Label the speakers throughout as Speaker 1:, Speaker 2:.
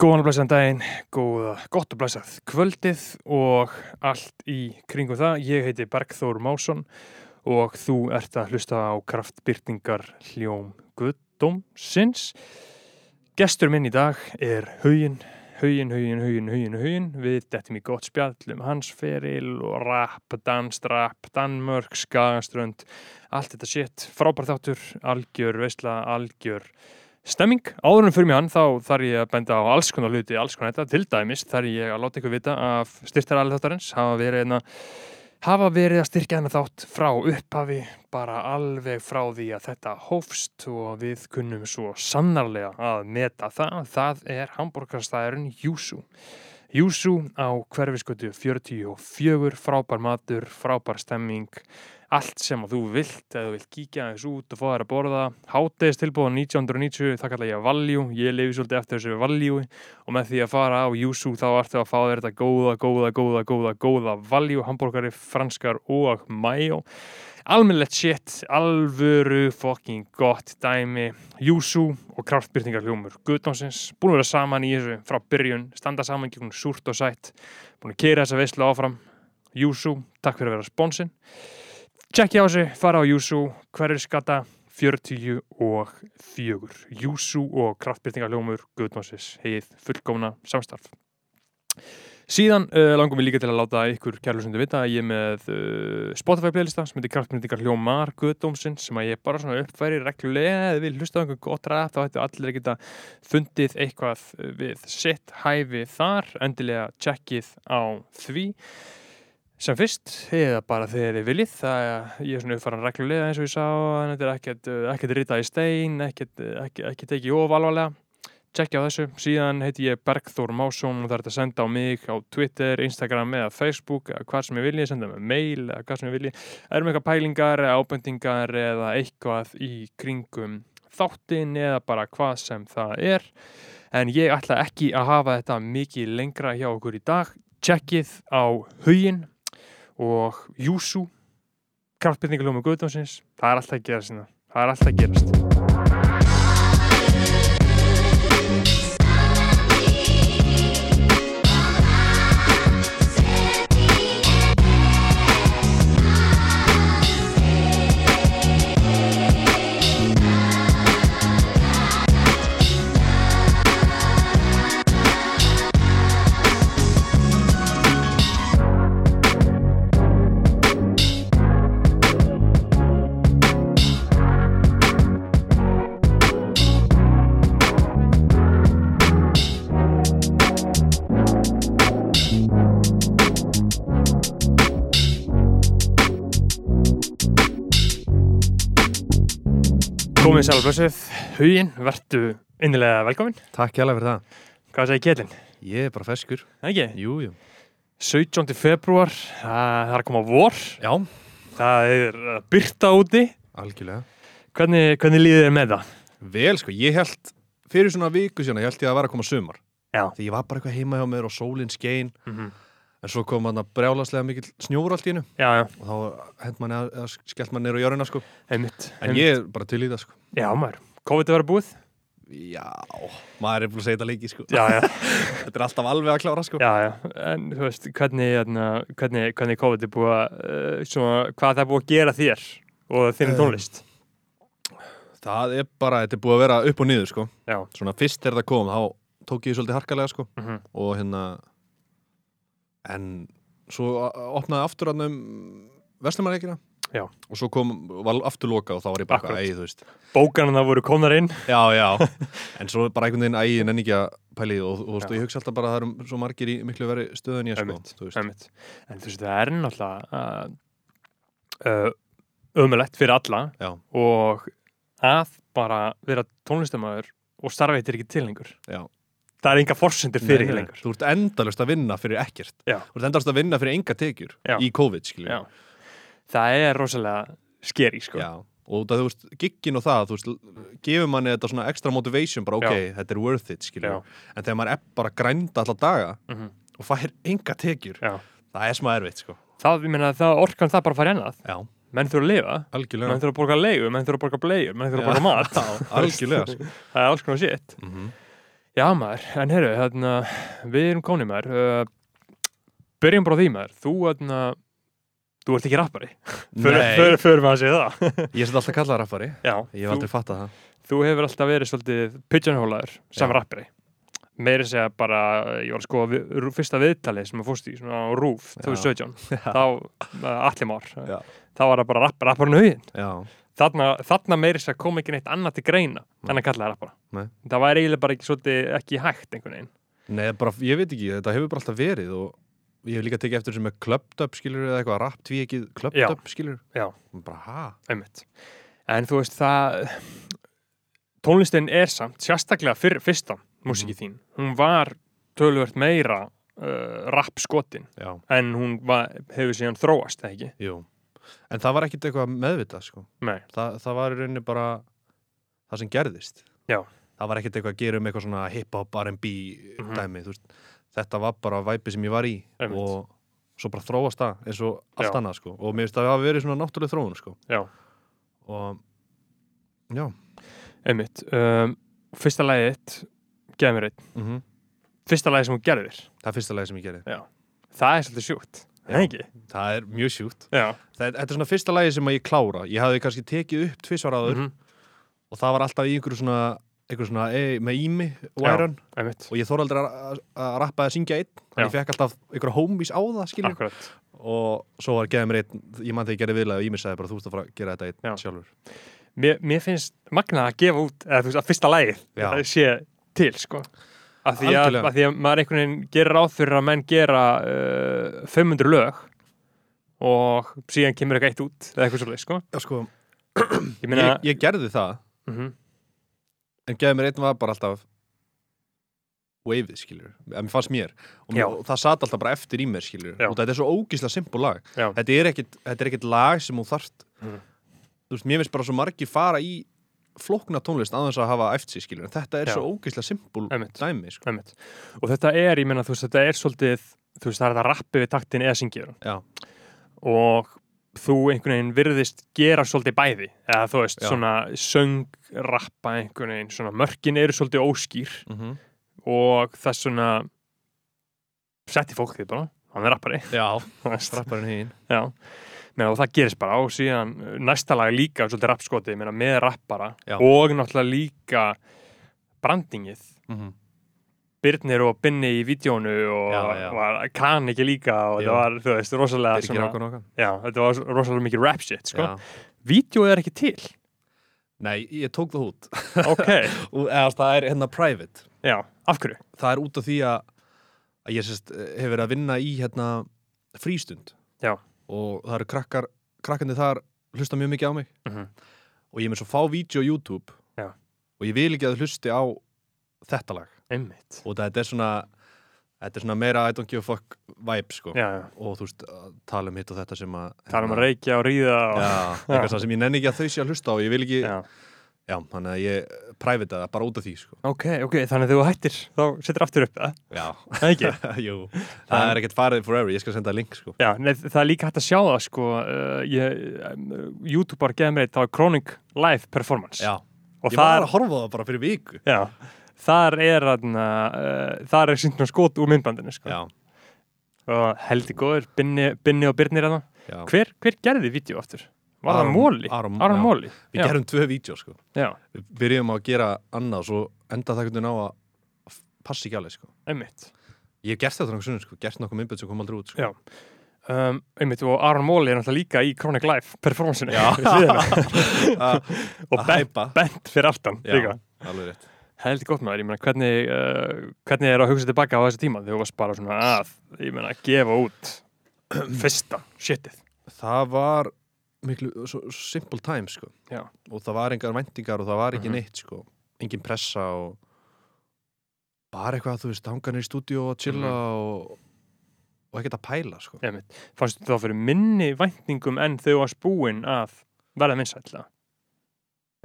Speaker 1: Góðan og blæsaðan daginn, góða, gott og blæsað kvöldið og allt í kringum það. Ég heiti Bergþór Másson og þú ert að hlusta á kraftbyrtingar hljóm guddómsins. Gestur minn í dag er Hauin, Hauin, Hauin, Hauin, Hauin, Hauin. Við dettum í gott spjall um hans feril og rap, dans, rap, Danmörk, Skagaströnd, allt þetta shit. Frábær þáttur, algjör, veistla, algjör stemming. Áður en fyrir mig hann þá þarf ég að benda á alls konar hluti, alls konar þetta, til dæmis þarf ég að láta ykkur vita að styrtar alþáttarins hafa verið einna hafa verið að styrkja hennar þátt frá upphafi, bara alveg frá því að þetta hófst og við kunnum svo sannarlega að meta það, það er hambúrgarstæðurinn Júsú. Júsú á hverfiskötu 44, frábær matur, frábær stemming, allt sem að þú vilt, eða þú vilt kíkja aðeins út og fá þær að borða, hátegis tilbúið 1990, það kalla ég valjú, ég lifi svolítið eftir þessu valjúi og með því að fara á Júsú þá ertu að fá þér þetta góða, góða, góða, góða, góða valjú, hambúrgari, franskar og mæjó. Almennilegt shit, alvöru, fucking gott dæmi, Júsú og kraftbyrtingarljómur, guðdómsins, búin að vera saman í þessu frá byrjun, standa saman gegnum súrt og sætt, búin að keira þessa veislu áfram, Júsú, takk fyrir að vera sponsinn tjekkja á þessu, fara á Júsú, hverjuskata 40 og 4. Júsú og kraftbyrtingaljómur Guðnósis heið fullkomna samstarf. Síðan uh, langum við líka til að láta ykkur kærlusundu vita að ég er með uh, Spotify playlista sem heitir Kraftmyndingar Hljómar Guðdómsins sem að ég bara svona uppfæri reglulega eða við hlusta á einhver gott ræð þá ættu allir að geta fundið eitthvað eh, við sitt hæfi þar endilega tjekkið á því sem fyrst, eða bara þegar þið viljið það ég er svona uppfaran reglulega eins og ég sá en þetta er ekkert, eh, ekkert ritað í stein ekkert, eh, ekki, ekki tekið of alvarlega tjekkja á þessu, síðan heiti ég Bergþór Másson og það er þetta að senda á mig á Twitter, Instagram eða Facebook eða hvað sem ég viljið, senda með mail eða hvað sem ég viljið, erum eitthvað pælingar eða ábendingar eða eitthvað í kringum þáttin eða bara hvað sem það er en ég ætla ekki að hafa þetta mikið lengra hjá okkur í dag tjekkið á huginn og Júsú kraftbyrningaljómi Guðdómsins það er alltaf að gerast hérna. það er alltaf að gerast komið sæl og blössuð, huginn, vertu innilega velkomin,
Speaker 2: Takk hérlega fyrir það.
Speaker 1: hvað segir Kjellin?
Speaker 2: Ég er bara feskur.
Speaker 1: ekki,
Speaker 2: Jú, jú.
Speaker 1: 17. februar það það er að koma vor
Speaker 2: Já.
Speaker 1: það er að byrta úti
Speaker 2: Algjörlega.
Speaker 1: hvernig, hvernig líður þér með það?
Speaker 2: Vel sko, ég held, fyrir svona viku sína, ég held ég að vera að koma sumar.
Speaker 1: Já.
Speaker 2: Því ég var bara eitthvað heima hjá mér og sólinn skein,
Speaker 1: Mm
Speaker 2: en svo kom hann að brjálaslega mikill snjór allt í hennu
Speaker 1: já, já,
Speaker 2: og þá hend manni að, að skellt manni neyru á jörðina sko.
Speaker 1: einmitt,
Speaker 2: En ég er bara til í það sko.
Speaker 1: já maður, COVID er að vera búið
Speaker 2: Já, maður er búin að segja þetta leiki sko.
Speaker 1: já, já,
Speaker 2: Þetta er alltaf alveg að klára sko.
Speaker 1: já, já, en þú veist hvernig, hérna, hvernig, hvernig COVID er búið að uh, svona, hvað það er búið að gera þér og þinn
Speaker 2: Eh,
Speaker 1: tónlist
Speaker 2: Það er bara, þetta er búin að vera upp og niður sko.
Speaker 1: já,
Speaker 2: Svona fyrst er það kom, þá tók ég því svolítið harkalega sko.
Speaker 1: mhm
Speaker 2: og hérna en svo a- a- opnaði aftur hann um Vestlumareikina
Speaker 1: Já.
Speaker 2: og svo kom, var aftur lokað og þá var ég bara
Speaker 1: Akkurat.
Speaker 2: eitthvað æg, þú veist
Speaker 1: bókarna voru komnar inn
Speaker 2: já, já, en svo bara einhvern veginn æg en enn ekki að pæli því og, og, þú veist,
Speaker 1: Já.
Speaker 2: og ég hugsa alltaf bara að það eru svo margir í miklu veri stöðun ég sko,
Speaker 1: Einmitt,
Speaker 2: þú veist
Speaker 1: Einmitt. en þú veist það er náttúrulega uh, ömulegt fyrir alla
Speaker 2: Já.
Speaker 1: og að bara vera tónlistamæður og starfa þetta er ekki til lengur
Speaker 2: Já.
Speaker 1: það er enga forsendir fyrir
Speaker 2: Nei,
Speaker 1: því
Speaker 2: nei,
Speaker 1: lengur
Speaker 2: þú ert endalust að vinna fyrir ekkert
Speaker 1: Já.
Speaker 2: þú ert endalust að vinna fyrir enga tekjur
Speaker 1: Já.
Speaker 2: í COVID, skilju
Speaker 1: Já. það er rosalega skeri sko.
Speaker 2: Já, og það, þú veist, giggin og það, þú veist, gefur manni þetta svona extra motivation, bara ok, þetta er worth it, skiljum. En þegar maður er bara að grænda alla daga
Speaker 1: Mhm.
Speaker 2: og fær enga tekjur,
Speaker 1: Já.
Speaker 2: það er smá erfitt, sko.
Speaker 1: það, ég meina, það orkan það bara að fara í annað
Speaker 2: Já,
Speaker 1: menn þurfa að lifa,
Speaker 2: algjörlega.
Speaker 1: menn þurfa að borga leigu menn þurfa að borga bleigur, menn þurfa að
Speaker 2: Já.
Speaker 1: borga mat
Speaker 2: Já, algjörlega, sko.
Speaker 1: það er alls konar shit
Speaker 2: Mm -hmm.
Speaker 1: Já, Já maður, en herru, þarna, við erum konið maður uh, Byrjum bara á því maður Þú, þarna, þú ert ekki rappari
Speaker 2: Nei.
Speaker 1: Förum að segja það
Speaker 2: Ég set alltaf kallað rappari
Speaker 1: Já,
Speaker 2: Ég hef
Speaker 1: þú,
Speaker 2: aldrei fattað það
Speaker 1: þú hefur alltaf verið svolítið pigeonhólaður sem
Speaker 2: Já.
Speaker 1: rappari Meiri segja bara, ég var að skoða við, rú- fyrsta viðtalið sem að fórst í svona á Rúf
Speaker 2: Já.
Speaker 1: 2017,
Speaker 2: Já,
Speaker 1: þá uh, allir már,
Speaker 2: Já.
Speaker 1: þá var það bara rappar, rappar nöðin,
Speaker 2: já,
Speaker 1: þarna, þarna meiri segja kom ekki neitt annað til greina,
Speaker 2: Nei.
Speaker 1: þannig að kalla það rappara
Speaker 2: Nei.
Speaker 1: það var eiginlega bara ekki, svolítið, ekki hægt einhvern veginn
Speaker 2: nei, bara, ég veit ekki, þetta hefur bara alltaf verið og ég hef líka tekið eftir sem er klöpt upp skilur eða eitthvað, rapp tví ekki klöpt
Speaker 1: Já.
Speaker 2: upp skilur
Speaker 1: Já.
Speaker 2: Bara, ha?
Speaker 1: einmitt. En þú veist það tónlistin er samt sérstaklega fyrir fyrsta músiki
Speaker 2: Mhm.
Speaker 1: þín hún var töluvert meira uh, rapp skotin
Speaker 2: Já,
Speaker 1: en hún var, hefur síðan þróast eða ekki
Speaker 2: jú En það var ekkit eitthvað meðvitað, sko
Speaker 1: Nei,
Speaker 2: Þa, það var í rauninni bara það sem gerðist
Speaker 1: Já.
Speaker 2: það var ekkert eitthvað að gera um eitthvað svona hip-hop, R&B
Speaker 1: Mhm.
Speaker 2: dæmi, þú veist þetta var bara væpi sem ég var í
Speaker 1: Einmitt.
Speaker 2: og svo bara þróast það eins og allt
Speaker 1: Já.
Speaker 2: annað sko og mér finnst að það hafa verið svona náttúrulega þróun sko
Speaker 1: Já.
Speaker 2: og já
Speaker 1: einmitt um, Fyrsta lagið þitt, geða mér einn
Speaker 2: mm
Speaker 1: Fyrsta lagið sem hún gerðir,
Speaker 2: það er fyrsta lagi sem ég gerði
Speaker 1: það er svolítið sjúkt
Speaker 2: Já.
Speaker 1: Nei ekki?
Speaker 2: það er mjög sjúkt
Speaker 1: Já,
Speaker 2: það, þetta er svona fyrsta lagi sem að ég klára ég hafði kannski tekið upp tvisvar áður
Speaker 1: Mhm,
Speaker 2: og það var alltaf í einhverju svona einhverju svona e, með ími og
Speaker 1: Já.
Speaker 2: æran
Speaker 1: einmitt
Speaker 2: og ég þór aldrei að- að rappa að syngja einn þannig ég
Speaker 1: Já.
Speaker 2: fekk alltaf einhverju homies á það skilur
Speaker 1: Akkurat
Speaker 2: og svo var geðið mér einn, ég mann þegar ég gerði viðlega og ég mér sagði bara þú ert að fara að gera þetta einn
Speaker 1: Já.
Speaker 2: sjálfur
Speaker 1: mér, mér finnst magnað að gefa út eða þú veist að fyrsta lagið
Speaker 2: Já.
Speaker 1: það sé til sko að því að,
Speaker 2: Algjörlega.
Speaker 1: að því að maður einhvern veginn gerir ráð fyrir að menn gera uh, 500 lög og síðan kemur eitthvað eitt út eða eitthvað svolítið sko
Speaker 2: Já sko,
Speaker 1: ég meina
Speaker 2: ég, ég gerði það
Speaker 1: mhm,
Speaker 2: en geðið mér einn var bara alltaf waveið skilur, en mér fannst mér og,
Speaker 1: Já.
Speaker 2: mér, og það sat alltaf bara eftir í mér skilur
Speaker 1: Já.
Speaker 2: og þetta er svo ógíslega simpul lag
Speaker 1: Já.
Speaker 2: þetta er, ekkit, þetta er ekkit lag sem þú þarft
Speaker 1: Mhm.
Speaker 2: þú veist, mér finnst bara svo margir fara í flókna tónlist aðeins að hafa æft sig skilur, en þetta er
Speaker 1: Já.
Speaker 2: svo ógíslega simpul
Speaker 1: Einmitt.
Speaker 2: dæmi sko.
Speaker 1: einmitt. og þetta er, ég meina þú veist þetta er svolítið þú veist það er þetta rappi við taktin eða syngir
Speaker 2: Já.
Speaker 1: og þú einhvern veginn virðist gera svolítið bæði eða þú veist
Speaker 2: Já.
Speaker 1: svona söngrappa einhvern veginn svona mörkin eru svolítið óskýr
Speaker 2: mm
Speaker 1: og þess svona setti fólk því bara hann er rappari
Speaker 2: Já,
Speaker 1: þú veist.
Speaker 2: strapparinn hinn
Speaker 1: Já. Meina, og það gerist bara og síðan uh, næsta lag líka svolítið rappskotið meina, með rappara
Speaker 2: Já.
Speaker 1: og náttúrulega líka brandingið
Speaker 2: mm -hmm.
Speaker 1: Birnir og Binni í vídjónu og
Speaker 2: Já, já.
Speaker 1: Var, kann ekki líka og
Speaker 2: Já.
Speaker 1: það var, þú veist, rosalega
Speaker 2: Birgir Ákon okkar
Speaker 1: já, þetta var rosalega mikið rap shit sko.
Speaker 2: Já.
Speaker 1: vídjó er ekki til
Speaker 2: Nei, ég tók það út
Speaker 1: ok,
Speaker 2: Og- eða það er hérna private
Speaker 1: já, af hverju
Speaker 2: það er út af því að, að ég sérst, hefur verið að vinna í hérna frístund
Speaker 1: Já.
Speaker 2: og það eru krakkar, krakkandi þar hlusta mjög mikið á mig
Speaker 1: Mhm.
Speaker 2: og ég er með svo fá vídeo á YouTube
Speaker 1: Já.
Speaker 2: og ég vil ekki að þau hlusti á þetta lag
Speaker 1: einmitt
Speaker 2: og þetta er svona þetta er svona meira I don't give a fuck vibe sko
Speaker 1: já, já.
Speaker 2: og þú veist, að tala um hitt og þetta sem að hérna,
Speaker 1: tala um að reykja og ríða og,
Speaker 2: Já,
Speaker 1: Já.
Speaker 2: eitthvað sem ég nenni ekki að þau sé að hlusta á og ég vil ekki, já,
Speaker 1: Já.
Speaker 2: þannig að ég private það bara út af því sko
Speaker 1: Ok, ok, þannig að þú hættir, þá setur aftur upp það,
Speaker 2: Já,
Speaker 1: það ekki?
Speaker 2: Jú, það er ekkert farið forever, ég skal senda link sko.
Speaker 1: Já, nei, það er líka hægt að sjá það, sko, uh, ég, um, YouTube-ar geða mér eitt, það var Chronic Live Performance.
Speaker 2: Já,
Speaker 1: og
Speaker 2: ég var
Speaker 1: þar,
Speaker 2: að horfa á það bara fyrir viku
Speaker 1: já, þar er, aðna, uh, þar er sýnt með skot úr myndbandinu, sko,
Speaker 2: Já,
Speaker 1: og heldur góður, Binni, Binni og Birnir að það.
Speaker 2: já
Speaker 1: Hver, hver gerði vídeo aftur? Var
Speaker 2: Aron-
Speaker 1: það Móli?
Speaker 2: Aron- já.
Speaker 1: Aron Móli?
Speaker 2: Við gerum tvö vídeo sko
Speaker 1: Já,
Speaker 2: Við byrjum á að gera annað svo enda það hvernig á að f- passa ekki alveg sko
Speaker 1: einmitt.
Speaker 2: Ég hef gert þetta nokkuð sunnum sko, gert nokkuð myndbönd sem kom aldrei út sko
Speaker 1: Já. Um, einmitt, og Aron Móli er náttúrulega líka í Chronic Live Performance-inu.
Speaker 2: Já.
Speaker 1: við hliðina.
Speaker 2: Að
Speaker 1: og
Speaker 2: að
Speaker 1: bent,
Speaker 2: hæpa
Speaker 1: bent fyrir aftan,
Speaker 2: Já,
Speaker 1: líka.
Speaker 2: alveg rétt
Speaker 1: Heldur gott maður, ég meina hvernig, uh, hvernig er að hugsa tilbaka á þessu tíma þegar þú varst bara svona að, ég meina, gefa út fyrsta shitið.
Speaker 2: Það var miklu, svo, svo simple time sko
Speaker 1: Já.
Speaker 2: Og það var engar væntingar og það var ekki
Speaker 1: Mhm.
Speaker 2: neitt sko Engin pressa og bara eitthvað, þú veist, hanganir í stúdíu og chilla
Speaker 1: Mhm.
Speaker 2: og, og ekkert að pæla sko
Speaker 1: Einmitt. Fannst þú þá fyrir minni væntingum en þau varst búin að verða vinsætla?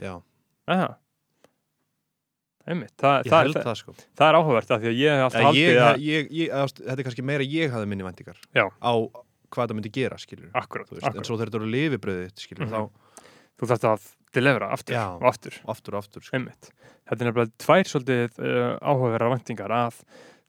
Speaker 2: Já,
Speaker 1: Aha. Einmitt, það,
Speaker 2: ég
Speaker 1: það,
Speaker 2: held
Speaker 1: það,
Speaker 2: það, sko
Speaker 1: það, er áhugavert af því að ég hef alltaf
Speaker 2: Eða ég,
Speaker 1: haldið að,
Speaker 2: ég, ég, eða, þú veist, þetta er kannski meira ég hafði minni væntingar
Speaker 1: Já.
Speaker 2: á hvað það myndi gera skilur
Speaker 1: akkurat, Mhm.
Speaker 2: þú
Speaker 1: þú
Speaker 2: veist, en svo þegar þetta eru lifibröðið skilur
Speaker 1: Mhm. Þú þarfst að delivera aftur
Speaker 2: Já.
Speaker 1: og aftur
Speaker 2: og aftur og aftur sko.
Speaker 1: einmitt. Þetta er nefnilega tvær svolítið uh, áhugaverðar væntingar að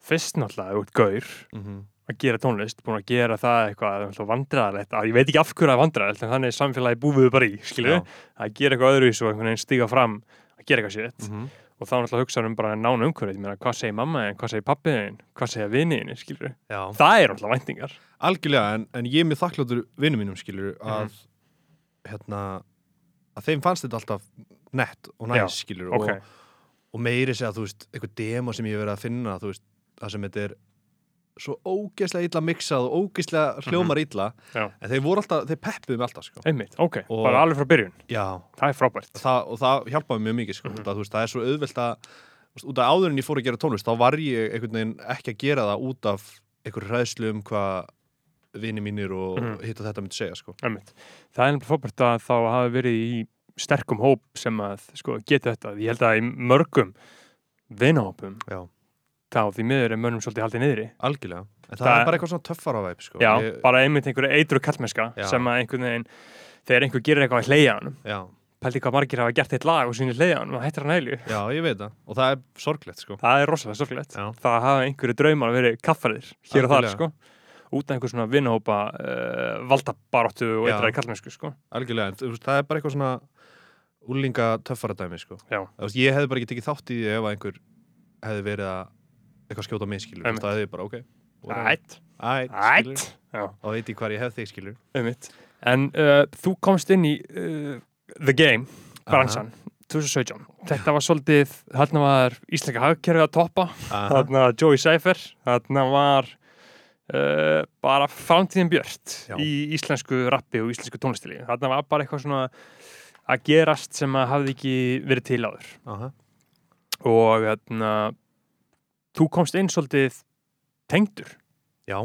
Speaker 1: fyrst náttúrulega út gaur
Speaker 2: mm
Speaker 1: að gera tónlist, búin að gera það eitthvað náttúrulega vandræðalegt, að ég veit ekki af hverju það er vandræðalegt en þannig er samfélagi búið bara í, skilju að gera eitthvað öðruvísu og einhvern veginn stíga fram að gera eitthvað sétt
Speaker 2: -hmm.
Speaker 1: og þá náttúrulega hugsa um bara nánu umhverfið, ég meina hvað segir mamma þín, hvað segir pappi þín, hvað segir viniðin, skilju
Speaker 2: Já,
Speaker 1: það er náttúrulega væntingar
Speaker 2: algjörlega en, en ég er mér þakkláttur vinnum mínum skilur
Speaker 1: Mhm.
Speaker 2: að hérna að þeim fannst þetta alltaf nett og
Speaker 1: Já,
Speaker 2: næs skilur
Speaker 1: ok,
Speaker 2: og, og meiri segja þú veist eitthvað demo sem ég hef verið að finna þú veist það sem þetta er svo ógeðslega illa mixað og ógeðslega hljómar illa
Speaker 1: Mhm. Já.
Speaker 2: en þeir voru alltaf, þeir peppuðu mig alltaf sko.
Speaker 1: einmitt, ok,
Speaker 2: Og-
Speaker 1: bara alveg frá byrjun
Speaker 2: Já,
Speaker 1: það er frábært,
Speaker 2: það, og það hjálpaði mjög mikið
Speaker 1: Mhm.
Speaker 2: sko, mm -hmm. að, veist, það er svo auðvelt að þú veist, út af áður en ég fór að gera tónlist þá var ég einhvern veginn ekki að gera það út af einhverju hræðslu um hvað vini mínir og
Speaker 1: Mhm.
Speaker 2: hitt og þetta myndi segja sko.
Speaker 1: einmitt það er náttúrulega frábært að þá hafi verið í sterkum hóp sem að sko, geta þetta, ég held að í mörgum vinahópum
Speaker 2: Já.
Speaker 1: þá því miður er mönnum svolítið haldið niðri
Speaker 2: algjörlega, en það,
Speaker 1: Það-
Speaker 2: er bara eitthvað svona töffara væp sko.
Speaker 1: já,
Speaker 2: ég,
Speaker 1: bara einmitt einhverju eitru kallmesska
Speaker 2: Já.
Speaker 1: sem að einhvern veginn þegar einhver gerir eitthvað að hleyja hann
Speaker 2: já,
Speaker 1: pældi hvað margir hafa gert eitt lag og sinni hleyja hann og hættir hann heilu
Speaker 2: já, ég veit það og það er sorglegt sko.
Speaker 1: það er rosalega sorglegt
Speaker 2: Já.
Speaker 1: það hafa einhverju draumar verið kaffarðir hér og þar
Speaker 2: Algjörlega.
Speaker 1: sko út af einhver svona vinahópa uh, valdabaróttu og
Speaker 2: Já.
Speaker 1: eitthvað kallmessku sko
Speaker 2: algjörlega, en þú veist, það er bara eitthvað svona úlinga töffara dæmi sko.
Speaker 1: Já.
Speaker 2: Þú veist, ég hefði bara ekki tekið þátt í því ef að einhver hefði verið að eitthvað skjóta á mig skilur,
Speaker 1: Einmitt.
Speaker 2: það hefði ég bara ok whatever.
Speaker 1: Ætt,
Speaker 2: Æ, skilur.
Speaker 1: ætt Já,
Speaker 2: þá veit ég hvar ég hef þig skilur
Speaker 1: einmitt En uh, þú komst inn í uh, The Game, bransan 2017, þetta var svolítið þarna var Íslenska hagkerfið að toppa
Speaker 2: Aha.
Speaker 1: þarna var Joey Seifer þarna var uh, bara framtíðin björt
Speaker 2: Já.
Speaker 1: í íslensku rappi og íslensku tónlistili þarna var bara eitthvað svona að gerast sem að hafði ekki verið til áður
Speaker 2: Aha.
Speaker 1: og þarna þú komst inn svolítið tengdur
Speaker 2: Já,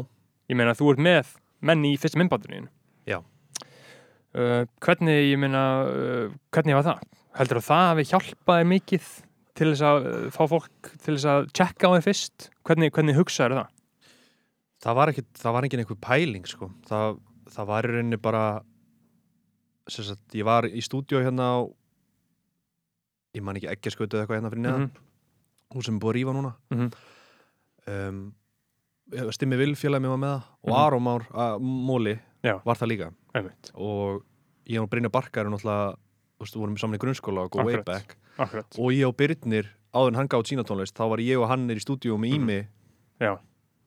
Speaker 1: ég meina þú ert með menn í fyrsta myndbanduninu
Speaker 2: Já.
Speaker 1: uh, hvernig ég meina uh, hvernig var það? heldur þú það hafi hjálpað þér mikið til þess að uh, fá fólk til þess að tjekka á þér fyrst hvernig, hvernig hugsaður það?
Speaker 2: það var ekki það var ekki einhver pæling sko það, það var í rauninni bara sem sagt, ég var í stúdíó hérna á ég man ekki ekki skautu eitthvað hérna fyrir neðan
Speaker 1: Mhm.
Speaker 2: mm hún sem er búið að rífa núna
Speaker 1: Mhm.
Speaker 2: um, Stimmi Vil félagi mér var með það og
Speaker 1: Mhm.
Speaker 2: Aron Már, að, Móli
Speaker 1: Já.
Speaker 2: var það líka
Speaker 1: Einmitt,
Speaker 2: og ég og Brynja Barkar er náttúrulega, þú veist, vorum saman í grunnskóla og go way
Speaker 1: Akkurat.
Speaker 2: back
Speaker 1: akkurat.
Speaker 2: og ég og Byrnir áður en hann gáði sína tónlist þá var ég og hann er í stúdíu með
Speaker 1: Mhm.
Speaker 2: Ími
Speaker 1: Já.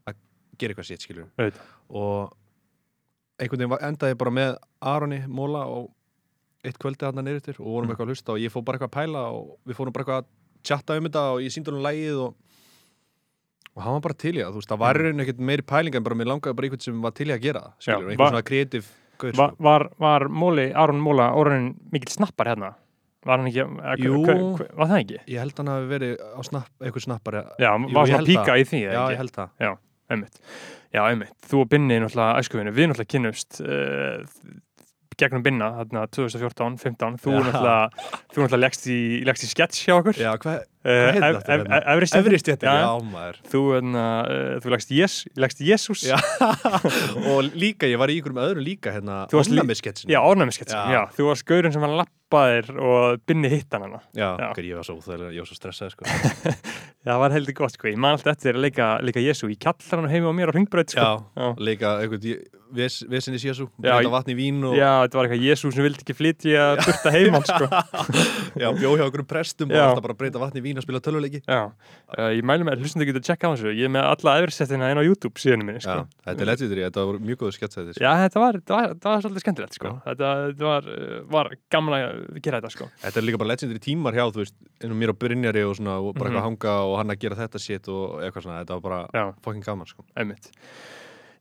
Speaker 2: að gera eitthvað sétt skilur
Speaker 1: Auðvitað.
Speaker 2: og einhvern veginn var- endaði ég bara með Aroni Móla og eitt kvöldi hann neyrir til og vorum
Speaker 1: Mhm.
Speaker 2: eitthvað að hlusta og ég fór bara eitthvað að pæla og við fórum bara eitthvað að chatta um þetta og ég síndi hann lægið og og hann var bara til í það, þú veist, það var í rauninni ekkert meiri pælinga en bara mér langaði bara einhvern sem var til í að gera það, skilur,
Speaker 1: Mm. Já,
Speaker 2: einhvern
Speaker 1: var-
Speaker 2: svona kreatív gaur,
Speaker 1: Va,
Speaker 2: sko.
Speaker 1: var, var Móli, Aron Móla orðin mikill snappar hérna? Var hann ekki, eða hver-
Speaker 2: Jú.
Speaker 1: hver- hver- var það ekki?
Speaker 2: ég held hann hafi verið á snapp, eitthvað snappari
Speaker 1: Já, hann var
Speaker 2: ég
Speaker 1: svona
Speaker 2: held
Speaker 1: píka í því,
Speaker 2: já,
Speaker 1: eða
Speaker 2: ég
Speaker 1: ekki?
Speaker 2: held það
Speaker 1: Einmitt. Já, einmitt. Þú og Binni, náttúrulega, æskuvinu, við náttúrulega kynnumst uh, gegnum Binna, þarna 2014, 15, þú
Speaker 2: Já.
Speaker 1: náttúrulega, þú náttúrulega leggst í, leggst í sketch hjá okkur.
Speaker 2: já, hvað,
Speaker 1: Eh,
Speaker 2: hvað
Speaker 1: ef-
Speaker 2: heitir þetta
Speaker 1: ef-
Speaker 2: hérna?
Speaker 1: ef- Efri stjættin.
Speaker 2: Efri stjættin,
Speaker 1: Já.
Speaker 2: já, maður
Speaker 1: Þú, þarna, uh, þú leggst, yes, leggst Jesus.
Speaker 2: Já. Og líka, ég var í ykkurum öðrum líka hérna
Speaker 1: Þú varst lí-
Speaker 2: Ofnæmissketsin
Speaker 1: Já, ornæmisketsin,
Speaker 2: Já.
Speaker 1: já. Þú varst gaurinn sem hann lappaðir og Binni hittan hana.
Speaker 2: já,
Speaker 1: Já.
Speaker 2: ok, ég var svo úþægilega, ég var svo stressað sko.
Speaker 1: Það var heldur gott, sko. Ég man alltaf eftir að leika, leika Jésu í kallarinn heima á mér á hringbröð, sko.
Speaker 2: Já,
Speaker 1: Já.
Speaker 2: líka einhvern ég- ves, vesinni sésu
Speaker 1: Já,
Speaker 2: Breyta
Speaker 1: ég-
Speaker 2: vatn í vín og já.
Speaker 1: Já, þetta var eitthvað Jésu sem vildi ekki flytja burta heimann, sko.
Speaker 2: bjó hjá einhverjum prestum
Speaker 1: Já.
Speaker 2: og alltaf bara breyta vatn í vín og spila töluleiki
Speaker 1: Já, uh, ég mælu með að hlustum þau getur að checka á þessu Ég er með alla efrisettina inn á YouTube síðanum minni sko.
Speaker 2: Já, þetta er lettvítur í, þetta voru mjög góðu sketsæðir
Speaker 1: Já, þetta var, þetta var, þetta var svolítið skemmtilegt sko.
Speaker 2: Já.
Speaker 1: Þetta, þetta var, uh, var gaman að gera þetta sko.
Speaker 2: Þetta er líka bara lettvítur í tímar hjá, þú veist Ennum mér og Brynjari og svona, og bara
Speaker 1: Mhm.
Speaker 2: eitthvað hanga og hann að gera þetta shit og eitthvað svona Þetta var bara
Speaker 1: Já,
Speaker 2: fucking gaman sko
Speaker 1: einmitt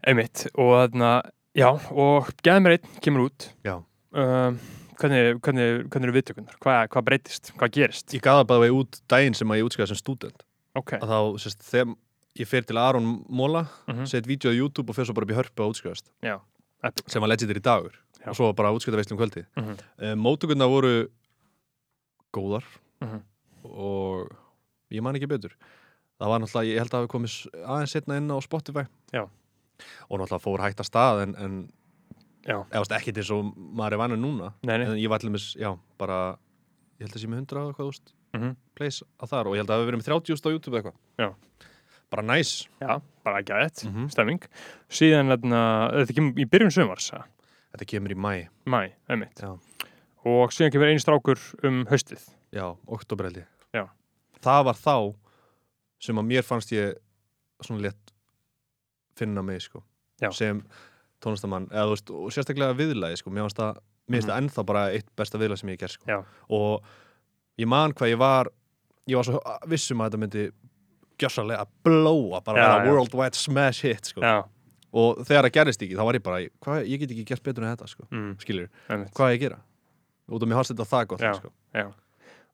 Speaker 1: Einmitt, og þarna Já, og geða mér einn, kemur út
Speaker 2: Já.
Speaker 1: um, hvernig, hvernig, hvernig eru viðtökunar? Hvað, hvað breytist? Hvað gerist?
Speaker 2: Ég gaða bara vegi út daginn sem að ég útskæða sem student
Speaker 1: Ok,
Speaker 2: að þá, sérst, þegar ég fer til Aron Móla,
Speaker 1: mm
Speaker 2: mm. set vídeo á YouTube og fer svo bara upp í hörpu að útskjöðast
Speaker 1: Já. Epic.
Speaker 2: sem var legendir í dagur
Speaker 1: Já.
Speaker 2: og svo bara útskjöðaveislum kvöldi
Speaker 1: Mhm.
Speaker 2: um, mótugunna voru góðar
Speaker 1: Mhm.
Speaker 2: og ég man ekki betur það var náttúrulega, ég held að hafi komið s- aðeins setna inn á Spotify
Speaker 1: Já.
Speaker 2: og náttúrulega fór hægt að stað en, en
Speaker 1: Já.
Speaker 2: eða ekki eins og maður er vanið núna
Speaker 1: nei, nei,
Speaker 2: en ég var allir með, já, bara ég held að sé með 100 og eitthvað úst
Speaker 1: Mhm.
Speaker 2: plays að þar og ég held að við verið með 30 úst á YouTube eða eitthvað
Speaker 1: Já.
Speaker 2: bara næs
Speaker 1: Já, bara ekki að þetta,
Speaker 2: Mhm.
Speaker 1: stemming. Síðan, þarna, eh, þetta kemur í byrjun sömars, að?
Speaker 2: þetta kemur í mæ
Speaker 1: mæ, einmitt.
Speaker 2: Já.
Speaker 1: Og síðan kemur einu strákur um haustið.
Speaker 2: já, oktober held ég
Speaker 1: Já.
Speaker 2: það var þá sem að mér fannst ég svona létt finna mig sko
Speaker 1: Já.
Speaker 2: sem tónlistamann eða þú veist og sérstaklega viðlagi sko mér fannst það mér finnst það ennþá bara eitt besta viðlag sem ég ger sko
Speaker 1: Mhm. Já.
Speaker 2: og ég man hvað ég var ég var svo vissum að þetta myndi gjössalega blóa bara
Speaker 1: Já,
Speaker 2: já,
Speaker 1: já.
Speaker 2: worldwide smash hit sko
Speaker 1: Já,
Speaker 2: og þegar það gerðist ekki þá var ég bara hvað, ég get ekki gert betur en þetta sko
Speaker 1: mm,
Speaker 2: skilur,
Speaker 1: einmitt.
Speaker 2: hvað á ég að gera út af mér hans þetta það gott sko.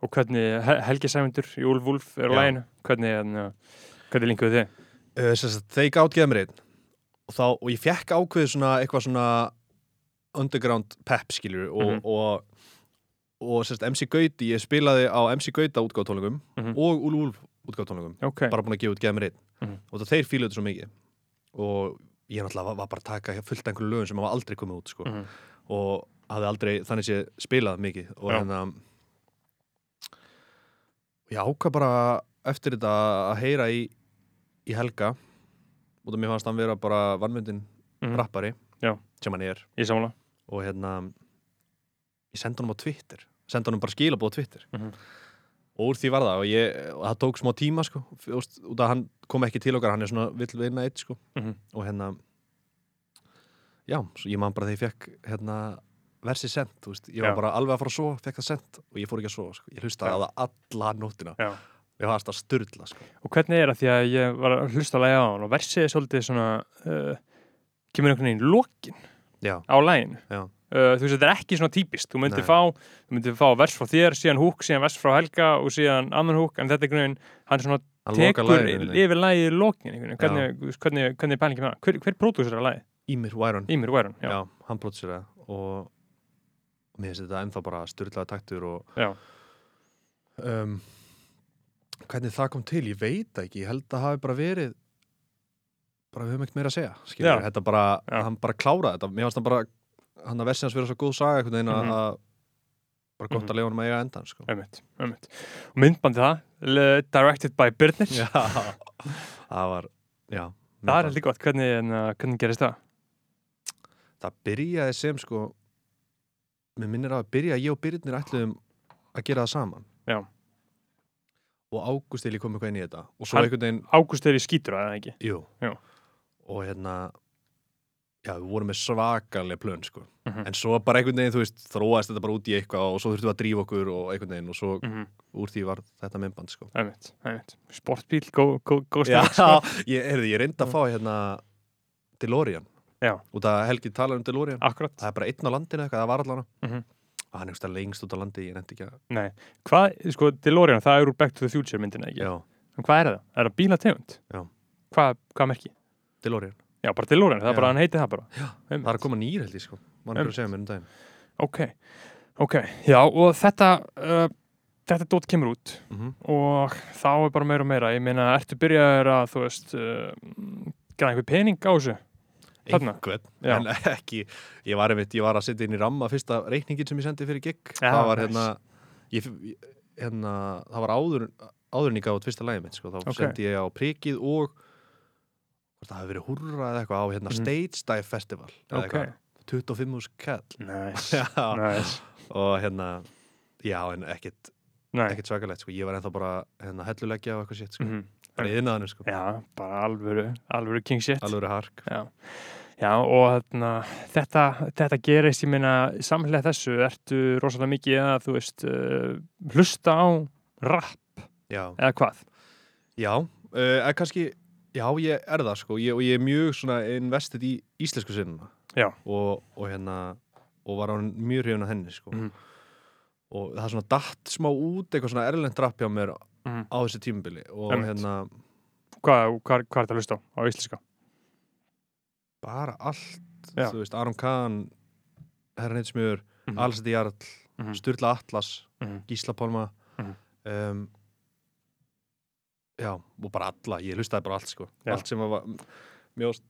Speaker 1: Og hvernig Hel- Helgi Sæmundur í Úlf Úlf er á
Speaker 2: Já.
Speaker 1: læginu? Hvernig, þarna, hvernig linkuðu þið?
Speaker 2: uh, sérst, þeir gátt geða mér einn og, þá, og ég fekk ákveðið svona eitthvað svona underground pep skilur og,
Speaker 1: Mhm.
Speaker 2: og, og sérst, MC Gauti, ég spilaði á MC Gauta útgáttónleikum
Speaker 1: Mhm.
Speaker 2: og Úlf Úlf útgáttónleikum
Speaker 1: Ok,
Speaker 2: bara búin að gefa út geða mér einn
Speaker 1: Mhm.
Speaker 2: og það þeir fíluðu þetta svo mikið og ég náttúrulega var, var bara að taka fullt af einhverju lögum sem hafa aldrei komið út sko.
Speaker 1: Mhm.
Speaker 2: og hafði aldrei þannig sé spilað mikið og
Speaker 1: Já.
Speaker 2: hérna ég ákvað bara eftir þetta að heyra í, í Helga út af mér fannst hann vera bara vannmyndin
Speaker 1: Mhm.
Speaker 2: rappari
Speaker 1: Já.
Speaker 2: sem hann er
Speaker 1: ég samla.
Speaker 2: og hérna ég sendi honum á Twitter sendi honum bara skilabóð á Twitter
Speaker 1: Mhm.
Speaker 2: og úr því var það og, ég, og það tók smá tíma sko, f- úst, út af hann kom ekki til okkar hann er svona vill vinna eitt sko
Speaker 1: Mhm.
Speaker 2: og hérna já, svo ég man bara þegar ég fekk hérna, versið sent, þú veist ég var
Speaker 1: Já.
Speaker 2: bara alveg að fara að sofa, fekk það sent og ég fór ekki að sofa, sko. ég hlustaði
Speaker 1: Já.
Speaker 2: á það alla nóttina,
Speaker 1: Já.
Speaker 2: ég var alltaf styrla sko.
Speaker 1: Og hvernig er það því að ég var að hlusta að lægja á hann og versið er svolítið svona, uh, kemur einhvern veginn lokin
Speaker 2: já,
Speaker 1: á læginu.
Speaker 2: já,
Speaker 1: Uh, þú veist, þetta er ekki svona típist. Þú myndir
Speaker 2: Nei.
Speaker 1: fá, þú myndir fá vers frá þér, síðan húk, síðan vers frá Helga og síðan annan húk, en þetta er einhvern veginn, hann svona
Speaker 2: hann lokar
Speaker 1: tekur
Speaker 2: lagið
Speaker 1: yfir
Speaker 2: einhvern veginn.
Speaker 1: yfir lagið í lokin einhvern veginn. hvernig, þú veist, hvernig, hvernig er pælingi með það hver, hver pródúsir er lagið?
Speaker 2: Ímir Væron,
Speaker 1: Ímir Væron,
Speaker 2: já.
Speaker 1: já,
Speaker 2: hann brótt sér það og og mér finnst þetta ennþá bara styrlaði taktur og
Speaker 1: já.
Speaker 2: um, hvernig það kom til, ég veit það ekki ég held að það hafi bara verið bara við höfum ekkert meira að segja skilur,
Speaker 1: Já.
Speaker 2: þetta bara,
Speaker 1: Já.
Speaker 2: hann bara kláraði þetta mér fannst hann bara, hann að versi hans vera svo góð saga einhvern veginn að
Speaker 1: Mhm.
Speaker 2: að bara gott
Speaker 1: Mhm.
Speaker 2: að leiða honum að eiga endan sko.
Speaker 1: Ömmit, ömmit. og myndbandi það, le- directed by Birnir
Speaker 2: já, það var já,
Speaker 1: það er heldur gott, hvernig, en, uh, hvernig gerist það?
Speaker 2: það byrjaði sem sko mér minnir að byrja ég og Byrnir ætluðum að gera það saman
Speaker 1: Já.
Speaker 2: og Ágúst til ég kom eitthvað inn í þetta og svo
Speaker 1: Hann-
Speaker 2: einhvern veginn
Speaker 1: Ágúst er í skítur, eða ekki?
Speaker 2: Jú.
Speaker 1: Já.
Speaker 2: Og hérna, já, við vorum með svakalega plön, sko.
Speaker 1: Mhm.
Speaker 2: En svo bara einhvern veginn, þú veist, þróaðist þetta bara út í eitthvað og svo þurftum við að drífa okkur og einhvern veginn og svo
Speaker 1: Mm -hmm.
Speaker 2: úr því var þetta myndband, sko.
Speaker 1: ömmit, ömmit. sportbíl, góð gó, gó
Speaker 2: Já,
Speaker 1: stemning, sko. Mhm.
Speaker 2: ég, heyrðu, ég reyndi að fá hérna DeLorean.
Speaker 1: Já.
Speaker 2: Út að Helgi talar um DeLorean.
Speaker 1: akkurat
Speaker 2: Það er bara einn á landinu eitthvað, það var allan á.
Speaker 1: Mhm.
Speaker 2: Og hann er einhverstað lengst út á landi, ég nefndi ekki að...
Speaker 1: Nei. hvað, sko, DeLorean, það er úr Back to the Future myndina, ekki?
Speaker 2: Já,
Speaker 1: En hvað er það? Er það bílategund?
Speaker 2: Já.
Speaker 1: hvað, hvað merki?
Speaker 2: DeLorean.
Speaker 1: Já, bara DeLorean, það er
Speaker 2: Já.
Speaker 1: bara, hann heiti það bara Já,
Speaker 2: Það er að koma nýr, held ég, sko. Var einhver að
Speaker 1: Einmitt.
Speaker 2: segja mér um daginn.
Speaker 1: Ok, ok, já og þetta, uh, þetta dót kemur út
Speaker 2: Mhm.
Speaker 1: og þá er bara meira og meira, ég meina, ertu byrjaður að, þú veist, uh, græða einhver pening á þessu? Þarna?
Speaker 2: einhvern,
Speaker 1: Já.
Speaker 2: en ekki ég var, einmitt, ég var að setja inn í ramma fyrsta reikningin sem ég sendi fyrir gig
Speaker 1: Já,
Speaker 2: það var
Speaker 1: nice.
Speaker 2: hérna, ég, hérna það var áður, áður en ég gáði fyrsta lagi mitt sko, þá
Speaker 1: Ok.
Speaker 2: sendi ég á prikið og hvort það hafi verið hurra eða eitthvað á hérna
Speaker 1: Mhm.
Speaker 2: Stage Dive Festival eða
Speaker 1: Ok.
Speaker 2: eitthvað, 25 hús kall
Speaker 1: Næs,
Speaker 2: Já,
Speaker 1: næs,
Speaker 2: og hérna já, en ekkit,
Speaker 1: næs.
Speaker 2: ekkit svakalegt sko. ég var ennþá bara hérna, helluleggja og eitthvað sétt sko.
Speaker 1: Mm -hmm.
Speaker 2: bara yðnaðinu, sko.
Speaker 1: Já, bara alvöru, alvöru king shit.
Speaker 2: alveg hark
Speaker 1: Já. Já, og þarna, þetta, þetta gerist, ég meina, samhlega þessu, ertu rosalega mikið að, þú veist, uh, hlusta á rap
Speaker 2: já,
Speaker 1: eða hvað?
Speaker 2: Já, uh, eða kannski, já, ég er það sko ég, og ég er mjög svona investið í íslensku sinna
Speaker 1: Já.
Speaker 2: og, og hérna og var hann mjög hrifin að henni sko
Speaker 1: Mhm.
Speaker 2: og það svona datt smá út eitthvað svona erlend drapp hjá mér
Speaker 1: Mm.
Speaker 2: á þessu tímabili og
Speaker 1: Einmitt.
Speaker 2: hérna
Speaker 1: Hvað, hvað, hvað er þetta að hlusta á, á íslenska?
Speaker 2: bara allt
Speaker 1: Já.
Speaker 2: þú veist, Aron Kahn Herran Hitsmjör, mm
Speaker 1: Mhm.
Speaker 2: -hmm. Alsati Jarl
Speaker 1: Mhm.
Speaker 2: Sturla Atlas,
Speaker 1: Mhm.
Speaker 2: Gísla Pálma
Speaker 1: Mhm.
Speaker 2: um, Já, og bara alla ég hlustaði bara allt sko
Speaker 1: Já.
Speaker 2: allt sem var mjóst,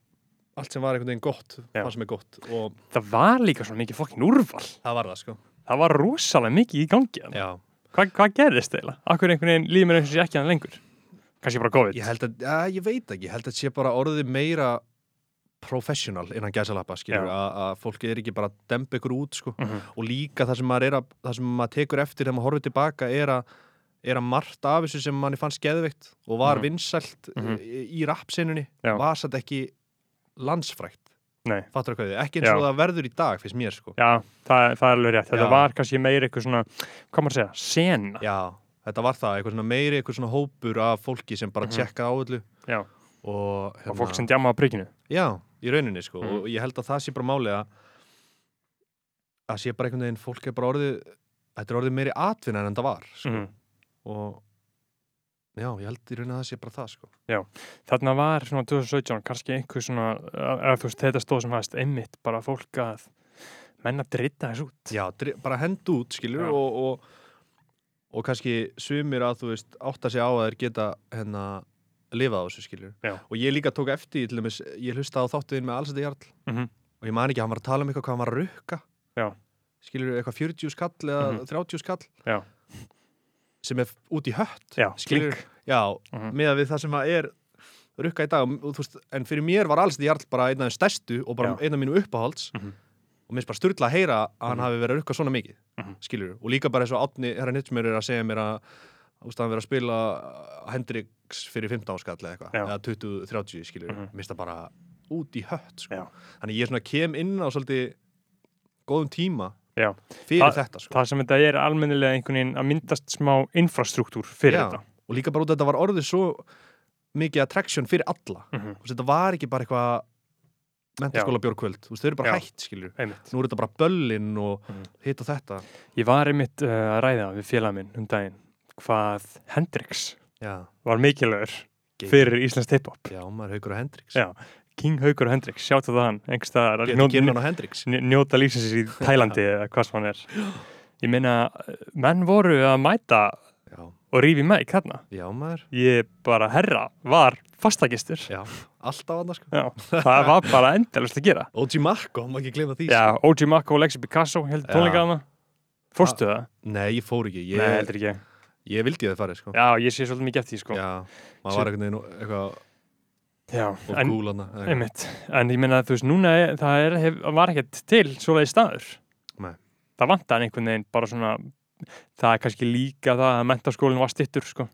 Speaker 2: allt sem var einhvern veginn gott
Speaker 1: Já.
Speaker 2: fannst mér gott og
Speaker 1: það var líka svona mikið fokkin úrval
Speaker 2: það var það sko
Speaker 1: það var rosalega mikið í gangi þarna.
Speaker 2: Já,
Speaker 1: Hvað, hvað gerðist þeila? Akkur einhvern veginn líður mér eins og sé ekki hann lengur? Kanski bara COVID?
Speaker 2: Ég held að, ja, ég veit ekki, ég held að sé bara orðið meira professional innan gæsalappa,
Speaker 1: Já.
Speaker 2: skilur, að, að fólki er ekki bara að dempa ykkur út, sko.
Speaker 1: Mhm.
Speaker 2: Og líka það sem maður er að, það sem maður tekur eftir þegar maður horfir tilbaka er að, er að margt af þessu sem manni fannst geðveikt og var
Speaker 1: Mhm.
Speaker 2: vinsælt
Speaker 1: Mhm.
Speaker 2: í, í rappsinunni,
Speaker 1: Já.
Speaker 2: var satt ekki landsfrækt.
Speaker 1: Nei.
Speaker 2: Fattur hvað þið, ekki eins og
Speaker 1: Já.
Speaker 2: það verður í dag, finnst mér, sko.
Speaker 1: Já, það, það er alveg rétt. Þetta
Speaker 2: Já.
Speaker 1: var kannski meira eitthvað svona, hvað maður að segja, sena.
Speaker 2: Já, þetta var það, eitthvað svona meiri, eitthvað svona hópur af fólki sem bara
Speaker 1: Mhm.
Speaker 2: tjekkaði á öllu
Speaker 1: Já.
Speaker 2: og, hérna,
Speaker 1: Og fólk sem djama á prikinu.
Speaker 2: Já, í rauninni sko
Speaker 1: Mhm.
Speaker 2: og ég held að það sé bara málið að að sé bara einhvern veginn fólk er bara orðið þetta er orðið meiri atvinna en þetta var sko.
Speaker 1: Mm.
Speaker 2: og já, ég held í rauninni að það sé bara það sko
Speaker 1: Þarna var svona 2017 kannski einhver svona, eða þú veist, þetta stóð sem hægst einmitt bara fólk að menna drita þessu út.
Speaker 2: Já, dri- bara hend út skilur
Speaker 1: Já.
Speaker 2: og, og, og kannski sumir að þú veist átta sig á að þeir geta hérna lifað á þessu skilur
Speaker 1: Já.
Speaker 2: og ég líka tók eftir, til dæmis, ég hlusta á þáttuðin með alls þetta jarl
Speaker 1: Mhm.
Speaker 2: og ég man ekki, hann var að tala um eitthvað hvað hann var að rukka
Speaker 1: Já.
Speaker 2: skilur eitthvað 40 skall eða
Speaker 1: Mhm.
Speaker 2: 30 skall
Speaker 1: Já.
Speaker 2: sem er út í hött
Speaker 1: Já,
Speaker 2: skilur, já,
Speaker 1: Mhm.
Speaker 2: meða við það sem að er rukka í dag og, og, þú veist, en fyrir mér var alls þetta jarl bara einn af þeim stærstu og bara
Speaker 1: Já.
Speaker 2: einn af mínu uppáhalds
Speaker 1: Mhm.
Speaker 2: og mér finnst bara styrla að heyra að hann
Speaker 1: Mhm.
Speaker 2: hafi verið að rukka svona mikið
Speaker 1: Mhm.
Speaker 2: skilur, og líka bara eins og átni herra Nitsmjör er að segja mér að úst, hann verið að spila Hendrix fyrir 15 áskall eða eitthvað,
Speaker 1: Já.
Speaker 2: eða 20-30 skilur, mm
Speaker 1: Mhm.
Speaker 2: -hmm. mista bara út í hött sko.
Speaker 1: Já.
Speaker 2: þannig ég svona kem inn á svolítið góðum tíma
Speaker 1: Já.
Speaker 2: fyrir þetta sko.
Speaker 1: Það sem þetta er almennilega einhvern veginn að myndast smá infrastruktúr fyrir
Speaker 2: Já,
Speaker 1: þetta.
Speaker 2: og líka bara út að þetta var orðið svo mikið attraction fyrir alla
Speaker 1: Mm
Speaker 2: Þú veist, þetta var ekki bara eitthvað mentaskóla bjórkvöld, þú veist, þau eru bara
Speaker 1: Já.
Speaker 2: hætt skilur,
Speaker 1: Einmitt.
Speaker 2: nú er þetta bara böllin og
Speaker 1: Mhm.
Speaker 2: hitt og þetta
Speaker 1: Ég var einmitt uh, að ræða við félag minn um daginn hvað Hendrix
Speaker 2: já,
Speaker 1: var mikilvægur
Speaker 2: Geir.
Speaker 1: fyrir Íslands hip-hop.
Speaker 2: já, maður haukur á Hendrix
Speaker 1: Já. King Haugur og Hendrix, sjáttu það hann, einhvers staðar,
Speaker 2: getur
Speaker 1: njóta-
Speaker 2: ekki inn á Hendrix
Speaker 1: nj- njóta lífsins í Tælandi eða hvað sem hann er. Ég meina, menn voru að mæta
Speaker 2: já,
Speaker 1: og rífi mæk þarna.
Speaker 2: já maður,
Speaker 1: Ég bara, herra, var fastagistur.
Speaker 2: já, alltaf annars sko.
Speaker 1: Já, það var bara endalust að gera.
Speaker 2: OG Marko, má ekki glemma því sko.
Speaker 1: Já, OG Mako og Lexi Picasso held
Speaker 2: Já.
Speaker 1: tónleika hana. Fórstu það?
Speaker 2: sko. nei, ég fór ekki,
Speaker 1: Nei,
Speaker 2: ég,
Speaker 1: heldur ekki.
Speaker 2: ég vildi að það fari sko.
Speaker 1: Já, ég sé svolítið mikið eftir því, sko. Já,
Speaker 2: maður var einhvern veginn eitthvað og
Speaker 1: en,
Speaker 2: gúlana
Speaker 1: einmitt. En ég meina, þú veist, núna er, það er, hef, var ekkert til svoleiði staður.
Speaker 2: Nei.
Speaker 1: Það vantar einhvern veginn bara svona, það er kannski líka það að mentaskólinn var stittur, sko.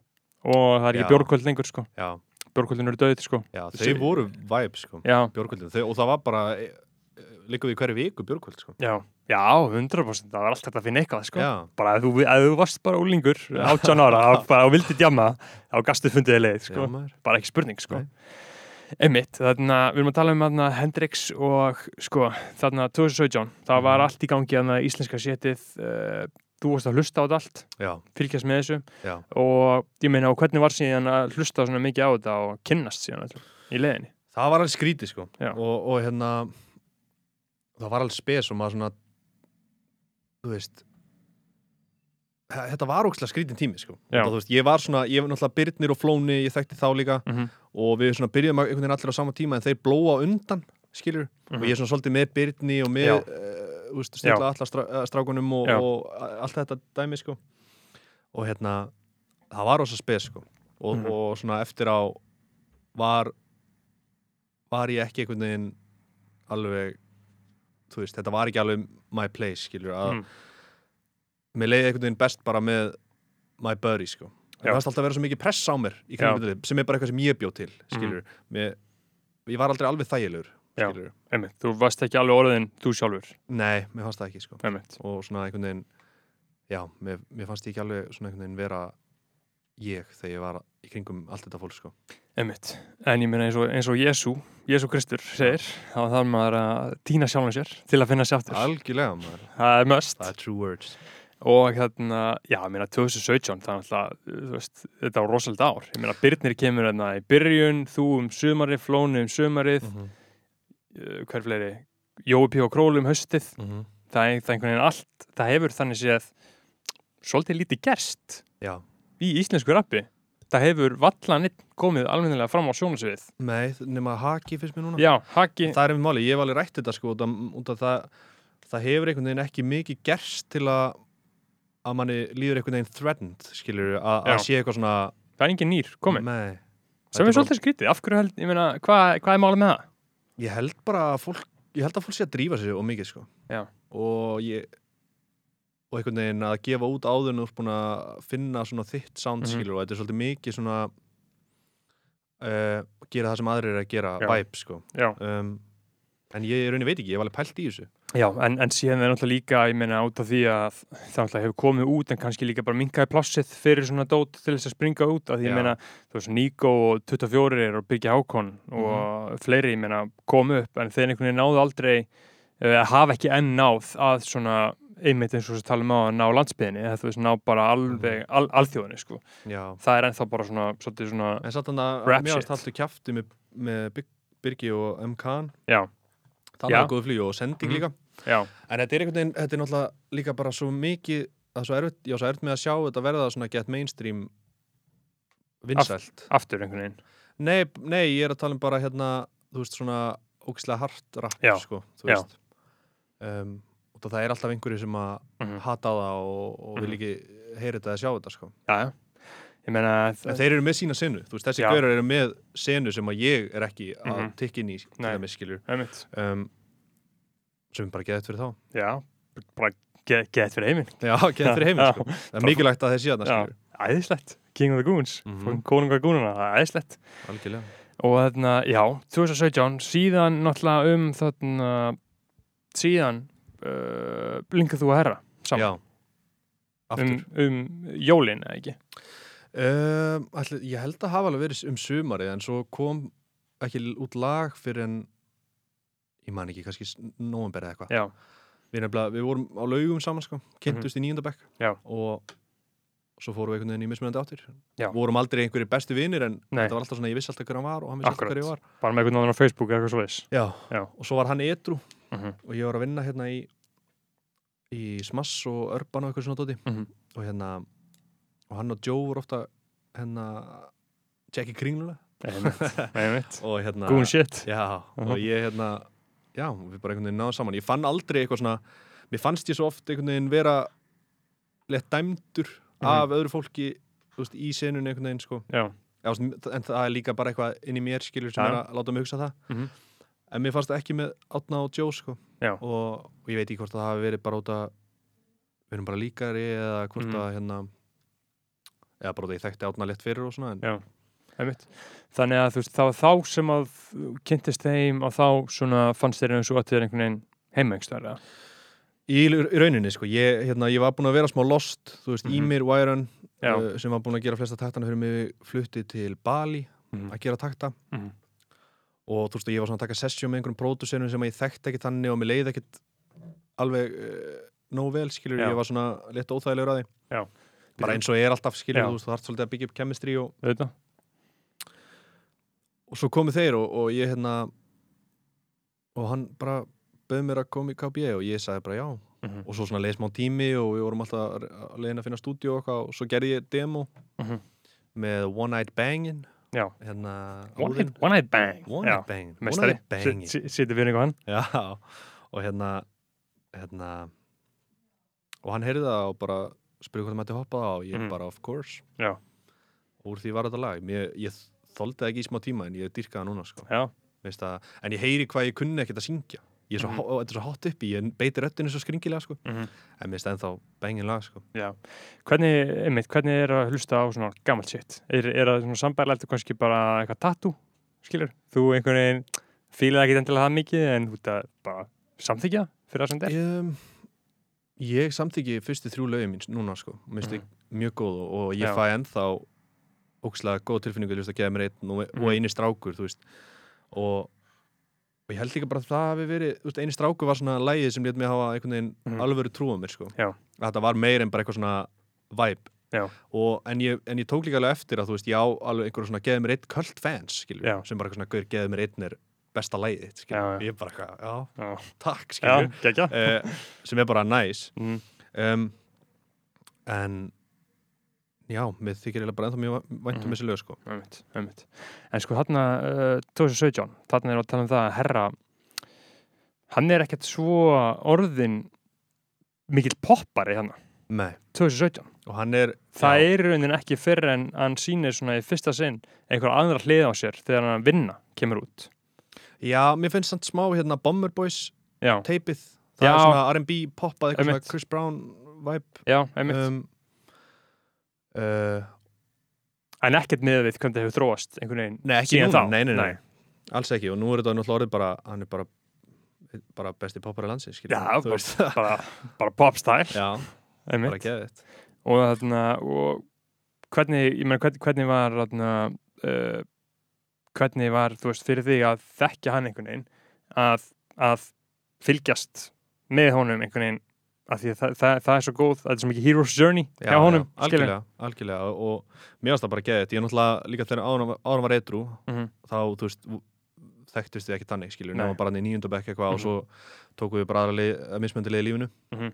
Speaker 1: Og það er
Speaker 2: Já.
Speaker 1: ekki bjórkvöld lengur, sko.
Speaker 2: já,
Speaker 1: Bjórkvöldin eru döðið, sko.
Speaker 2: já, þau
Speaker 1: Þessi-
Speaker 2: voru vibe sko,
Speaker 1: Já,
Speaker 2: bjórkvöldin, þau, og það var bara e, e, líka við hverju viku bjórkvöld sko.
Speaker 1: já. Já, 100%, það var alltaf hægt að finna eitthvað, sko.
Speaker 2: já,
Speaker 1: bara ef þú, ef þú varst bara úlingur 18 ára og, bara, og vildi djama þá gastu fundið þér leið,
Speaker 2: já
Speaker 1: sko.
Speaker 2: maður
Speaker 1: bara ekki spurning sko.
Speaker 2: Nei.
Speaker 1: Einmitt, þarna, við erum að tala um þarna, Hendrix og sko, þarna 2017, það var
Speaker 2: Mhm.
Speaker 1: allt í gangi þarna íslenska setið, uh, þú varst að hlusta á þetta allt,
Speaker 2: Já,
Speaker 1: fylgjast með þessu
Speaker 2: já.
Speaker 1: og ég meina, og hvernig var síðan að hlusta svona mikið á þetta og kynnast síðan öllu, í leiðinni?
Speaker 2: Það var alveg skrítið sko
Speaker 1: Já.
Speaker 2: og, og hérna það var alveg spes og maður svona þú veist þe- þetta var ókslega skrítin tími sko
Speaker 1: Já.
Speaker 2: það, veist, ég var svona, ég var náttúrulega Byrnir og Flóni ég þekkti þá líka
Speaker 1: Mm -hmm.
Speaker 2: og við svona byrjum einhvern veginn allir á sama tíma en þeir blóa á undan, skilur
Speaker 1: Mhm.
Speaker 2: og ég er svona svolítið með Byrni og með
Speaker 1: Já.
Speaker 2: uh, úst, stilla allar strá, eh, strákunum og,
Speaker 1: Já.
Speaker 2: og a- allt þetta dæmi sko og hérna það var rosa spes sko og,
Speaker 1: Mhm.
Speaker 2: og svona eftir á var var ég ekki einhvern veginn alveg þú veist, þetta var ekki alveg my place skilur að
Speaker 1: Mhm.
Speaker 2: mér leiði einhvern veginn best bara með my buddy sko
Speaker 1: Já.
Speaker 2: það varst alltaf að vera svo mikið press á mér í
Speaker 1: Já.
Speaker 2: kringum þetta lið, sem er bara eitthvað sem ég bjó til skilur, mér, ég var aldrei alveg þægilegur
Speaker 1: Já.
Speaker 2: skilur,
Speaker 1: Einmitt, þú varst ekki alveg orðin þú sjálfur,
Speaker 2: nei, mér fannst það ekki sko
Speaker 1: einmitt.
Speaker 2: og svona einhvern veginn já, mér, mér fannst ég ekki alveg svona einhvern veginn vera ég þegar ég var í kringum allt þetta fólk sko
Speaker 1: Einmitt. En ég meina eins og, eins og Jésu, Jésu Kristur segir, þá þarf maður að týna sjálfum sér til að finna sér aftur.
Speaker 2: algjörlega maður,
Speaker 1: Það er must.
Speaker 2: það er true words
Speaker 1: Og þarna, já, ég meina 2017, það er alltaf, þú veist, þetta var rosalega ár. Ég meina, Byrnir kemur þarna í byrjun, þú um sumarið, Flóni um sumarið,
Speaker 2: -hmm.
Speaker 1: uh, hver fleiri, Jói P. og Króli um haustið.
Speaker 2: Mm
Speaker 1: Það er
Speaker 2: -hmm.
Speaker 1: það er einhvern veginn allt, það hefur þannig séð svolítið lítið gerst
Speaker 2: já,
Speaker 1: í íslensku rappi. Það hefur vallan einn komið almennilega fram á sjónasviðið.
Speaker 2: nei, nema haki finnst mér núna
Speaker 1: Já, Haki,
Speaker 2: það er einmitt máli, ég hef alveg rætt þetta sko út af, út af það, það hefur einhvern veginn ekki mikið gerst til að að manni líður einhvern veginn threatened, skilur,
Speaker 1: Já.
Speaker 2: að að sé eitthvað svona
Speaker 1: það er engin nýr komin
Speaker 2: Nei.
Speaker 1: sem
Speaker 2: Mm, Þetta
Speaker 1: er
Speaker 2: bara-
Speaker 1: svolítið skrítið, af hverju held, ég meina hvað, hvað er málið með það?
Speaker 2: Ég held bara að fólk, ég held að fólk sé að drífa sig og mikið, sko.
Speaker 1: Já.
Speaker 2: Og ég, og einhvern veginn að gefa út áður en þú ert búin að finna svona þitt sound,
Speaker 1: Mhm.
Speaker 2: skilur, og þetta er svolítið mikið svona uh, gera það sem aðrir er að gera,
Speaker 1: Já.
Speaker 2: vibe, sko.
Speaker 1: Já,
Speaker 2: Um, en ég í rauninni veit ekki, ég var alveg pælt í þessu.
Speaker 1: Já en, en síðan er náttúrulega líka, ég meina út af því að það náttúrulega hefur komið út en kannski líka bara minkaði plássið fyrir svona dót til þess að springa út að því ég
Speaker 2: Já.
Speaker 1: meina, þú veist, Nico og 24 og Birgi Hákon og
Speaker 2: Mhm.
Speaker 1: fleiri, ég meina, komu upp en þeir einhvern veginn náðu aldrei eða hafa ekki enn náð að svona einmitt eins og þess að tala um á að ná landsbyðinni eða þú veist, ná bara alveg
Speaker 2: Mhm.
Speaker 1: al, alþjóðinni, sko.
Speaker 2: Já.
Speaker 1: Það er ennþá bara svona, svolítið svona
Speaker 2: En satt hann að
Speaker 1: Rap
Speaker 2: mér varst
Speaker 1: shit.
Speaker 2: alltaf kjafti með, með Big- Birgi og MK
Speaker 1: Já.
Speaker 2: Það
Speaker 1: Já.
Speaker 2: er góð flýju og sending
Speaker 1: Mhm.
Speaker 2: líka
Speaker 1: já,
Speaker 2: En þetta er einhvern veginn, þetta er náttúrulega líka bara svo mikið það er svo erfitt, já, svo erfitt með að sjá þetta verða svona get mainstream vinsælt
Speaker 1: aftur einhvern veginn.
Speaker 2: nei, nei, ég er að tala um bara hérna þú veist, svona ógislega hart rap,
Speaker 1: Já,
Speaker 2: sko, þú
Speaker 1: já.
Speaker 2: veist um, og það er alltaf einhverju sem að
Speaker 1: Mhm.
Speaker 2: hata það og, og vil
Speaker 1: Mhm.
Speaker 2: ekki heyra þetta að sjá þetta, sko
Speaker 1: Já, já. Ég meina,
Speaker 2: En þeir eru með sína senu, þú veist, þessi
Speaker 1: Já.
Speaker 2: gaurar eru með senu sem að ég er ekki að mm
Speaker 1: Mhm.
Speaker 2: tikka inn í, til
Speaker 1: Nei.
Speaker 2: það miskilur
Speaker 1: einmitt.
Speaker 2: um, sem er bara geðið fyrir þá
Speaker 1: Já, bara get, get fyrir heiminn.
Speaker 2: Já, geðið fyrir heiminn,
Speaker 1: Já,
Speaker 2: sko Það er mikilvægt að þeir sé þarna,
Speaker 1: Já.
Speaker 2: skilur
Speaker 1: Æðislegt, King of the Goons, mm
Speaker 2: Mhm.
Speaker 1: -hmm. konungar gúnuna, það er æðislegt.
Speaker 2: Algjörlega
Speaker 1: Og þarna, já, 2017, síðan náttúrulega um þarna, síðan uh, blinkað þú að herra saman.
Speaker 2: Já Aftur
Speaker 1: Um, um jólin, eða ekki?
Speaker 2: um, ætli, Ég held að hafa alveg verið um sumarið en svo kom ekki l- út lag fyrir en ég man ekki, kannski nómumber eða eitthvað
Speaker 1: Já,
Speaker 2: við, nefnilega- við vorum á laugum saman sko, kynntust í níundabæk
Speaker 1: Mhm. Já.
Speaker 2: og svo fórum við einhvern veginn í mismunandi áttir
Speaker 1: Já.
Speaker 2: vorum aldrei einhverjir bestu vinir en
Speaker 1: Nei.
Speaker 2: þetta var alltaf svona, ég vissi alltaf hver hann var og hann vissi alltaf hver ég var
Speaker 1: Akkúrat. bara með einhvern annan á Facebook eða eitthvað svo þess.
Speaker 2: Já.
Speaker 1: Já.
Speaker 2: og svo var hann etru
Speaker 1: Mm -hmm.
Speaker 2: og ég var að vinna hérna í í Smass og Urban og eitthvað svona dóti
Speaker 1: Mhm.
Speaker 2: og hérna og hann og Joe voru ofta hérna Jackie Kringluna
Speaker 1: Einmitt, einmitt.
Speaker 2: og hérna
Speaker 1: Goon shit.
Speaker 2: Já,
Speaker 1: Aha.
Speaker 2: og ég hérna já, við bara einhvern veginn náðum saman ég fann aldrei eitthvað svona mér fannst ég svo oft einhvern veginn vera lett dæmdur
Speaker 1: Mhm.
Speaker 2: af öðru fólki þú veist, í senunni einhvern veginn sko.
Speaker 1: Já,
Speaker 2: já, þú veist, en það er líka bara eitthvað inn í mér skilur sem
Speaker 1: Já.
Speaker 2: er að láta mig hugsa það
Speaker 1: Mhm.
Speaker 2: en mér fannst það ekki með Átna og Joe sko.
Speaker 1: Já.
Speaker 2: og, og ég veit ekki hvort það hafi verið bara út að við erum bara líkari eða hvort
Speaker 1: Mhm.
Speaker 2: að hérna eða bara út að ég þekkti Átna lett fyrir og svona en,
Speaker 1: Já. einmitt. Þannig að þú veist, það var þá sem að þú kynntist þeim og þá svona fannst þeir eins og að þeir einhvern veginn heimengstæra.
Speaker 2: í, í rauninni sko, ég, hérna, ég var búin að vera smá lost, þú veist,
Speaker 1: Mhm.
Speaker 2: Ímir Væran
Speaker 1: Já.
Speaker 2: uh, sem var búin að gera flesta taktana fyrir mig fluttið til Bali
Speaker 1: Mhm.
Speaker 2: að gera takta
Speaker 1: Mhm.
Speaker 2: og þú veist, ég var svona að taka sessjum með einhverjum pródusernum sem að ég þekkti ekki þannig og mér leið ekkit alveg uh, nóg vel, skilur,
Speaker 1: Já.
Speaker 2: ég var svona létt óþægilegur að því
Speaker 1: Já.
Speaker 2: bara eins og ég er alltaf, skilur,
Speaker 1: Já.
Speaker 2: þú veist, þú þarf svolítið að byggja upp chemistry og,
Speaker 1: Þetta?
Speaker 2: og svo komu þeir og, og ég hérna og hann bara bauð mér að koma í KB og ég sagði bara já
Speaker 1: Mhm.
Speaker 2: og svo svona leiði smá tími og við vorum alltaf að leiðin að finna stúdíu og eitthvað og svo gerði ég demo
Speaker 1: Mhm.
Speaker 2: með One Night Bangin
Speaker 1: Já.
Speaker 2: hérna,
Speaker 1: One
Speaker 2: Óðinn.
Speaker 1: Night- One Night Bang
Speaker 2: One
Speaker 1: Já,
Speaker 2: Night Bangin One
Speaker 1: Meistari,
Speaker 2: Night Bangin
Speaker 1: sittu við einhver hann
Speaker 2: já, og hérna hérna og hann heyrði það og bara spurði hvað það mætti hoppa það og ég
Speaker 1: Mhm.
Speaker 2: bara of course
Speaker 1: Já.
Speaker 2: og úr því var þetta lag Mér, ég þoldi það ekki í smá tíma en ég dyrkaði það núna sko
Speaker 1: Já,
Speaker 2: veist að, en ég heyri hvað ég kunni ekkert að syngja ég er svo,
Speaker 1: Mhm.
Speaker 2: mm -hmm. þetta er svo hot uppi, ég beiti röttinu svo skringilega sko, en mér stæðin þá bengin lag sko.
Speaker 1: já Hvernig, einmitt, hvernig er að hlusta á svona gammalt shit? Er, er það svona sambærilegt og kannski bara eitthvað tattoo, skilur? Þú einhvern veginn fílið ekki endilega það mikið en þú ert að bara samþykja fyrir það sem þetta er
Speaker 2: um, ég samþyggi fyrstu þrjú lögum mín núna sko, mér stið
Speaker 1: Mhm.
Speaker 2: mjög góð og, og ég
Speaker 1: Já.
Speaker 2: fæ ennþá ókslega góð tilfinningu þú veist, að gefa mér einn og,
Speaker 1: Mhm.
Speaker 2: og eini strákur þú veist, og og ég held líka bara að það hafi verið, þú veist, eini strákur var svona lægið sem létt mig hafa einhvern veginn
Speaker 1: Mhm.
Speaker 2: alvöru trú á mér, sko.
Speaker 1: Já.
Speaker 2: Að Þetta var meir en bara eitthvað svona vibe
Speaker 1: Já,
Speaker 2: og, en, ég, en ég tók líka alveg eftir að þú veist, já, alveg einhverjum svona geðið mér einn kvöld fans, skilur,
Speaker 1: Já.
Speaker 2: sem bara eitthvað svona gaur geðið mér einn er besta lagið, þitt", skilur,
Speaker 1: Já, já.
Speaker 2: ég er bara eitthvað, já,
Speaker 1: já,
Speaker 2: takk,
Speaker 1: já,
Speaker 2: skilur,
Speaker 1: gekkja
Speaker 2: uh, sem er bara næs,
Speaker 1: Mm,
Speaker 2: um, en já, mér þykir eiginlega bara ennþá mjög vænt
Speaker 1: Mhm.
Speaker 2: um þessi lög, sko.
Speaker 1: einmitt, einmitt. En sko þarna uh, 2017, þarna er að tala um það að herra hann er ekkert svo orðin mikill poppari hann
Speaker 2: Nei,
Speaker 1: 2017
Speaker 2: og hann er
Speaker 1: það
Speaker 2: já,
Speaker 1: er í raunin ekki fyrir en hann sýnir svona í fyrsta sinn einhver aðra hlið á sér þegar hann vinna kemur út
Speaker 2: já, mér finnst hann smá hérna Bomber Boys
Speaker 1: já,
Speaker 2: teipið það
Speaker 1: Já.
Speaker 2: er svona R&B poppað eitthvað
Speaker 1: Einmitt.
Speaker 2: svona Chris Brown vibe
Speaker 1: já, einmitt
Speaker 2: um, uh,
Speaker 1: en ekkert með við hvernig það hefur þróast einhvern veginn
Speaker 2: Nei, ekki
Speaker 1: Síðan
Speaker 2: núna,
Speaker 1: þá?
Speaker 2: nei, nei, nei,
Speaker 1: Nei.
Speaker 2: alls ekki og nú er þetta náttúrulega orðið bara, hann er bara bara besti poppari landsins skilur
Speaker 1: já,
Speaker 2: við,
Speaker 1: bara,
Speaker 2: þú veist.
Speaker 1: bara, bara popstyle
Speaker 2: já, bara
Speaker 1: einmitt
Speaker 2: geðið
Speaker 1: og þarna og hvernig, ég meina hvernig, hvernig var þarna, uh, hvernig var þú veist fyrir því að þekkja hann einhvern veginn að, að fylgjast með honum einhvern veginn af því að það, það, það er svo góð, það er svo mikið hero's journey
Speaker 2: Já,
Speaker 1: hjá honum,
Speaker 2: já, algjörlega, algjörlega og mér varst það bara geðið, ég er náttúrulega líka þegar árum, árum var etru
Speaker 1: Mhm.
Speaker 2: þá, þú veist, v- þekktist við ekki tannig skilur,
Speaker 1: Nei.
Speaker 2: nema bara hann í níundabekk eitthvað og
Speaker 1: Mhm.
Speaker 2: svo tókum við bara aðra lið- mismöndilegi í lífinu
Speaker 1: Mhm.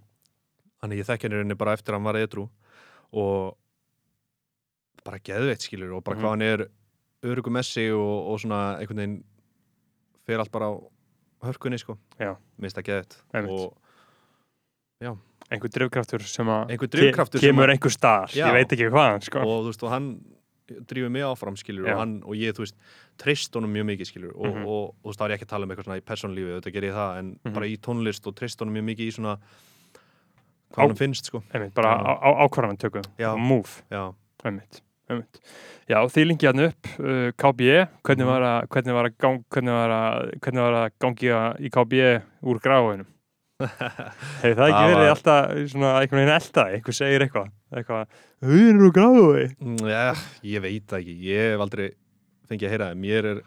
Speaker 2: þannig ég þekk hann í rauninni bara eftir að hann var etru og bara geðveitt skilur og bara
Speaker 1: Mhm.
Speaker 2: hvað hann er örugum messi og, og svona einhvern veginn fer allt bara á hörkunni sko,
Speaker 1: Já.
Speaker 2: minnst það geðveitt
Speaker 1: Einmitt.
Speaker 2: og
Speaker 1: einhver drifkraftur sem að
Speaker 2: Einhver drifkraftur
Speaker 1: ke
Speaker 2: sem
Speaker 1: kemur einhver staðar,
Speaker 2: Já.
Speaker 1: ég veit ekki hvaðan sko.
Speaker 2: og þú veist, og hann drýfur mig áfram skilur
Speaker 1: Já.
Speaker 2: og, hann, og ég, þú veist, treyst honum mjög mikið skilur og,
Speaker 1: Mhm.
Speaker 2: og, og þú veist, þá er ég ekki að tala um eitthvað svona í personlífi, auðvitað ger ég það en
Speaker 1: Mhm.
Speaker 2: bara í tónlist og treyst honum mjög mikið í svona hvað
Speaker 1: Á-
Speaker 2: honum finnst, sko
Speaker 1: einmitt, bara
Speaker 2: Já.
Speaker 1: á, á, ákvarðan tökum
Speaker 2: Já.
Speaker 1: move,
Speaker 2: já,
Speaker 1: einmitt, einmitt já, þið lingi hann upp, uh, KB hvernig
Speaker 2: Mhm.
Speaker 1: var að hvernig var að gang- hvernig var að- hvernig var að gangi að- í KB úr gráinum hefur það ekki
Speaker 2: Það
Speaker 1: verið
Speaker 2: var-
Speaker 1: alltaf svona einhvern veginn elda, einhver segir eitthvað eitthvað, hún er úr grái
Speaker 2: Mm, ja, ég veit það ekki, ég hef aldrei fengið að heyra það, mér er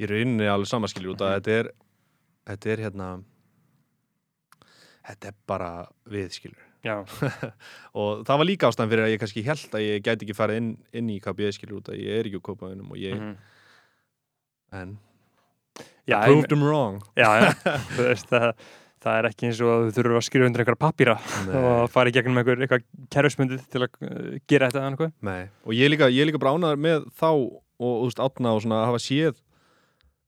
Speaker 2: í rauninni alveg sama skilur út
Speaker 1: Mhm.
Speaker 2: að þetta er þetta er hérna þetta er bara við skilur
Speaker 1: já,
Speaker 2: og það var líka ástæðan fyrir að ég kannski held að ég gæti ekki farið inn, inn í KB skilur út að ég er ekki úr kópaðunum og ég
Speaker 1: mhm.
Speaker 2: en
Speaker 1: já,
Speaker 2: I
Speaker 1: einmitt,
Speaker 2: proved him wrong
Speaker 1: já, já þú veist, það, það er ekki eins og að þú þurfur að skrifa undir einhverja pappíra og fara í gegnum einhver eitthvað kerfismundið til að uh, gera þetta eða eitthvað
Speaker 2: Nei. og ég er líka, ég er líka bránaður með þá og þú veist, átna og svona að hafa séð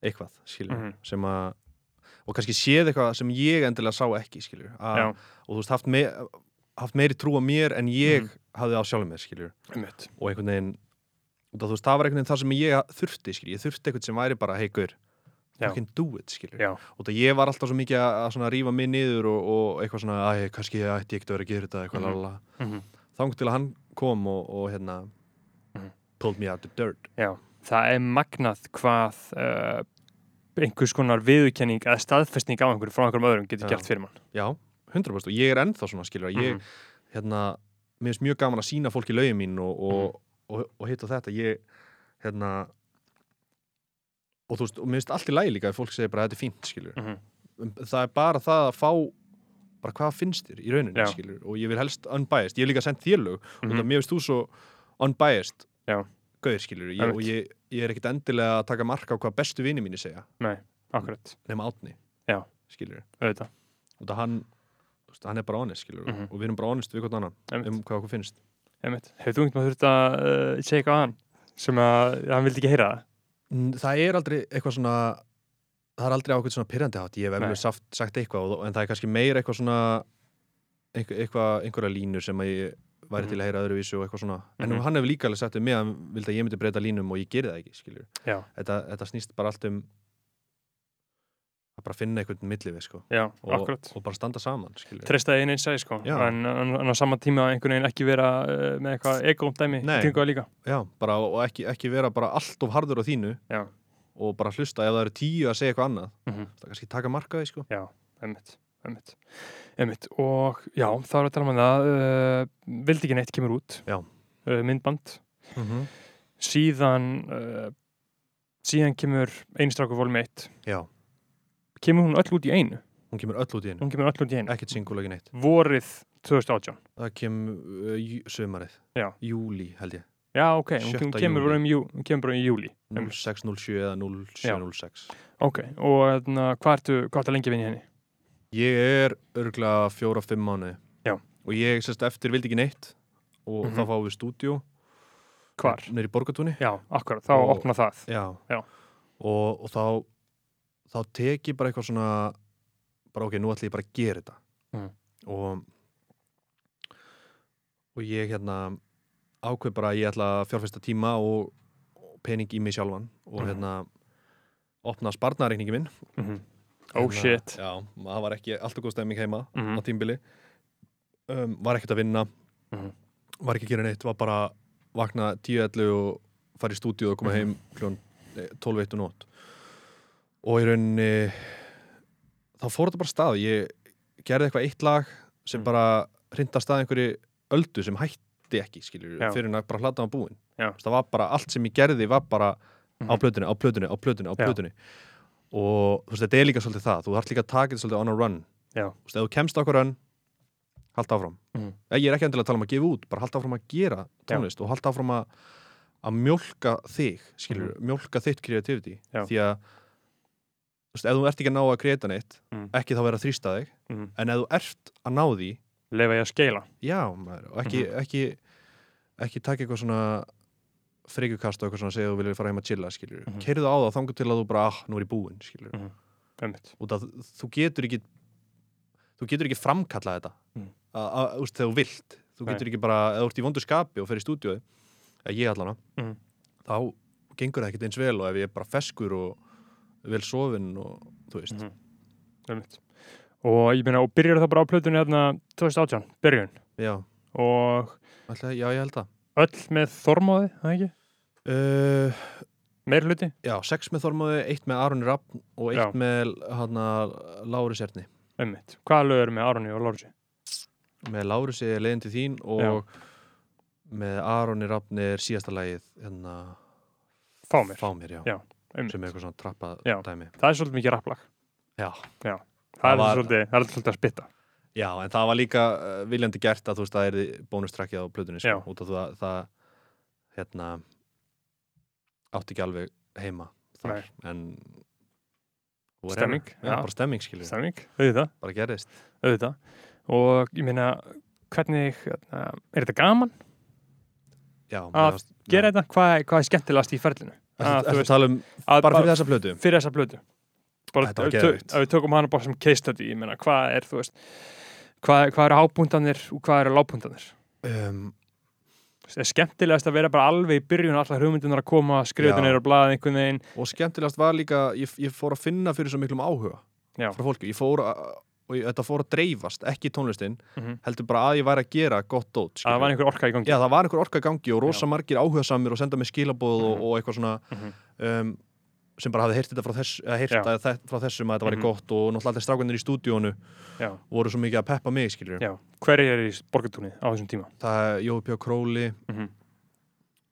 Speaker 2: eitthvað, skilur
Speaker 1: Mhm.
Speaker 2: sem að, og kannski séð eitthvað sem ég endilega sá ekki, skilur
Speaker 1: Já.
Speaker 2: A, og þú veist, haft, me, haft meiri trú á mér en ég
Speaker 1: Mhm.
Speaker 2: hafði á sjálfum mér, skilur
Speaker 1: Einmitt.
Speaker 2: og einhvern veginn og þú veist, það var einhvern veginn það sem ég þurfti, skilur ég þurfti eitthvað sem væri bara, hey, gaur
Speaker 1: Já.
Speaker 2: fucking do it, skilur
Speaker 1: Já,
Speaker 2: og það ég var alltaf svo mikið að að svona rífa mig niður og, og eitthvað svona, æ, kannski ætti ég ekkert að vera að gera þetta eitthvað,
Speaker 1: Mhm.
Speaker 2: mm -hmm.
Speaker 1: Mhm.
Speaker 2: þang til að hann kom og, og hérna
Speaker 1: Mhm.
Speaker 2: pulled me out the dirt
Speaker 1: já. Það er magnað hvað uh, einhvers konar viðurkenning eða staðfestning á einhverju frá einhverjum öðrum getur
Speaker 2: Já.
Speaker 1: gert fyrir mann.
Speaker 2: já, 100% og ég er ennþá svona skilur að ég,
Speaker 1: Mhm.
Speaker 2: hérna, mér finnst mjög gaman að sína fólki lögin mín og, og,
Speaker 1: Mhm.
Speaker 2: og, og hitt og þetta ég, hérna og þú veist, og mér finnst allt í lægi líka að fólk segir bara þetta er fínt, skilur Um,
Speaker 1: Mhm.
Speaker 2: það er bara það að fá bara hvað finnst þér í rauninni,
Speaker 1: Já.
Speaker 2: skilur og ég vil helst unbiased, ég hef líka sendt þér lög mm
Speaker 1: Mhm.
Speaker 2: -hmm. mér finnst þú svo unbiased
Speaker 1: Já.
Speaker 2: gauðir skilur ég,
Speaker 1: Einmitt.
Speaker 2: og ég, ég er ekkit endilega að taka mark á hvað bestu vini mínu segja
Speaker 1: Akkurat,
Speaker 2: nema átni
Speaker 1: Já.
Speaker 2: skilur
Speaker 1: auðvitað.
Speaker 2: og það hann þú veist, hann er bara honest skilur
Speaker 1: Mhm.
Speaker 2: og við erum bara honest við hvort annan
Speaker 1: Einmitt.
Speaker 2: um hvað okkur finnst
Speaker 1: Einmitt. Hefur þú einhvern veginn þurft að uh, segja eitthvað að hann sem að hann vildi ekki heyra það?
Speaker 2: Mm, það er aldrei eitthvað svona það er aldrei ákveð svona pyrrandi hátt ég hef
Speaker 1: Nei.
Speaker 2: eflug sagt, sagt eitthvað og- en það er kannski meira eitthvað svona einhver, eitthvað, einhverja línur sem að ég væri
Speaker 1: Mhm.
Speaker 2: til að heyra öðruvísu og eitthvað svona en
Speaker 1: Mhm.
Speaker 2: hann hefur líka alveg sagt við mig að hann vildi að ég myndi breyta línum og ég geri það ekki skilur
Speaker 1: Já.
Speaker 2: þetta, þetta snýst bara allt um að bara finna einhvern millivið sko
Speaker 1: Já,
Speaker 2: og,
Speaker 1: akkurat.
Speaker 2: og bara standa saman skilur
Speaker 1: Treystaði einn einn sæði sko,
Speaker 2: Já.
Speaker 1: en, en, en á sama tíma einhvern veginn ekki vera uh, með eitthvað ego-dæmi
Speaker 2: Nei.
Speaker 1: kringu það líka.
Speaker 2: Já, bara, og ekki, ekki vera bara allt of harður á þínu
Speaker 1: Já.
Speaker 2: og bara hlusta ef það eru tíu að segja eitthvað annað
Speaker 1: Mm
Speaker 2: það er kannski taka markaði sko
Speaker 1: einmitt, einmitt, einmitt. og já, þá er að tala um það uh, vildi ekki neitt kemur út
Speaker 2: Já.
Speaker 1: Uh, myndband
Speaker 2: mm
Speaker 1: Mhm.
Speaker 2: -hmm.
Speaker 1: síðan uh, síðan kemur einstrákur volum 1
Speaker 2: Já,
Speaker 1: kemur hún öll út í einu
Speaker 2: hún kemur öll út í einu
Speaker 1: hún kemur öll út í einu
Speaker 2: ekkert singul, ekki neitt
Speaker 1: vorið 2018
Speaker 2: það kem uh, jú- sumarið,
Speaker 1: Já.
Speaker 2: júli held ég
Speaker 1: já ok, hún, hún,
Speaker 2: 6.
Speaker 1: kemur
Speaker 2: júlí.
Speaker 1: bara um jú, hún kemur bara í júli Einmitt.
Speaker 2: 0607 eða 0706
Speaker 1: ok, og hérna, hvað ertu hvað ertu lengi að vinna í henni?
Speaker 2: ég er örgulega fjóra-fimm mánuði
Speaker 1: Já.
Speaker 2: og ég sérst eftir vildi ekki neitt og
Speaker 1: Mhm.
Speaker 2: þá fáum við stúdíu
Speaker 1: hvar?
Speaker 2: nýri borgatúni
Speaker 1: já, akkurat, þá
Speaker 2: Og-
Speaker 1: opna það
Speaker 2: Já.
Speaker 1: Já.
Speaker 2: Og, og þá þá tek ég bara eitthvað svona
Speaker 1: Mm.
Speaker 2: bara ok, nú ætlum ég bara að gera þetta
Speaker 1: Mhm.
Speaker 2: og og ég hérna ákveð bara að ég ætla að fjárfesta tíma og, og pening í mig sjálfan og
Speaker 1: Mhm.
Speaker 2: hérna opna spartnareikningi minn
Speaker 1: Oh
Speaker 2: Hérna,
Speaker 1: shit
Speaker 2: Já, það var ekki alltaf góð stemming heima
Speaker 1: Mhm.
Speaker 2: á tímbili um, Var ekkert að vinna
Speaker 1: Mhm.
Speaker 2: Var ekki að gera neitt, var bara að vakna 10-11 og fara í stúdíu og koma
Speaker 1: Mhm.
Speaker 2: heim eh, kljón 12-1 og um nótt Og í rauninni þá fór þetta bara af stað Ég gerði eitthvað eitt lag sem
Speaker 1: Mhm.
Speaker 2: bara hrinda stað einhverju öldu sem hætti ekki, skilur
Speaker 1: Já.
Speaker 2: fyrir en að bara hlata á búin
Speaker 1: Já.
Speaker 2: það var bara, allt sem ég gerði var bara á
Speaker 1: Mhm.
Speaker 2: plötunni, á plötunni, á plötunni, á
Speaker 1: Já.
Speaker 2: plötunni og þú veist, þetta er líka svolítið það þú þarf líka að taka þetta svolítið on a run
Speaker 1: Já.
Speaker 2: þú veist, ef þú kemst okkur run halda áfram
Speaker 1: Mhm.
Speaker 2: ég er ekki endilega að tala um að gefa út bara halda áfram að gera tónlist og halda áfram að að mjólka þig skilur, mjólka þitt kreativiti
Speaker 1: Mhm. Já.
Speaker 2: því að þú veist, ef þú ert ekki að ná að kreita neitt
Speaker 1: Mhm.
Speaker 2: ekki þá vera að þrýsta þig
Speaker 1: Mhm.
Speaker 2: en ef þú ert að ná því
Speaker 1: Leifa ég að skeila
Speaker 2: já, maður, og ekki,
Speaker 1: Mhm.
Speaker 2: ekki ekki taka eitthvað svona frekjukast og eitthvað svona segja að þú viljir fara heim að chilla skilur, mm
Speaker 1: Mhm.
Speaker 2: á það þangur til að þú bara ah, nú er ég búinn, skilur,
Speaker 1: Mhm. Einmitt.
Speaker 2: út að þú getur ekki þú getur ekki framkallað þetta
Speaker 1: Mhm.
Speaker 2: að, að, úst, þegar þú vilt þú
Speaker 1: Nei.
Speaker 2: getur ekki bara, ef þú ert í vondu skapi og fer í stúdíói, eða ég allan
Speaker 1: Mhm.
Speaker 2: þá gengur það ekkert eins vel og ef ég er bara feskur og vel sofinn og þú veist,
Speaker 1: Mhm. Einmitt. Og ég meina, og byrjar það bara á plötunni hérna 2018, byrjun
Speaker 2: já,
Speaker 1: og
Speaker 2: alltaf, já ég held það
Speaker 1: öll með þormóði, það ekki? Eh,
Speaker 2: uh,
Speaker 1: Meir hluti?
Speaker 2: Já, sex með Þormóði, eitt með Aron Rappn og eitt
Speaker 1: Já.
Speaker 2: með hana, Lárus Erni.
Speaker 1: Einmitt. Hvaða lög eru með Aroni og Lorgi?
Speaker 2: Með Lárus er leiðin til þín og
Speaker 1: Já.
Speaker 2: með Aron Rappn er síðasta lagið hérna,
Speaker 1: Fá mér.
Speaker 2: já,
Speaker 1: Já, einmitt.
Speaker 2: sem er eitthvað svona trappa
Speaker 1: Já.
Speaker 2: dæmi.
Speaker 1: Það er svolítið mikið rapplag.
Speaker 2: Já.
Speaker 1: Það
Speaker 2: Það
Speaker 1: er
Speaker 2: var-
Speaker 1: svolítið, það er svolítið að spitta.
Speaker 2: já, en það var líka uh, viljandi gert að þú veist það er bónustrakkið á plötunni
Speaker 1: Já.
Speaker 2: sko, út af það, það hérna átti ekki alveg heima þar, en whatever.
Speaker 1: Stemming,
Speaker 2: Já,
Speaker 1: já.
Speaker 2: bara stemming skilju,
Speaker 1: Stemming, auðvitað,
Speaker 2: bara gerðist.
Speaker 1: auðvitað. Og ég meina, hvernig, hérna, er þetta gaman?
Speaker 2: Já,
Speaker 1: Að Gera þetta? Hvað, er- hvað er skemmtilegast í ferlinu? að, þú
Speaker 2: Þetta
Speaker 1: veist,
Speaker 2: tala um
Speaker 1: Að,
Speaker 2: bara fyrir þessa plötu.
Speaker 1: fyrir þessa plötu. Bara
Speaker 2: Þetta var
Speaker 1: ef við tö-
Speaker 2: geðveikt.
Speaker 1: ef við tökum hana bara sem case study, ég meina, hvað er, þú veist, hvað, hvað eru hábúndanir og hvað eru lábúndanir?
Speaker 2: um,
Speaker 1: Er skemmtilegast að vera bara alveg í byrjun allar hugmyndunar að koma, skrifa
Speaker 2: Já.
Speaker 1: þetta niður á blaðið einhvern veginn?
Speaker 2: og skemmtilegast var líka ég, ég fór að finna fyrir svo miklum áhuga
Speaker 1: Já.
Speaker 2: frá fólki, ég fór að og ég, þetta fór að dreifast, ekki í tónlistin
Speaker 1: Mhm.
Speaker 2: heldur bara að ég væri að gera gott dót
Speaker 1: Að það var
Speaker 2: skilurðu.
Speaker 1: einhver orka í gangi.
Speaker 2: Já, það var einhver orka í gangi og rosa margir áhuga samir og senda mér skilaboð og, og eitthvað svona
Speaker 1: Mhm.
Speaker 2: um, sem bara hafði heyrt þetta frá, þess, að heyrt
Speaker 1: Já.
Speaker 2: að þe frá þessum að þetta væri
Speaker 1: Mhm.
Speaker 2: gott og náttúrulega allir strákanir í stúdíónu
Speaker 1: Já.
Speaker 2: voru svo mikið að peppa mig skilur
Speaker 1: Já. Hverjir eru í borgartúni á þessum tíma?
Speaker 2: það er Jói P. Króli
Speaker 1: Mhm.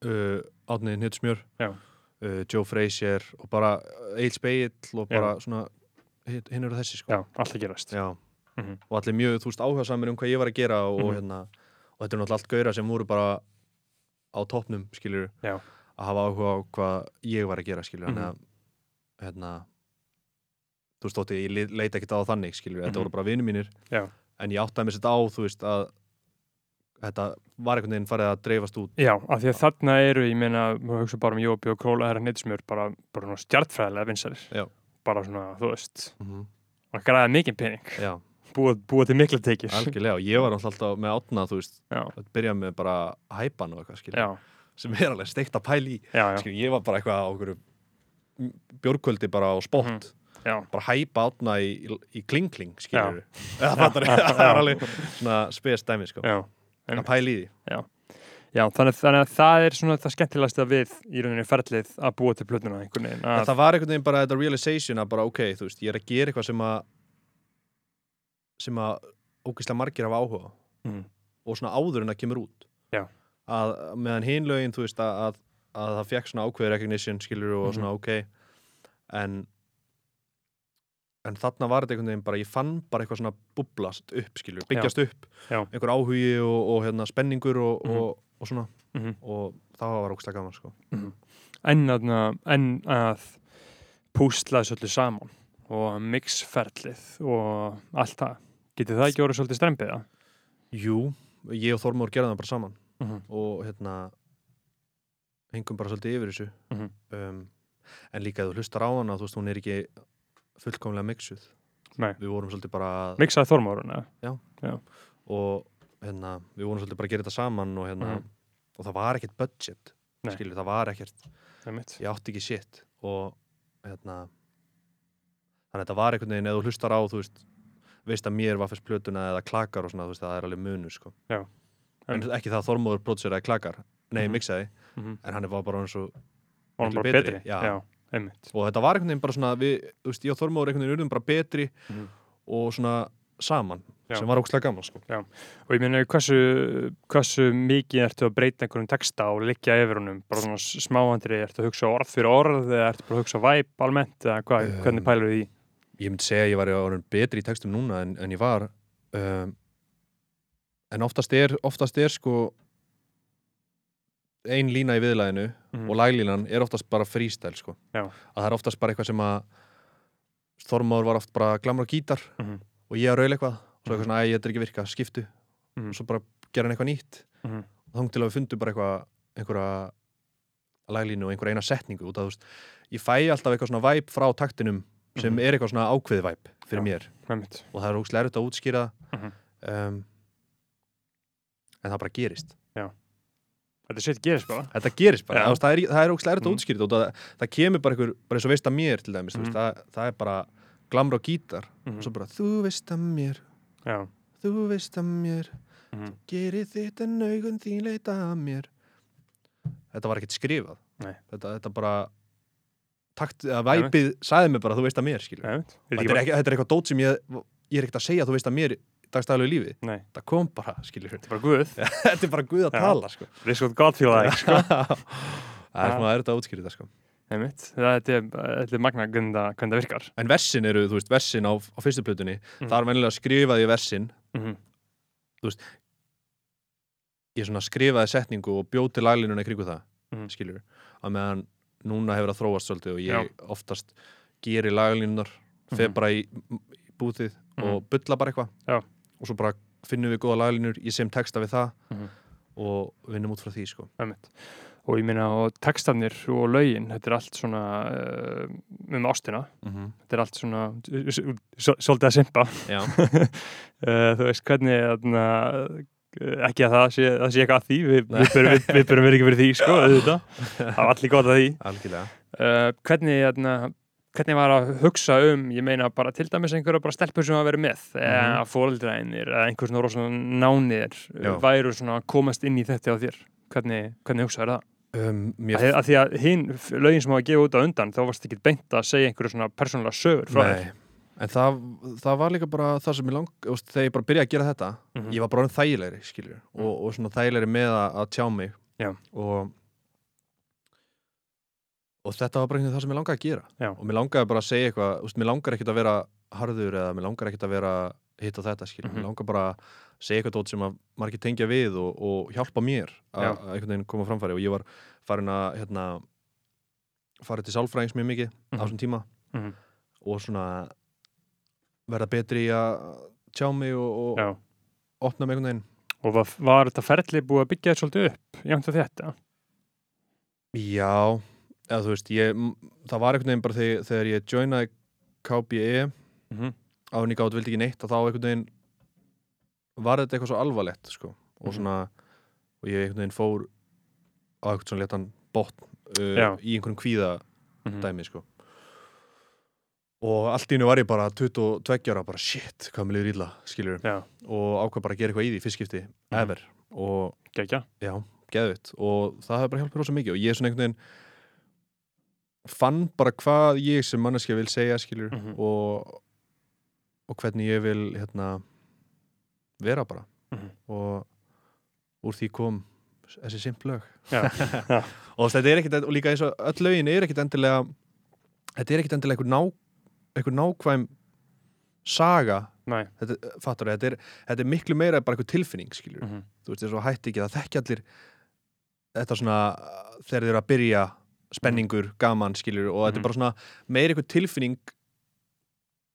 Speaker 2: uh, Átni Nýtsmjör
Speaker 1: Já.
Speaker 2: uh, Joe Frazier og bara Eil Speill og bara svona hinn eru þessi sko
Speaker 1: Já, allt að gerast.
Speaker 2: Já.
Speaker 1: Mhm.
Speaker 2: og allir mjög þú veist áhuga samir um hvað ég var að gera og,
Speaker 1: Mhm.
Speaker 2: hérna, og þetta er náttúrulega allt gauðra sem voru bara á toppnum skilur
Speaker 1: Já.
Speaker 2: að hafa áhuga á hvað ég var að gera skilur
Speaker 1: Mhm.
Speaker 2: þannig að hérna, þú veist þótti ég le- leita ekkert á það þannig skilur þetta
Speaker 1: Mhm.
Speaker 2: voru bara vinur mínir
Speaker 1: Já.
Speaker 2: en ég áttaði mér sér á þú veist að þetta var einhvern veginn farið að dreifast út
Speaker 1: Já, af því að þarna eru, ég meina, maður hugsa bara um Jópi og Króla, það er neitt sem eru bara, bara svona stjartfræðilega vinsælir.
Speaker 2: Já.
Speaker 1: Bara svona, þú veist,
Speaker 2: mm -hmm.
Speaker 1: að græða mikið pening,
Speaker 2: Já.
Speaker 1: búa, búa til mikla tekjur.
Speaker 2: Algjörlega, og ég var náttúrulega alltaf með átna þú veist,
Speaker 1: Já.
Speaker 2: að byrja með bara hæpan og eitthvað, skilja,
Speaker 1: Já,
Speaker 2: sem er alveg steikt að pæla í,
Speaker 1: já, já,
Speaker 2: skilja, ég var bara eitthvað á okkur björgkvöldi bara á spott
Speaker 1: Mhm, já,
Speaker 2: bara hæpa átna í, í klingkling, skilja það fattar ég, það var alveg svona spes dæmi, sko,
Speaker 1: já.
Speaker 2: að pæla í því
Speaker 1: Já, þannig, þannig að það er svona það skemmtilegasta við í rauninni ferlið að búa til plötuna einhvern veginn.
Speaker 2: en
Speaker 1: Að,
Speaker 2: það var einhvern veginn bara þetta realization að bara, ok, þú veist, ég er að gera eitthvað sem að sem að ógeðslega margir hafa áhuga á.
Speaker 1: mm,
Speaker 2: og svona áður en það kemur út
Speaker 1: Já.
Speaker 2: að meðan hinn lögin þú veist að, að, að það fekk svona ákveður recognition skilur og
Speaker 1: Mhm.
Speaker 2: svona ok en en þarna var þetta einhvern veginn bara ég fann bara eitthvað svona bublast upp skilur byggjast upp,
Speaker 1: Já.
Speaker 2: einhver áhugi og, og hérna spenningur og,
Speaker 1: Mhm.
Speaker 2: og, og svona
Speaker 1: mm,
Speaker 2: og það var ógstlega gaman sko
Speaker 1: Mhm. en, að, en að púsla þessu öllu saman og mixferlið og allt það. Getið það ekki orðið svolítið strempið það?
Speaker 2: Jú, ég og Þormór gerðum það bara saman
Speaker 1: Mm -hmm.
Speaker 2: og hérna hengum bara svolítið yfir þessu
Speaker 1: Mhm.
Speaker 2: um, en líka ef þú hlustar á hana þú veist, hún er ekki fullkomlega mixuð
Speaker 1: Nei.
Speaker 2: við vorum svolítið bara að-
Speaker 1: Mixaði Þormórun, eða?
Speaker 2: og hérna, við vorum svolítið bara að gera þetta saman og, hérna,
Speaker 1: Mhm.
Speaker 2: og það var ekkert budget
Speaker 1: Nei.
Speaker 2: skilur, það var ekkert
Speaker 1: einmitt.
Speaker 2: ég átti ekki shit og hérna þannig að þetta var einhvern veginn eða þú hlustar á þú veist, veist að mér var fyrst plötuna eða klakar og svona, þú veist, það er alveg munur sko.
Speaker 1: Já.
Speaker 2: en ekki það að Þormóður prótsur eða klakar, nei,
Speaker 1: Mhm.
Speaker 2: mixaði
Speaker 1: Mhm.
Speaker 2: en hann var bara eins og,
Speaker 1: Og hann
Speaker 2: miklu
Speaker 1: bara
Speaker 2: betri,
Speaker 1: betri,
Speaker 2: já.
Speaker 1: já, einmitt.
Speaker 2: og þetta var einhvern veginn bara svona við, þú veist, ég og Þormóður einhvern veginn urðum bara betri
Speaker 1: Mhm.
Speaker 2: og svona saman
Speaker 1: Já.
Speaker 2: sem var ókslega gaman sko.
Speaker 1: Og ég meina, hversu, hversu mikið ertu að breyta einhverjum texta og liggja yfir honum? Bara svona smáhandri, ertu að hugsa orð fyrir orð eða ertu bara að hugsa væp almennt eða hvað,
Speaker 2: Um,
Speaker 1: hvernig pælur því?
Speaker 2: ég myndi segja að ég var orðin betri í textum núna en, en ég var um, en oftast er, oftast er sko ein lína í viðlæðinu
Speaker 1: Mm.
Speaker 2: og laglínan er oftast bara freestyle sko.
Speaker 1: Já.
Speaker 2: að það er oftast bara eitthvað sem að Þormáður var oft bara að glamra á gítar
Speaker 1: Mhm.
Speaker 2: og ég að raula eitthvað svo
Speaker 1: Mhm.
Speaker 2: eitthvað svona, æ, þetta er ekki að virka, skiptu
Speaker 1: Mhm.
Speaker 2: og svo bara gera hann eitthvað nýtt
Speaker 1: Mhm.
Speaker 2: og þá til að við fundum bara eitthvað einhverja laglínu og einhverja eina setningu út að þú veist, ég fæ alltaf eitthvað svona væp frá taktinum sem
Speaker 1: Mhm.
Speaker 2: er eitthvað svona ákveði væp fyrir
Speaker 1: Já.
Speaker 2: mér
Speaker 1: Mhm, Einmitt.
Speaker 2: og það er ógstlega erfitt að útskýra
Speaker 1: Mhm.
Speaker 2: um, en það bara gerist
Speaker 1: Þetta shit gerist bara.
Speaker 2: þetta gerist bara,
Speaker 1: Já.
Speaker 2: ja. það, er, það er ógstlega erfitt að
Speaker 1: Mhm.
Speaker 2: útskýra þetta og það, það kemur bara einhver, bara eins og veist að mér til dæmis, mm
Speaker 1: Mhm.
Speaker 2: veist, það, það er bara glamra og gítar
Speaker 1: Mm
Speaker 2: og svo bara þú veist að mér,
Speaker 1: Já.
Speaker 2: þú veist að mér Mhm.
Speaker 1: Mm
Speaker 2: gerir þitt en augun þín leita að mér þetta var ekkert skrifað
Speaker 1: Nei.
Speaker 2: þetta, þetta bara takt, að væpið sagði mér bara þú veist að mér skilur
Speaker 1: Einmitt.
Speaker 2: Og þetta er, ekki, þetta er eitthvað dót sem ég, ég er ekkert að segja þú veist að mér dagstæðalegu lífi
Speaker 1: Nei,
Speaker 2: það kom bara, skilur
Speaker 1: þetta er bara guð.
Speaker 2: þetta er bara guð
Speaker 1: Já.
Speaker 2: að tala sko.
Speaker 1: This what God feel like.
Speaker 2: það er svona erfitt að útskýra þetta sko.
Speaker 1: Einmitt. Þetta er, þetta er magna hvernig það- hvernig það virkar.
Speaker 2: en versin eru, þú veist, versin á, á fyrstu plötunni
Speaker 1: Mhm.
Speaker 2: það er venjulega að skrifaði versin
Speaker 1: Mm -hmm.
Speaker 2: ég svona skrifaði setningu og bjóti laglínuna í kringu það,
Speaker 1: Mhm.
Speaker 2: skilur að meðan núna hefur það þróast svolítið og ég
Speaker 1: Já.
Speaker 2: oftast geri laglínunar fer
Speaker 1: Mhm.
Speaker 2: bara í, í bútið og bulla bara
Speaker 1: Já.
Speaker 2: eitthvað og svo bara finnum við góða laglínur ég sem texta við það
Speaker 1: Mhm.
Speaker 2: og vinnum út frá því sko.
Speaker 1: Einmitt. Og ég minna og textarnir og lögin, þetta er allt svona uh, um ástina,
Speaker 2: Mhm.
Speaker 1: þetta er allt svona s- s- svolítið að simpa
Speaker 2: Já,
Speaker 1: uh, þú veist hvernig þarna, uh, ekki að það sé, það sé eitthvað að því við,
Speaker 2: Nei.
Speaker 1: við, berum, við, við berum verið ekki fyrir því sko, auðvitað, það var allir gott að því
Speaker 2: algjörlega
Speaker 1: uh, hvernig, þarna, hvernig var að hugsa um ég meina bara til dæmis einhverja bara stelpur sem hafa verið með mm -hmm.
Speaker 2: Mhm.
Speaker 1: að fóreldrænir eða einhver svona rosa nánir
Speaker 2: Já.
Speaker 1: væru svona að komast inn í þetta á þér hvernig, hvernig hugsaður það?
Speaker 2: um, mér
Speaker 1: Af því- af því að hinn f- lögin sem hafa gefið út á undan þá varst ekki beint að segja einhverju svona persónulega sögur frá þér
Speaker 2: Nei, en það, það var líka bara það sem ég lang, þú veist, þegar ég bara byrjaði að gera þetta
Speaker 1: Mhm.
Speaker 2: ég var bara orðinn þægilegri, skilur og, og svona þægilegri með að, að tjá mig
Speaker 1: Já.
Speaker 2: og og þetta var bara einhvern veginn það sem ég langaði að gera
Speaker 1: Já.
Speaker 2: og mér langaði bara að segja eitthvað, þú veist, mér langar ekkit að vera harður eða mér langar ekkit að vera hitt á þetta, skilur,
Speaker 1: Mhm.
Speaker 2: mér langar bara að segja eitthvað dót sem að margir tengja við og, og hjálpa mér að
Speaker 1: Já.
Speaker 2: að einhvern veginn koma á framfæri og ég var farin að, hérna farið til sálfræðings mjög mikið á
Speaker 1: Mhm.
Speaker 2: þessum tíma
Speaker 1: Mhm.
Speaker 2: og svona verða betri í að tjá mig og,
Speaker 1: Já.
Speaker 2: og opna mig einhvern veginn
Speaker 1: og var, var þetta ferli búið að byggja þér svolítið upp jæmt og þetta
Speaker 2: Já, eða þú veist ég, m- það var einhvern veginn bara þegar, þegar ég joinaði E KBE
Speaker 1: mm
Speaker 2: Mhm.
Speaker 1: -hmm.
Speaker 2: á henni gátt vildi ekki neitt að þá einhvern veginn var þetta eitthvað svo alvarlegt sko. og
Speaker 1: Mhm.
Speaker 2: svona og ég einhvern veginn fór á einhvern svona letan botn
Speaker 1: Já. Mhm.
Speaker 2: uh, í einhvern kvíða dæmi sko. og allt í hennu var ég bara 22 ára bara shit, hvað mér liður illa skilur
Speaker 1: Já.
Speaker 2: og ákvað bara að gera eitthvað í því fyrstskipti
Speaker 1: Mhm.
Speaker 2: ever og
Speaker 1: Gekja
Speaker 2: já, geðvitt og það hefur bara hjálpað rosa mikið og ég er svona einhvern veginn fann bara hvað ég sem manneskja vil segja skilur
Speaker 1: Mhm.
Speaker 2: og, og hvernig ég vil hérna vera bara
Speaker 1: Mhm.
Speaker 2: og úr því kom þessi simplög
Speaker 1: Já. Já.
Speaker 2: og þetta er ekkit og líka eins og öll lögin er ekkit endilega þetta er ekkit endilega einhver, ná, einhver nákvæm saga
Speaker 1: Nei.
Speaker 2: þetta, fattar þetta er, þetta er miklu meira bara einhver tilfinning skilur
Speaker 1: mm -hmm.
Speaker 2: þú veist, þessu hætti ekki, það þekkja allir þetta svona uh, þegar þeir eru að byrja spenningur, gaman, skilur og
Speaker 1: Mhm.
Speaker 2: þetta er bara svona meir einhver tilfinning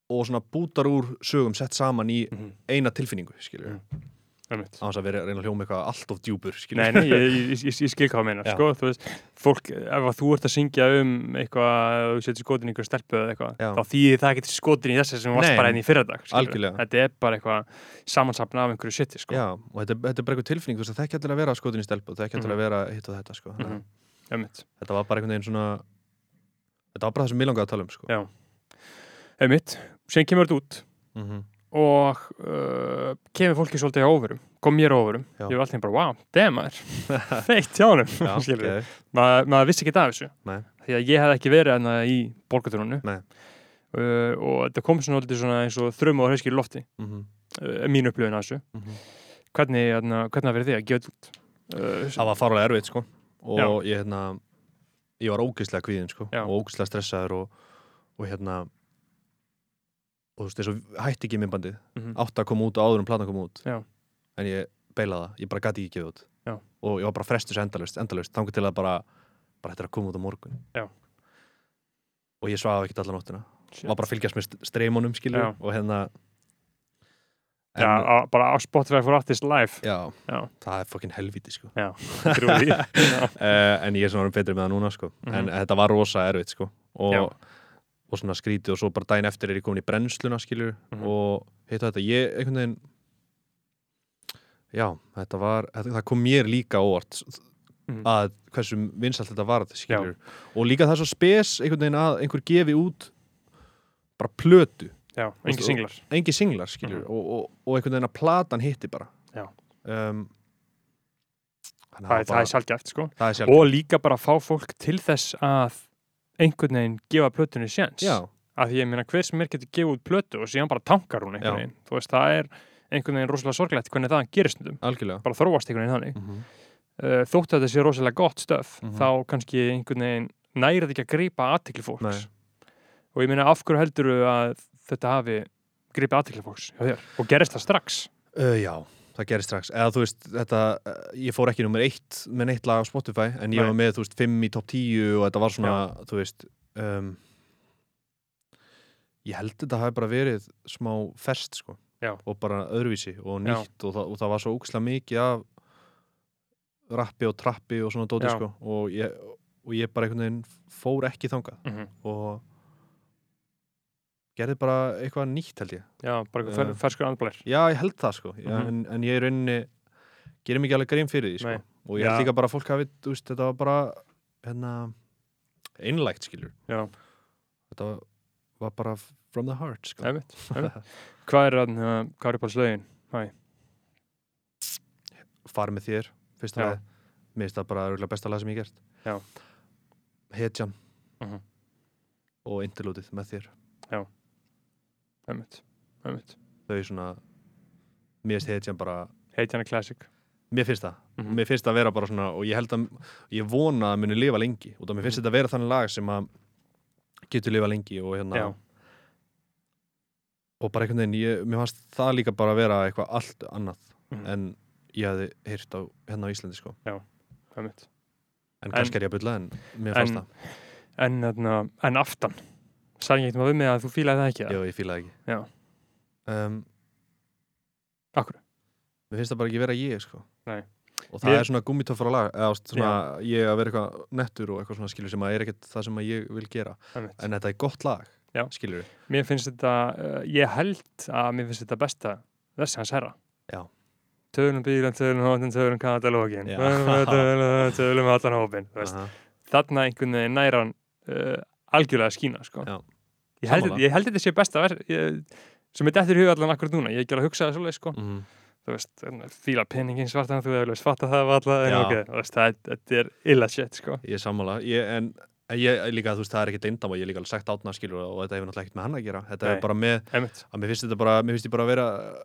Speaker 2: og svona bútar úr sögum sett saman í
Speaker 1: Mhm.
Speaker 2: eina tilfinningu, skilur
Speaker 1: Mhm. einmitt.
Speaker 2: á þess að vera að reyna að hljóma eitthvað allt of djúpur skilur.
Speaker 1: Nei, nei, ég, ég, ég, ég skil hvað að meina,
Speaker 2: Já.
Speaker 1: sko, þú veist, fólk, ef að þú ert að syngja um eitthvað, ef þú setur skotin í einhver stelpu eða eitthvað,
Speaker 2: Já.
Speaker 1: þá þýðir það ekki skotin í þessi sem þú varst
Speaker 2: Nei.
Speaker 1: bara enn í fyrradag, skilur.
Speaker 2: Algjörlega.
Speaker 1: Þetta er bara eitthvað samansapna af einhverju shiti, sko.
Speaker 2: Já, og þetta, þetta er bara eitthvað tilfinning þú veist, það er ekki allir að vera skotin í stelpu það er ekki
Speaker 1: Mhm.
Speaker 2: allir að vera hitt og þetta sko.
Speaker 1: Mm
Speaker 2: mm
Speaker 1: Einmitt.
Speaker 2: þetta var bara einhvern veginn svona þetta var bara það sem ég langaði að tala um sko.
Speaker 1: Já. Einmitt. Sen kemur þetta út
Speaker 2: mm
Speaker 1: Mhm. og uh, kemur fólki svolítið á óverum, kom mér á óverum.
Speaker 2: Já.
Speaker 1: Ég var alltaf bara, wow, damn maður, feitt hjá honum,
Speaker 2: Já,
Speaker 1: skilur.
Speaker 2: ok.
Speaker 1: maður, maður vissi ekki af þessu
Speaker 2: Nei.
Speaker 1: því að ég hef ekki verið enna í borgartúrunu
Speaker 2: Nei.
Speaker 1: Uh, og þetta kom svona, svolítið svona eins og þrömmu og hreskir lofti
Speaker 2: Mhm,
Speaker 1: uh, mín upplöfin af þessu
Speaker 2: mhm.
Speaker 1: hvernig, hérna, hvernig það verið þig að gefa þetta út uh,
Speaker 2: það var farulega erfitt sko. og ég hérna ég var ógeðslega kvíðin sko.
Speaker 1: Já.
Speaker 2: og ógeðslega stressaður og, og hérna og þú veist, þessu hætti ekki minnbandið
Speaker 1: mhm.
Speaker 2: átt að koma út og áður en platan koma út
Speaker 1: Já.
Speaker 2: en ég beilaði það, ég bara gati ekki gefið út
Speaker 1: Já.
Speaker 2: og ég var bara frestur þessu endalaust, endalaust þangur til að bara, bara þetta er að koma út á morgun
Speaker 1: Já.
Speaker 2: og ég svaði ekki allan nóttina
Speaker 1: Shit.
Speaker 2: var bara að fylgjast með st- streymunum skilur
Speaker 1: Já.
Speaker 2: og hérna
Speaker 1: Já, á- bara á Spotify for Artists live
Speaker 2: já,
Speaker 1: Já.
Speaker 2: það er fokkin helvíti sko
Speaker 1: trúi því. Já.
Speaker 2: uh, en ég er svona orðinn betri með það núna sko.
Speaker 1: Mhm.
Speaker 2: en þetta var rosa erfitt sko. og,
Speaker 1: Já.
Speaker 2: og svona skrítið og svo bara daginn eftir er ég komin í brennsluna skilur
Speaker 1: Mhm.
Speaker 2: og heita þetta, ég einhvern veginn já, þetta var þetta, það kom mér líka óvart
Speaker 1: Mhm.
Speaker 2: að hversu vinsalt þetta var skilur, og líka það er svo spes einhvern veginn að einhver gefi út bara plötu,
Speaker 1: já,
Speaker 2: Veistu,
Speaker 1: engi singlar
Speaker 2: engi singlar skilur og, og, og einhvern veginn að platan hitti bara
Speaker 1: Mhm. Já.
Speaker 2: um, þannig að
Speaker 1: það, er- það
Speaker 2: bara-
Speaker 1: er sjálfgæft sko
Speaker 2: það er sjálf
Speaker 1: og líka bara fá fólk til þess að einhvern veginn gefa plötunni sjans
Speaker 2: já,
Speaker 1: að því ég meina hver sem er getur gefið út plötu og síðan bara tankar hún einhvern
Speaker 2: Já.
Speaker 1: veginn þú veist, það er einhvern veginn rosalega sorglegt hvernig það gerist stundum,
Speaker 2: algjörlega
Speaker 1: bara þróast einhvern veginn þannig uh, þóttu að þetta sé rosalega gott stöf
Speaker 2: Mhm.
Speaker 1: þá kannski einhvern veginn nærið ekki að grípa aðtekli fólks
Speaker 2: Nei.
Speaker 1: og ég meina af hverju heldur að þetta hafi grípa aðtekli fólks hjá þér og gerist það strax
Speaker 2: Uh, já, það gerist strax eða þú veist, þetta, uh, ég fór ekki nummer eitt með neitt lag á Spotify en ég
Speaker 1: Nei.
Speaker 2: var með, þú veist, fimm í topp tíu og þetta var svona, þú veist um, ég held þetta hafi bara verið smá fest, sko
Speaker 1: Já.
Speaker 2: og bara öðruvísi og
Speaker 1: Já.
Speaker 2: nýtt og það, og það var svo ókslega mikið af rappi og trappi og svona dóti,
Speaker 1: Já.
Speaker 2: sko og ég, og ég bara einhvern veginn fór ekki þangað og gerði bara eitthvað nýtt, held ég
Speaker 1: já, bara eitthvað fer,
Speaker 2: Já.
Speaker 1: ferskur andblæðir
Speaker 2: Já, ég held það sko, já,
Speaker 1: Mhm.
Speaker 2: en, en ég í rauninni gerir mikið alveg grein fyrir því sko.
Speaker 1: Nei.
Speaker 2: og ég held
Speaker 1: Já.
Speaker 2: líka bara að fólk hafi, þú veist, þetta var bara hérna, einlægt skilur
Speaker 1: já,
Speaker 2: þetta var bara from the heart sko.
Speaker 1: einmitt, einmitt. hvað er, uh, hvað er upp á slögin?
Speaker 2: far með þér, fyrsta
Speaker 1: Já.
Speaker 2: lagi mér finnst það bara örugglega besta lag sem ég hef gert
Speaker 1: Já.
Speaker 2: Hetjan
Speaker 1: Mhm.
Speaker 2: og Interlútið með þér
Speaker 1: Einmitt, einmitt.
Speaker 2: þau svona, mér finnst Hetjan bara
Speaker 1: heit hana classic
Speaker 2: mér finnst það
Speaker 1: Mhm.
Speaker 2: mér finnst það að vera bara svona og ég held að, ég vona að það muni lifa lengi og það
Speaker 1: Mhm.
Speaker 2: mér finnst þetta að vera þannig lag sem að getur lifa lengi og hérna
Speaker 1: Já.
Speaker 2: og bara einhvern veginn, ég, mér fannst það líka bara að vera eitthvað allt annað
Speaker 1: Mhm.
Speaker 2: en ég hafði heyrt á, hérna á Íslandi sko
Speaker 1: einmitt.
Speaker 2: en kannski er ég að bulla en mér fannst
Speaker 1: en, en, en, en aftan sagði ég eitthvað við mig að þú fílaði það ekki
Speaker 2: það,
Speaker 1: eða?
Speaker 2: já ég fílaði ekki
Speaker 1: Já.
Speaker 2: um,
Speaker 1: Af hverju?
Speaker 2: mér finnst það bara ekki vera ég sko
Speaker 1: Nei.
Speaker 2: og það
Speaker 1: Mér-
Speaker 2: er svona gummitöffara lag eða þú veist, svona ég að vera eitthvað nettur og eitthvað svona skilur sem að er ekkert það sem að ég vil gera
Speaker 1: Einmitt.
Speaker 2: en þetta er gott lag
Speaker 1: Já.
Speaker 2: skilur
Speaker 1: Mér finnst þetta, uh, ég held að mér finnst þetta besta þess hans herra.
Speaker 2: Já.
Speaker 1: Tölum bílan, tölum hóttin, tölum katalógin,
Speaker 2: Já.
Speaker 1: tölum, tölum, tölum allan hópin. þú veist.
Speaker 2: Aha.
Speaker 1: Þarna einhvern veginn næra hann uh, algjörlega að skína, sko.
Speaker 2: Já.
Speaker 1: Ég held,
Speaker 2: Sammála.
Speaker 1: ég held þetta sé besta ver, ég, sem er dettur í huga allan akkur núna. Ég er ekki alveg að hugsa það svolítið, sko.
Speaker 2: mm.
Speaker 1: Þú veist, fíla peningin svartan, þú hefur veist, fatta það varla, en
Speaker 2: Já.
Speaker 1: ok, þú veist, það, er- þetta er illa shit, sko.
Speaker 2: Ég er sammála, ég, en en ég líka, þú veist, það er ekkert lindamá, ég er líka alveg sagt átna skilur og þetta hefur náttúrulega ekkert með hann að gera þetta
Speaker 1: Nei.
Speaker 2: er bara með,
Speaker 1: Emmett,
Speaker 2: að mér finnst þetta bara mér finnst ég bara að vera að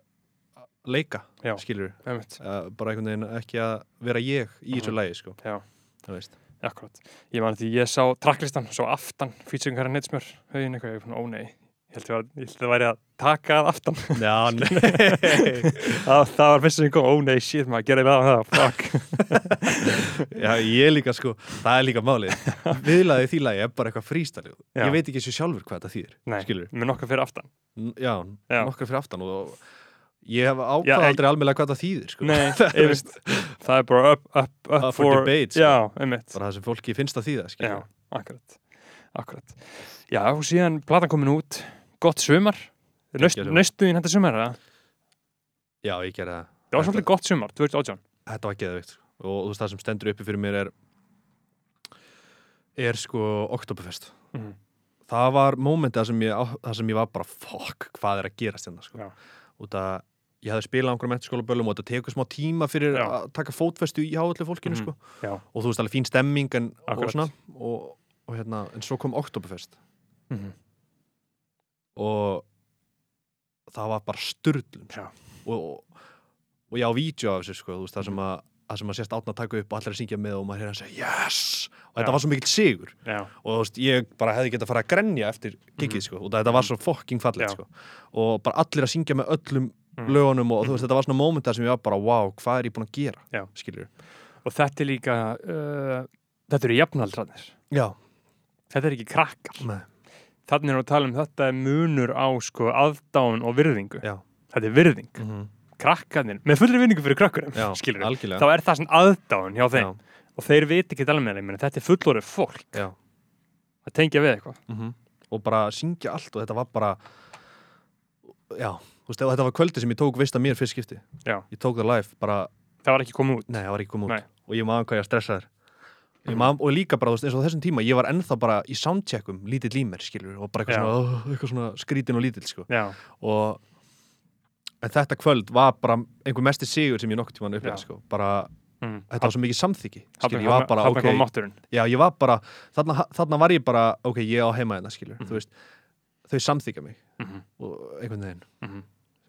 Speaker 2: leika
Speaker 1: Já.
Speaker 2: skilur,
Speaker 1: emmett,
Speaker 2: uh, bara einhvern veginn ekki að vera ég í
Speaker 1: Mhm.
Speaker 2: þessu lagi, sko
Speaker 1: Já.
Speaker 2: Það veist,
Speaker 1: akkurat. Ég man því, ég sá trakklistan, svo aftan, featuring herra Nitsmjör, högin eitthvað, ég er svona, ó nei, ég held að, ég held að það væri að taka að aftan.
Speaker 2: já, nei
Speaker 1: það, það var fyrst sem ég kom, ó nei, shit maður, gerði með það, fuck.
Speaker 2: já, ég líka, sko, það er líka málið viðlaðið því lagi er bara eitthvað frístalið
Speaker 1: Já.
Speaker 2: ég veit ekki þessu sjálfur hvað þetta þýðir
Speaker 1: Nei,
Speaker 2: skilur,
Speaker 1: með nokkuð fyrir aftan.
Speaker 2: N- já,
Speaker 1: Já.
Speaker 2: nokkar fyrir aftan og, Ég hef
Speaker 1: Já,
Speaker 2: ákvað
Speaker 1: ég-
Speaker 2: aldrei almennlega hvað það þýðir sko.
Speaker 1: Nei,
Speaker 2: Það er
Speaker 1: einmitt. það er bara up, up, up,
Speaker 2: Up for debate, sko.
Speaker 1: Já, einmitt
Speaker 2: bara það sem fólki finnst að þýða skilur.
Speaker 1: Já, akkurat, akkurat Já, og síðan platan komin út Gott sumar Naust-
Speaker 2: Geggjað sumar.
Speaker 1: Naustu þín þetta sumar, eða?
Speaker 2: Já, ég gerði það
Speaker 1: Það var svolítið gott sumar, 2018
Speaker 2: þetta var geðveikt sko. og þú veist það sem stendur uppi fyrir mér er er sko Oktoberfest
Speaker 1: Mhm.
Speaker 2: það var mómentið það sem ég, á- þar sem ég var bara fuck, hvað er að gerast hérna sko.
Speaker 1: Já.
Speaker 2: út að ég hafði spilað á einhverjum eftirskólaböllum og þetta tekur smá tíma fyrir
Speaker 1: Já.
Speaker 2: að taka fótfestu í háallu fólkinu
Speaker 1: Mhm.
Speaker 2: sko.
Speaker 1: Já.
Speaker 2: og þú veist alveg fín stemming en, og
Speaker 1: Akkurat.
Speaker 2: svona og, og hérna, en svo kom Oktoberfest
Speaker 1: mm -hmm.
Speaker 2: og það var bara styrlun
Speaker 1: Já.
Speaker 2: og, og, og ég á vídeo af þessu sko, þú veist, það sem að það sem að sést átna að taka upp og allir að syngja með og maður er að segja yes og þetta
Speaker 1: Já.
Speaker 2: var svo mikill sigur
Speaker 1: Já,
Speaker 2: og þú veist, ég bara hefði getað að fara að grenja eftir gigið sko, og þetta var svo fucking
Speaker 1: Mhm. Já.
Speaker 2: fallegt sko. og bara allir að syngja með öllum
Speaker 1: Mhm.
Speaker 2: lögunum og þú veist, þetta var svona moment þar sem ég var bara, wow, hvað er ég búin að gera
Speaker 1: Já.
Speaker 2: skilur,
Speaker 1: og þetta er líka uh, Þetta eru jafnaldrarnir
Speaker 2: já,
Speaker 1: Þetta er ekki krakkar
Speaker 2: Nei.
Speaker 1: Þannig erum við að tala um þetta er munur á sko, aðdán og virðingu
Speaker 2: Já.
Speaker 1: Þetta er virðing,
Speaker 2: mm -hmm.
Speaker 1: krakkarnir Með fullri virðingu fyrir krakkurum,
Speaker 2: já
Speaker 1: skilur
Speaker 2: algjörlega
Speaker 1: Þá er það svona aðdán hjá þeim
Speaker 2: já,
Speaker 1: Og þeir viti ekki alveg með þeim Þetta er fullorðið fólk
Speaker 2: já.
Speaker 1: að tengja við eitthvað
Speaker 2: -hmm. og bara syngja allt og þetta var bara já, þú veist, og þetta var kvöldi sem ég tók veist að mér fyrst skipti
Speaker 1: Já.
Speaker 2: ég tók það live, bara,
Speaker 1: Það var ekki komið út
Speaker 2: nei, það var ekki komið út
Speaker 1: Nei.
Speaker 2: og ég maður hvað ég var stressaður Ég man, og líka bara, þú veist, eins og á þessum tíma, ég var ennþá bara í soundcheckum, lítill í mér, skilur og bara eitthvað
Speaker 1: Já.
Speaker 2: svona, "Ugh", eitthvað svona skrítin og lítill, sko
Speaker 1: Já,
Speaker 2: og en þetta kvöld var bara einhver mesti sigur sem ég nokkuð tíma
Speaker 1: Já.
Speaker 2: upplega, sko, bara,
Speaker 1: mm.
Speaker 2: þetta var svo mikið samþyggi, skilur,
Speaker 1: Þarna-
Speaker 2: ég var bara,
Speaker 1: þarna
Speaker 2: ok,
Speaker 1: kom mátturinn
Speaker 2: Já, ég var bara, þarna, þarna var ég bara, ok, ég á heima hérna, skilur,
Speaker 1: Mhm.
Speaker 2: þú veist, þau samþykja mig
Speaker 1: Mhm.
Speaker 2: og einhvern veginn.
Speaker 1: mm.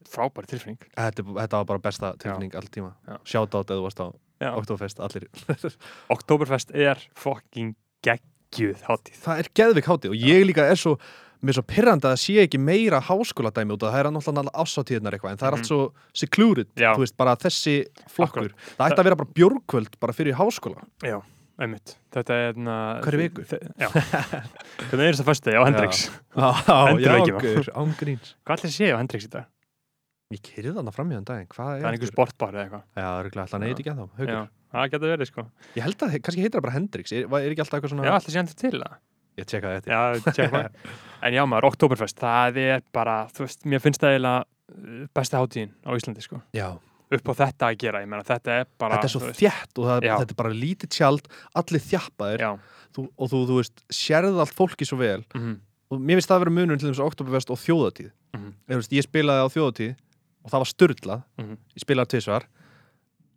Speaker 1: Frábæri tilfinning
Speaker 2: Þetta, er- þetta var bara besta tilfinning all tíma.
Speaker 1: Já.
Speaker 2: Shout out eða þú varst á
Speaker 1: Já.
Speaker 2: Oktoberfest, allir.
Speaker 1: Oktoberfest er fucking geggjuð hátíð
Speaker 2: Það er geðvik hátíð og ég líka er svo, mér er svo pirrandi að það sé ekki meira háskóladæmi út af það er náttúrulega allar ásatíðnar eitthvað, en það er allt svo secluded,
Speaker 1: Mhm. Já.
Speaker 2: þú veist, bara þessi flokkur. Það ætti að vera bara björgkvöld bara fyrir háskóla.
Speaker 1: Já, einmitt Þetta er hérna
Speaker 2: Hverri viku?
Speaker 1: Þe- Já Hvernig er þetta fyrstu á Hendrix?
Speaker 2: Já,
Speaker 1: Endur
Speaker 2: já,
Speaker 1: ekki með.
Speaker 2: gaur, án gríns.
Speaker 1: Hvað allir séu á Hendrix í dag?
Speaker 2: Ég keyrði þarna fram í þann daginn, hvað
Speaker 1: Það
Speaker 2: er
Speaker 1: er einhver sportbar eða eitthvað
Speaker 2: Já, örugglega, ætli hann
Speaker 1: Já.
Speaker 2: heiti ekki ennþá, Haukur.
Speaker 1: Já, það getur verið sko
Speaker 2: Ég held að, kannski heitir það bara Hendrix Er, er ekki alltaf eitthvað svona
Speaker 1: Já, allir séu hendur til það
Speaker 2: Ég tjekka þetta
Speaker 1: Já, tjekk maður. En já maður, Oktoberfest, það er bara, þú veist, mér finnst það eiginlega uh, besta hátíðin á Íslandi, sko. Upp á þetta að gera, ég meina, þetta er bara...
Speaker 2: Þetta er svo
Speaker 1: þú veist,
Speaker 2: þjætt og það,
Speaker 1: Já.
Speaker 2: þetta er bara lítið tjald Allir þjappaðir
Speaker 1: Já,
Speaker 2: þú, Og þú, þú veist, sérð allt fólki svo vel
Speaker 1: mhm,
Speaker 2: og Mér finnst það að vera munur til þess að Oktoberfest og þjóðatíð
Speaker 1: mhm,
Speaker 2: Ég, veist, ég spilaði á þjóðatíð og það var styrlað
Speaker 1: mhm.
Speaker 2: Ég spilaði tvisvar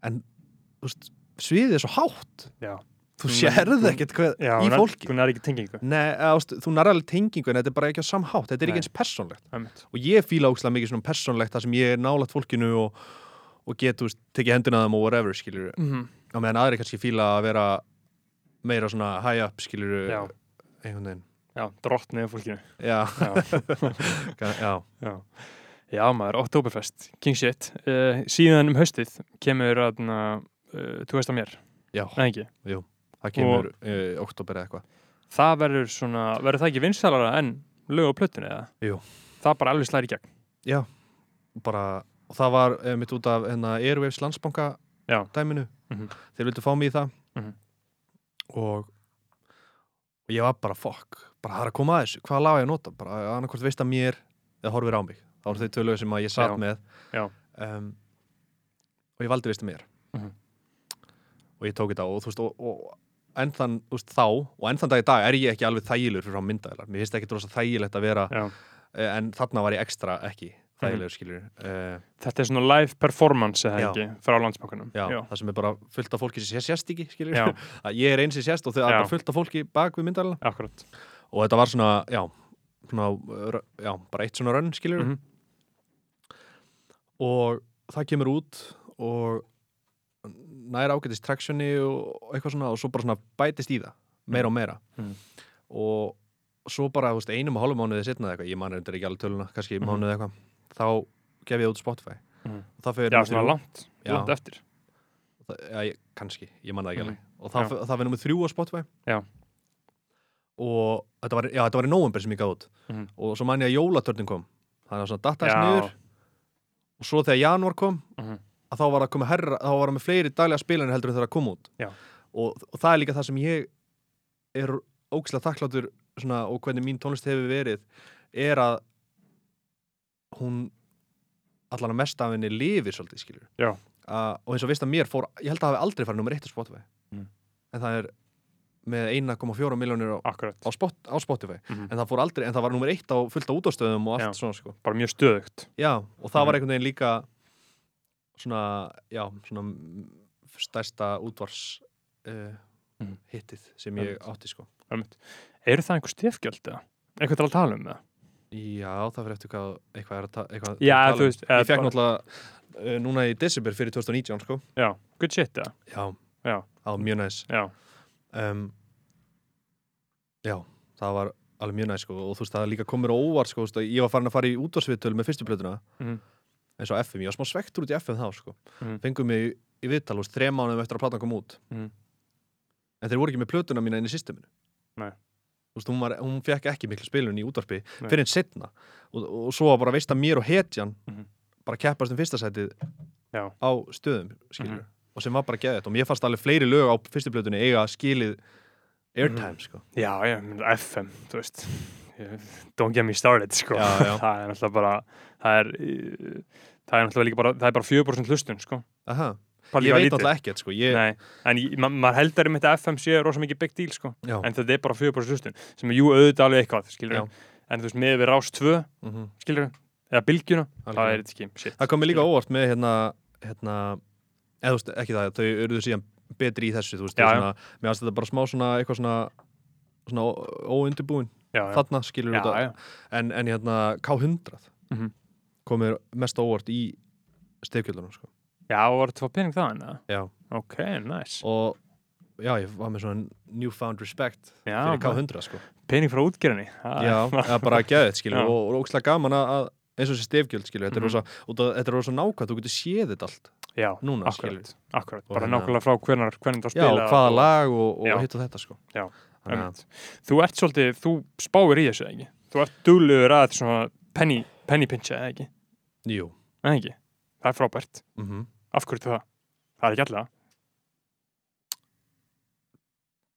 Speaker 2: En, þú veist, sviðið er svo hátt
Speaker 1: Já.
Speaker 2: Þú
Speaker 1: Þú-
Speaker 2: sérð
Speaker 1: þú-
Speaker 2: ekkert hvað
Speaker 1: Mm. Já,
Speaker 2: í
Speaker 1: hún er-
Speaker 2: fólki
Speaker 1: Hún er ekki tengingu.
Speaker 2: Nei, eða, þú veist, þú nærði alveg tengingu en þetta er bara ekki á samhátt, þetta er
Speaker 1: Nei.
Speaker 2: ekki eins persónlegt
Speaker 1: einmitt.
Speaker 2: og ég fíla ógslag mikið svona persónlegt þar sem ég er nálægt fólkinu og, og get, þú veist, tekið hendina á þeim og whatever, skilur
Speaker 1: Mhm,
Speaker 2: á meðan aðri kannski fíla að vera meira svona high up, skilur
Speaker 1: Já,
Speaker 2: einhvern veginn
Speaker 1: já, drottnið af fólkinu.
Speaker 2: já,
Speaker 1: Já,
Speaker 2: kann- já,
Speaker 1: já. Já maður, Oktoberfest, King Shit. Uh, síðan um haustið kemur að, uh, þú veist að mér,
Speaker 2: já,
Speaker 1: eða ekki?
Speaker 2: það kemur uh, oktober eða eitthvað
Speaker 1: Það verður svona, verður það ekki vinsalara en lög á plötunni eða?
Speaker 2: Jú.
Speaker 1: Það bara alveg slæri í gegn.
Speaker 2: bara, og það var uh, mitt út af hérna, Airwaves landsbanka
Speaker 1: Já.
Speaker 2: dæminu,
Speaker 1: Mhm.
Speaker 2: þeir vildu fá mig í það
Speaker 1: Mhm.
Speaker 2: og og ég var bara fokk, bara það er að koma að þessu hvaða lag á ég að nota, bara annarkvort veist að mér eða horfir á mig, þá voru þau tölugu sem að ég satt
Speaker 1: Já.
Speaker 2: með
Speaker 1: Já.
Speaker 2: Um, og ég valdi veist að mér
Speaker 1: Mhm.
Speaker 2: og ég tók þetta og þú veist og, og enn þann, þú veist þá og enn þann dag í dag er ég ekki alveg þægilegur fyrir á myndaðilar mér finnst ekki rosa þægilegt að vera
Speaker 1: Já.
Speaker 2: eh, en þarna var ég ekstra ekki þægilegur
Speaker 1: Mhm.
Speaker 2: skilur uh,
Speaker 1: Þetta er svona live performance eða
Speaker 2: Já.
Speaker 1: ekki frá landsbankunum.
Speaker 2: já, það sem er bara fullt af fólki sem sé- sést ekki skilur
Speaker 1: Já,
Speaker 2: að ég er eins sem sést og það er
Speaker 1: Já.
Speaker 2: bara fullt af fólki bak við myndalina
Speaker 1: akkurat.
Speaker 2: og þetta var svona, já, svona uh, rö- já, bara eitt svona rönn, skilur
Speaker 1: Mhm.
Speaker 2: og það kemur út og nær ágætist tractioni og eitthvað svona og svo bara svona bætist í það meira og meira
Speaker 1: Mhm.
Speaker 2: og svo bara, þú veist, einum og hálfum mánuðið setna eða eitthvað, ég man reyndar ekki alveg töluna kannski
Speaker 1: Mhm.
Speaker 2: mánuðið eitthvað, þá gef ég út Spotify
Speaker 1: Mhm.
Speaker 2: og það fyrir
Speaker 1: Já, svona langt,
Speaker 2: Já.
Speaker 1: langt eftir.
Speaker 2: það, já, ég, kannski, ég manna það ekki
Speaker 1: Mhm.
Speaker 2: alveg og það, það var nummið þrjú á Spotify
Speaker 1: Já.
Speaker 2: og þetta var, já, þetta var í november sem ég gaf út
Speaker 1: Mhm.
Speaker 2: og svo man ég að jólatörnin kom þannig að svona datta
Speaker 1: Já.
Speaker 2: þess niður og og svo þegar janúar kom
Speaker 1: Mhm.
Speaker 2: að þá var að koma herra, þá var að með fleiri daglega spilanir heldur en þegar að koma út
Speaker 1: Já.
Speaker 2: og, og það er líka það sem ég er ógislega þakkláttur svona, og hvernig mín tónlist hefur verið er að hún allan að mest af henni lifir svolítið skilur
Speaker 1: Já.
Speaker 2: Að- og eins og veist að mér fór, ég held að hafi aldrei farið nummer eitt á Spotify
Speaker 1: Mm.
Speaker 2: en það er með 1,4 miljónir á,
Speaker 1: akkurat,
Speaker 2: á, spot, á Spotify
Speaker 1: Mhm.
Speaker 2: en það fór aldrei, en það var nummer eitt á fullt á útastöðum og allt
Speaker 1: Já.
Speaker 2: svona sko
Speaker 1: bara mjög stöðugt
Speaker 2: já, og það var
Speaker 1: Mhm.
Speaker 2: einhvern veginn líka svona, já, svona mm, stærsta útvars uh,
Speaker 1: Mhm.
Speaker 2: hittið sem
Speaker 1: Einmitt.
Speaker 2: ég átti sko
Speaker 1: Einmitt. eru það einhver stefgjöld eða? eitthvað til að tala um það?
Speaker 2: já, það fyrir eftir hvað eitthvað er að ta
Speaker 1: Já,
Speaker 2: eitthvað að
Speaker 1: þú
Speaker 2: tala um.
Speaker 1: veist, eða
Speaker 2: ég fekk
Speaker 1: bara-
Speaker 2: náttúrulega uh, núna í desember fyrir 2019 sko
Speaker 1: já, good shit eða?
Speaker 2: já,
Speaker 1: Já.
Speaker 2: það var mjög næs
Speaker 1: já,
Speaker 2: um, já, það var alveg mjög næs sko og þú veist, það líka komur óvart sko, þú veist, að ég var farin að fara í útvarsviðtöl með fyrstu plötuna
Speaker 1: Mhm.
Speaker 2: eins og FM, ég var smá svektur út í FM þá sko
Speaker 1: Mhm.
Speaker 2: fengum mig í, í viðtal, þú veist, þrem mánuðum eftir að platan kom út
Speaker 1: Mhm.
Speaker 2: en þeir voru ekki með plötuna mína inn í systeminu
Speaker 1: Nei.
Speaker 2: þú veist, hún, var, hún fekk ekki miklu spilun í útvarpi
Speaker 1: Nei.
Speaker 2: fyrir en setna og, og svo var bara veist að mér og hetjan
Speaker 1: Mhm.
Speaker 2: bara keppast um fyrsta sætið
Speaker 1: Já.
Speaker 2: á stöðum, skilur og sem var bara geðið og mér fannst alveg fleiri lög á fyrstu plötunni eiga skilið
Speaker 1: Mhm.
Speaker 2: airtime sko.
Speaker 1: já, já menn, FM, þú veist Ég- don't get me started sko.
Speaker 2: Já, já.
Speaker 1: það er náttúrulega bara það er, eh, það er náttúrulega líka bara það er bara 4% hlustun sko.
Speaker 2: Aha,
Speaker 1: Bara
Speaker 2: ég
Speaker 1: líka
Speaker 2: veit
Speaker 1: lítið.
Speaker 2: náttúrulega ekkert sko. ég,
Speaker 1: Nei, en ég- ma maður heldur um þetta FM sé rosa mikið big deal sko
Speaker 2: já,
Speaker 1: en þetta er bara 4% hlustun sem er jú auðvitað alveg eitthvað skilur
Speaker 2: Já.
Speaker 1: en þú veist með við rás 2
Speaker 2: mm
Speaker 1: skilur eða bylgjuna það
Speaker 2: Algjörlega.
Speaker 1: er þetta ekki shit
Speaker 2: það kom mér líka óvart með hérna, hérna eða þú veist ekki það, þau eruðu síðan betri í þessu, þú veist,
Speaker 1: Já,
Speaker 2: þau
Speaker 1: já.
Speaker 2: svona, mér finnst þetta bara smá svona eitthvað svona svona ó- óundirbúin,
Speaker 1: já, já.
Speaker 2: þarna skilur
Speaker 1: já,
Speaker 2: þetta
Speaker 1: já.
Speaker 2: en, en hérna K100
Speaker 1: Mhm.
Speaker 2: kom mér mest á óvart í stefkjöldunum sko.
Speaker 1: já og var þetta fá pening það en
Speaker 2: Já.
Speaker 1: ok, nice
Speaker 2: og já, ég var með svona newfound respect
Speaker 1: já,
Speaker 2: fyrir K100 sko.
Speaker 1: pening frá útgerðinni Það-
Speaker 2: Já, það er bara að geða þetta
Speaker 1: Já.
Speaker 2: skilur og, og ókslega gaman að, að eins og þessi stefgjöld skilur, þetta er
Speaker 1: Mhm.
Speaker 2: rosa, og það- þetta er rosa nákvæmt, þú getur séð þetta allt
Speaker 1: já
Speaker 2: núna skilur.
Speaker 1: akkurat, akkurat
Speaker 2: Og
Speaker 1: bara
Speaker 2: hérna-
Speaker 1: nákvæmlega frá hvernar hvernig það
Speaker 2: Já,
Speaker 1: spila
Speaker 2: og hvaða lag og,
Speaker 1: Já.
Speaker 2: og hitt og þetta sko.
Speaker 1: Já,
Speaker 2: Þannig að-
Speaker 1: þú ert svolítið þú spáir í þessu eða ekki þú ert duglegur að svona penny penny pincha eða ekki
Speaker 2: Jú,
Speaker 1: eða ekki það er frábært
Speaker 2: mm
Speaker 1: af hverju ertu það það er ekki allega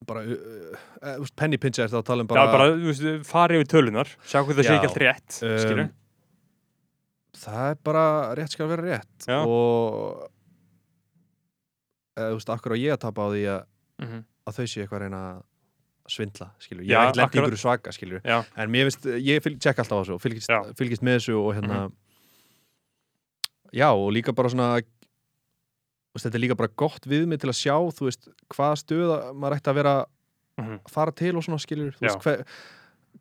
Speaker 2: bara, uh, uh, uh, penny pinch er það að tala um
Speaker 1: bara,
Speaker 2: bara,
Speaker 1: já, bara þú veist, fari yfir tölunar sjá hvað það sé
Speaker 2: Já.
Speaker 1: ekki allt rétt
Speaker 2: Um,
Speaker 1: um,
Speaker 2: það er bara rétt skal vera rétt
Speaker 1: Já.
Speaker 2: og eh, þú veist, akkur á ég að tapa á því að,
Speaker 1: mm -hmm.
Speaker 2: að þau séu eitthvað að reyna að svindla, skilur, ég
Speaker 1: Já,
Speaker 2: er ekkert lent í
Speaker 1: akkurat.
Speaker 2: ykkur svaka, skilur,
Speaker 1: Já.
Speaker 2: en mér finnst, ég fylg, tjekk alltaf á þessu og fylgist,
Speaker 1: Já. Mhm.
Speaker 2: fylgist með þessu og hérna já, og líka bara svona þú veist, þetta er líka bara gott við mig til að sjá, þú veist, hvaða stöða maður ætti að vera að
Speaker 1: Mm -hmm.
Speaker 2: fara til og svona skilur, þú
Speaker 1: Já.
Speaker 2: veist, hver,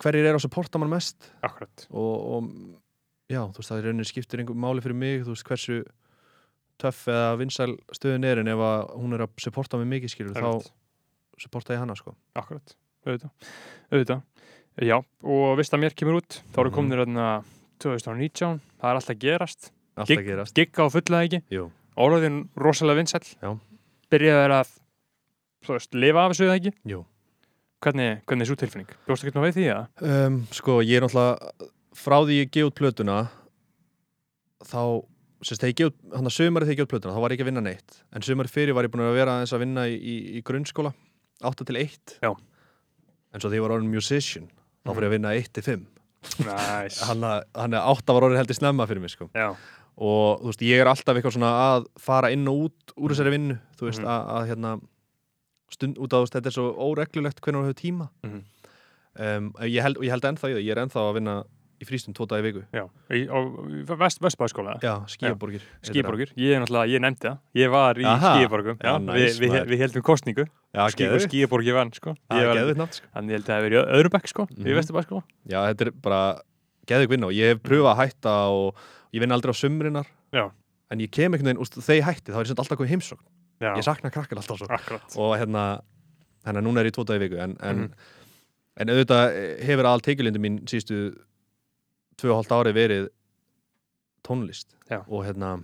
Speaker 2: hverjir eru að supporta mann mest
Speaker 1: akkurat
Speaker 2: og, og já, þú veist, það er rauninni skiptir einhver máli fyrir mig, þú veist, hversu töff eða vinsæl stöðin er en ef að hún er að supporta mig mikið skilur,
Speaker 1: Einmitt.
Speaker 2: þá supporta ég hana sko.
Speaker 1: akkurat, auðvitað, auðvitað. já, og vist að mér kemur út þá eru
Speaker 2: Mhm.
Speaker 1: komin þarna 2019 það er alltaf að gerast,
Speaker 2: Alltaf
Speaker 1: Gigg-
Speaker 2: gerast
Speaker 1: gigga og fulla ekki
Speaker 2: Jú.
Speaker 1: orðin rosalega vinsæll
Speaker 2: Já.
Speaker 1: byrjaði að þú veist, lifa af þessu eða ekki
Speaker 2: Jú.
Speaker 1: hvernig, hvernig er svo tilfinning? Bjóstu ekki maður veið því að?
Speaker 2: Um, sko, ég er náttúrulega frá því ég geið út plötuna þá, sérst, þegar ég geið út hann að sömari þegar ég geið út plötuna, þá var ég ekki að vinna neitt en sömari fyrir var ég búin að vera aðeins að vinna í, í, í grunnskóla, 8 til 1
Speaker 1: Já.
Speaker 2: en svo því ég var orðin musician þá fyrir ég að vinna 1 til 5
Speaker 1: Næs
Speaker 2: hann að, hann að 8 var orðin heldur snemma fyrir mig sko.
Speaker 1: Já,
Speaker 2: og þú veist, ég er alltaf eitthvað svona að fara inn og út úr þessari vinnu þú veist,
Speaker 1: Mhm.
Speaker 2: að, að hérna stund út af þú veist, þetta er svo óreglulegt hvernig hún hefur tíma
Speaker 1: Mhm.
Speaker 2: um, ég held, og ég held ennþá í það, ég er ennþá að vinna í frístum tvo dag í viku
Speaker 1: já, í, á vest, Vestbæðskóla
Speaker 2: já, skíaborgir
Speaker 1: Skýborgur, ég er náttúrulega, ég nefndi það Ég var í
Speaker 2: Aha.
Speaker 1: Skýborgum
Speaker 2: Já, nice,
Speaker 1: við,
Speaker 2: maður.
Speaker 1: við, við heldum kostningu
Speaker 2: já, geðvikt.
Speaker 1: Skýborgi vann sko.
Speaker 2: Já,
Speaker 1: Ég var-
Speaker 2: geðvikt nátt, sko.
Speaker 1: Þannig ég held að það hafi verið í öðrum bekk sko, í
Speaker 2: Mhm.
Speaker 1: Vesturbæk sko.
Speaker 2: já, þetta er bara geðug vinna og ég hef pröfað að hætta og ég vinn aldrei á sumrinar
Speaker 1: Já.
Speaker 2: en ég kem einhvern veginn, úst, þegar ég hætti þá er ég samt alltaf komið heimsókn,
Speaker 1: Já,
Speaker 2: ég sakna krakkan alltaf svo
Speaker 1: akkurat
Speaker 2: og hérna hérna núna er ég tvo dag í viku en, en,
Speaker 1: Mhm.
Speaker 2: en auðvitað eh, hefur all teikjulindi mín sístu tvö og hálft ári verið tónlist
Speaker 1: Já.
Speaker 2: og hérna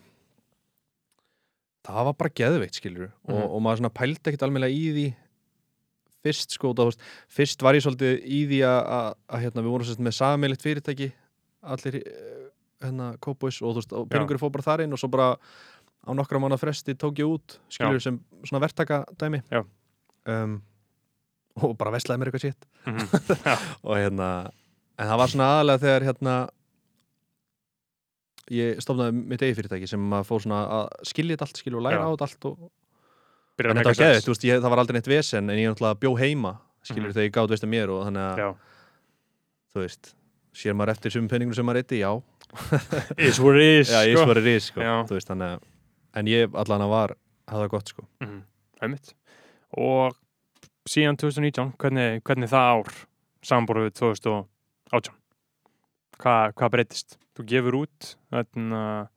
Speaker 2: það var bara geðveikt skilur og,
Speaker 1: Mhm.
Speaker 2: og maður svona pældi ekkert almennilega í því fyrst sko, það, veist, fyrst var ég svolítið í því að, að, að hérna, við vorum sérst með sameiligt fyrirtæki allir eh, hérna Kópóis og þú veist, og peningur fór bara þar inn og svo bara á nokkra mánu fresti tók ég út skilur sem svona verktaka dæmi
Speaker 1: Já.
Speaker 2: um, og bara veslaði mér eitthvað sitt
Speaker 1: Mhm.
Speaker 2: og hérna, en það var svona aðalega þegar hérna ég stofnaði mitt eigi fyrirtæki sem maður fór svona að skilja þetta allt skilja og læra
Speaker 1: Já.
Speaker 2: á þetta allt og,
Speaker 1: Byrjar að
Speaker 2: en
Speaker 1: meika
Speaker 2: þetta var geðið,
Speaker 1: sex.
Speaker 2: þú veist, ég, það var aldrei neitt vesen en ég náttúrulega bjó heima, skilur
Speaker 1: Mhm.
Speaker 2: þegar ég gátt veist að mér og þannig að,
Speaker 1: Já.
Speaker 2: þú veist sér maður eftir sumum peningum sem maður reytti, já
Speaker 1: Is what it is
Speaker 2: Já, ég
Speaker 1: sko.
Speaker 2: svari ris, sko,
Speaker 1: Já.
Speaker 2: þú veist, þannig að en ég allan að var, hafði það gott, sko
Speaker 1: Mhm, einmitt og síðan 2019 hvernig, hvernig það ár samborðu við 2018 hvað, hvað breytist? Þú gefur út þarna,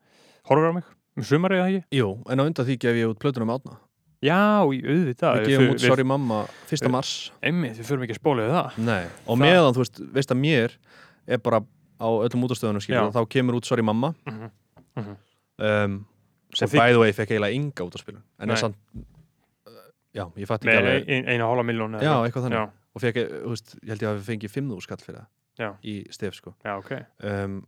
Speaker 1: horfur á mig um sumarið eða ekki?
Speaker 2: Jú, en á undan því gef ég út plötunum átna
Speaker 1: Já, í auðvitað
Speaker 2: Við gefum út
Speaker 1: við,
Speaker 2: Sorry Mamma 1.
Speaker 1: við-
Speaker 2: mars
Speaker 1: einmitt, við förum ekki að spóla við það
Speaker 2: Nei, og
Speaker 1: það-
Speaker 2: meðan, þú veist, veist að mér er bara á öllum útastöðunum, skilur
Speaker 1: Já.
Speaker 2: þá kemur út Sorry Mamma
Speaker 1: Mhm, mhm.
Speaker 2: um, sem
Speaker 1: Og þið-
Speaker 2: by the way fekk eiginlega ynga út að spilun en
Speaker 1: Nei.
Speaker 2: er samt Já, ég fatt ekki
Speaker 1: með
Speaker 2: alveg
Speaker 1: ein, eina hálfa miljón
Speaker 2: Já, eitthvað þannig
Speaker 1: já,
Speaker 2: og fekk, eh, þú veist, ég held ég að við fengið 5.000 skall fyrir það
Speaker 1: Já.
Speaker 2: í stef, sko
Speaker 1: já, ok
Speaker 2: um,